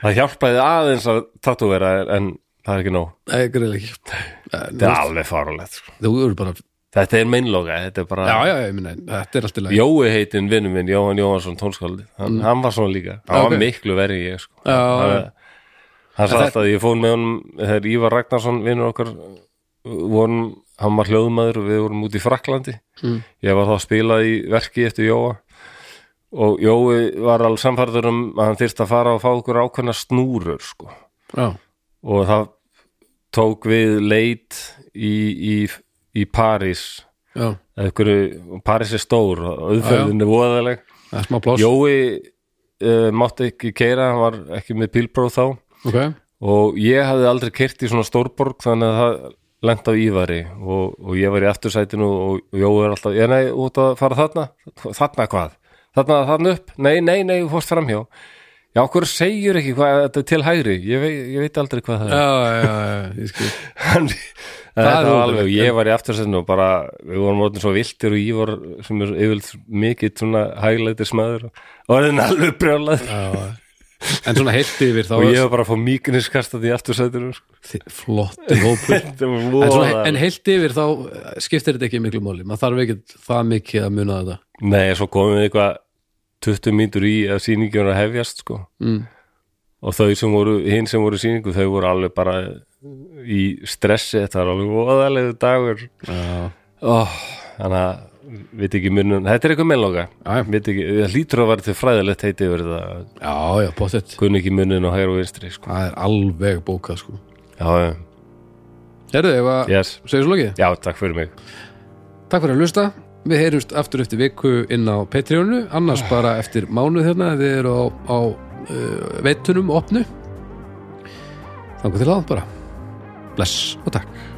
[SPEAKER 1] það hjálpaði aðeins að tattúvera en það er ekki nóg,
[SPEAKER 2] það er greiðlega ekki
[SPEAKER 1] þetta er alveg farulegt, sko
[SPEAKER 2] Þú eru bara,
[SPEAKER 1] þetta er meinloga, þetta er bara
[SPEAKER 2] já, já, ég minna Þetta er alltaf leið
[SPEAKER 1] Jói heitinn vinnu minn, Jóhann Jóhansson tónskáldi hann, hann var svona líka, hann
[SPEAKER 2] Já,
[SPEAKER 1] var
[SPEAKER 2] Mm. ok.
[SPEAKER 1] miklu verið ég sko.
[SPEAKER 2] Já,
[SPEAKER 1] hann, hann sagði
[SPEAKER 2] það-
[SPEAKER 1] alltaf að ég fór með honum þegar Ívar Ragnarsson, vinnur okkar vorum, hann var hljóðmaður og við vorum út í Fraklandi
[SPEAKER 2] Mm.
[SPEAKER 1] ég var þá að spila í verki eftir Jóa og Jói var alveg samfærður um að hann þyrst að fara og fá okkur ákveðna snúrur sko.
[SPEAKER 2] Já,
[SPEAKER 1] og það tók við leit í, í, í París
[SPEAKER 2] já,
[SPEAKER 1] einhverju, París er stór og auðferðin er voðaleg
[SPEAKER 2] það er smá pláss
[SPEAKER 1] Jói uh, mátti ekki keira, hann var ekki með bílbróð þá
[SPEAKER 2] Ok,
[SPEAKER 1] og ég hafði aldrei keirt í svona stórborg þannig að það lent á Ívari og, og ég var í eftursætinu og, og Jói er alltaf, ég nei, út að fara þarna þarna hvað, þarna, þarna upp, nei, nei, nei, þú fórst framhjá já, okkur segjur ekki hvað þetta er til hægri, ég veit, ég veit aldrei hvað það er
[SPEAKER 2] já, já, já, ég skil
[SPEAKER 1] Hann-
[SPEAKER 2] Það
[SPEAKER 1] þetta
[SPEAKER 2] er
[SPEAKER 1] var
[SPEAKER 2] ótrúlegt.
[SPEAKER 1] alveg, ég var í aftursendinu og bara, við vorum orðin svo viltir og ég var sem er yfirleitt mikið svona hægleitir smæður og orðin alveg brjálað
[SPEAKER 2] já, já. en svona heilt yfir þá
[SPEAKER 1] og ég var bara að fá míkiniskastað í aftursendinu sko.
[SPEAKER 2] flott hópur
[SPEAKER 1] þetta var
[SPEAKER 2] en,
[SPEAKER 1] voða
[SPEAKER 2] svona, en heilt yfir þá eh, skiptir þetta ekki miklu máli maður þarf ekki það mikið að muna þetta
[SPEAKER 1] Nei, svo komum við eitthvað 20 mínútur í að sýningin var að hefjast sko.
[SPEAKER 2] mm.
[SPEAKER 1] og þau sem voru, hinn sem voru í sýningu þau voru alveg bara í stressi, þetta var alveg voðalegu dagur
[SPEAKER 2] já,
[SPEAKER 1] oh, þannig að við ekki munum, þetta er eitthvað meðlóka
[SPEAKER 2] Já.
[SPEAKER 1] Veit ekki, það hlýtur að vera til fræðilegt heiti yfir þetta,
[SPEAKER 2] já, já pottet
[SPEAKER 1] kunni ekki munum og hægur og vinstri, sko
[SPEAKER 2] það er alveg bókað sko
[SPEAKER 1] Já, já,
[SPEAKER 2] herðu, ef að
[SPEAKER 1] yes.
[SPEAKER 2] segja svo lokið
[SPEAKER 1] já, takk fyrir mig
[SPEAKER 2] Takk fyrir að hlusta. Við heyrumst aftur eftir viku inn á Patreonu, annars bara eftir mánuð hérna, þið eru á, á uh, veitunum opnu. Þannig til að bara. Bless og takk.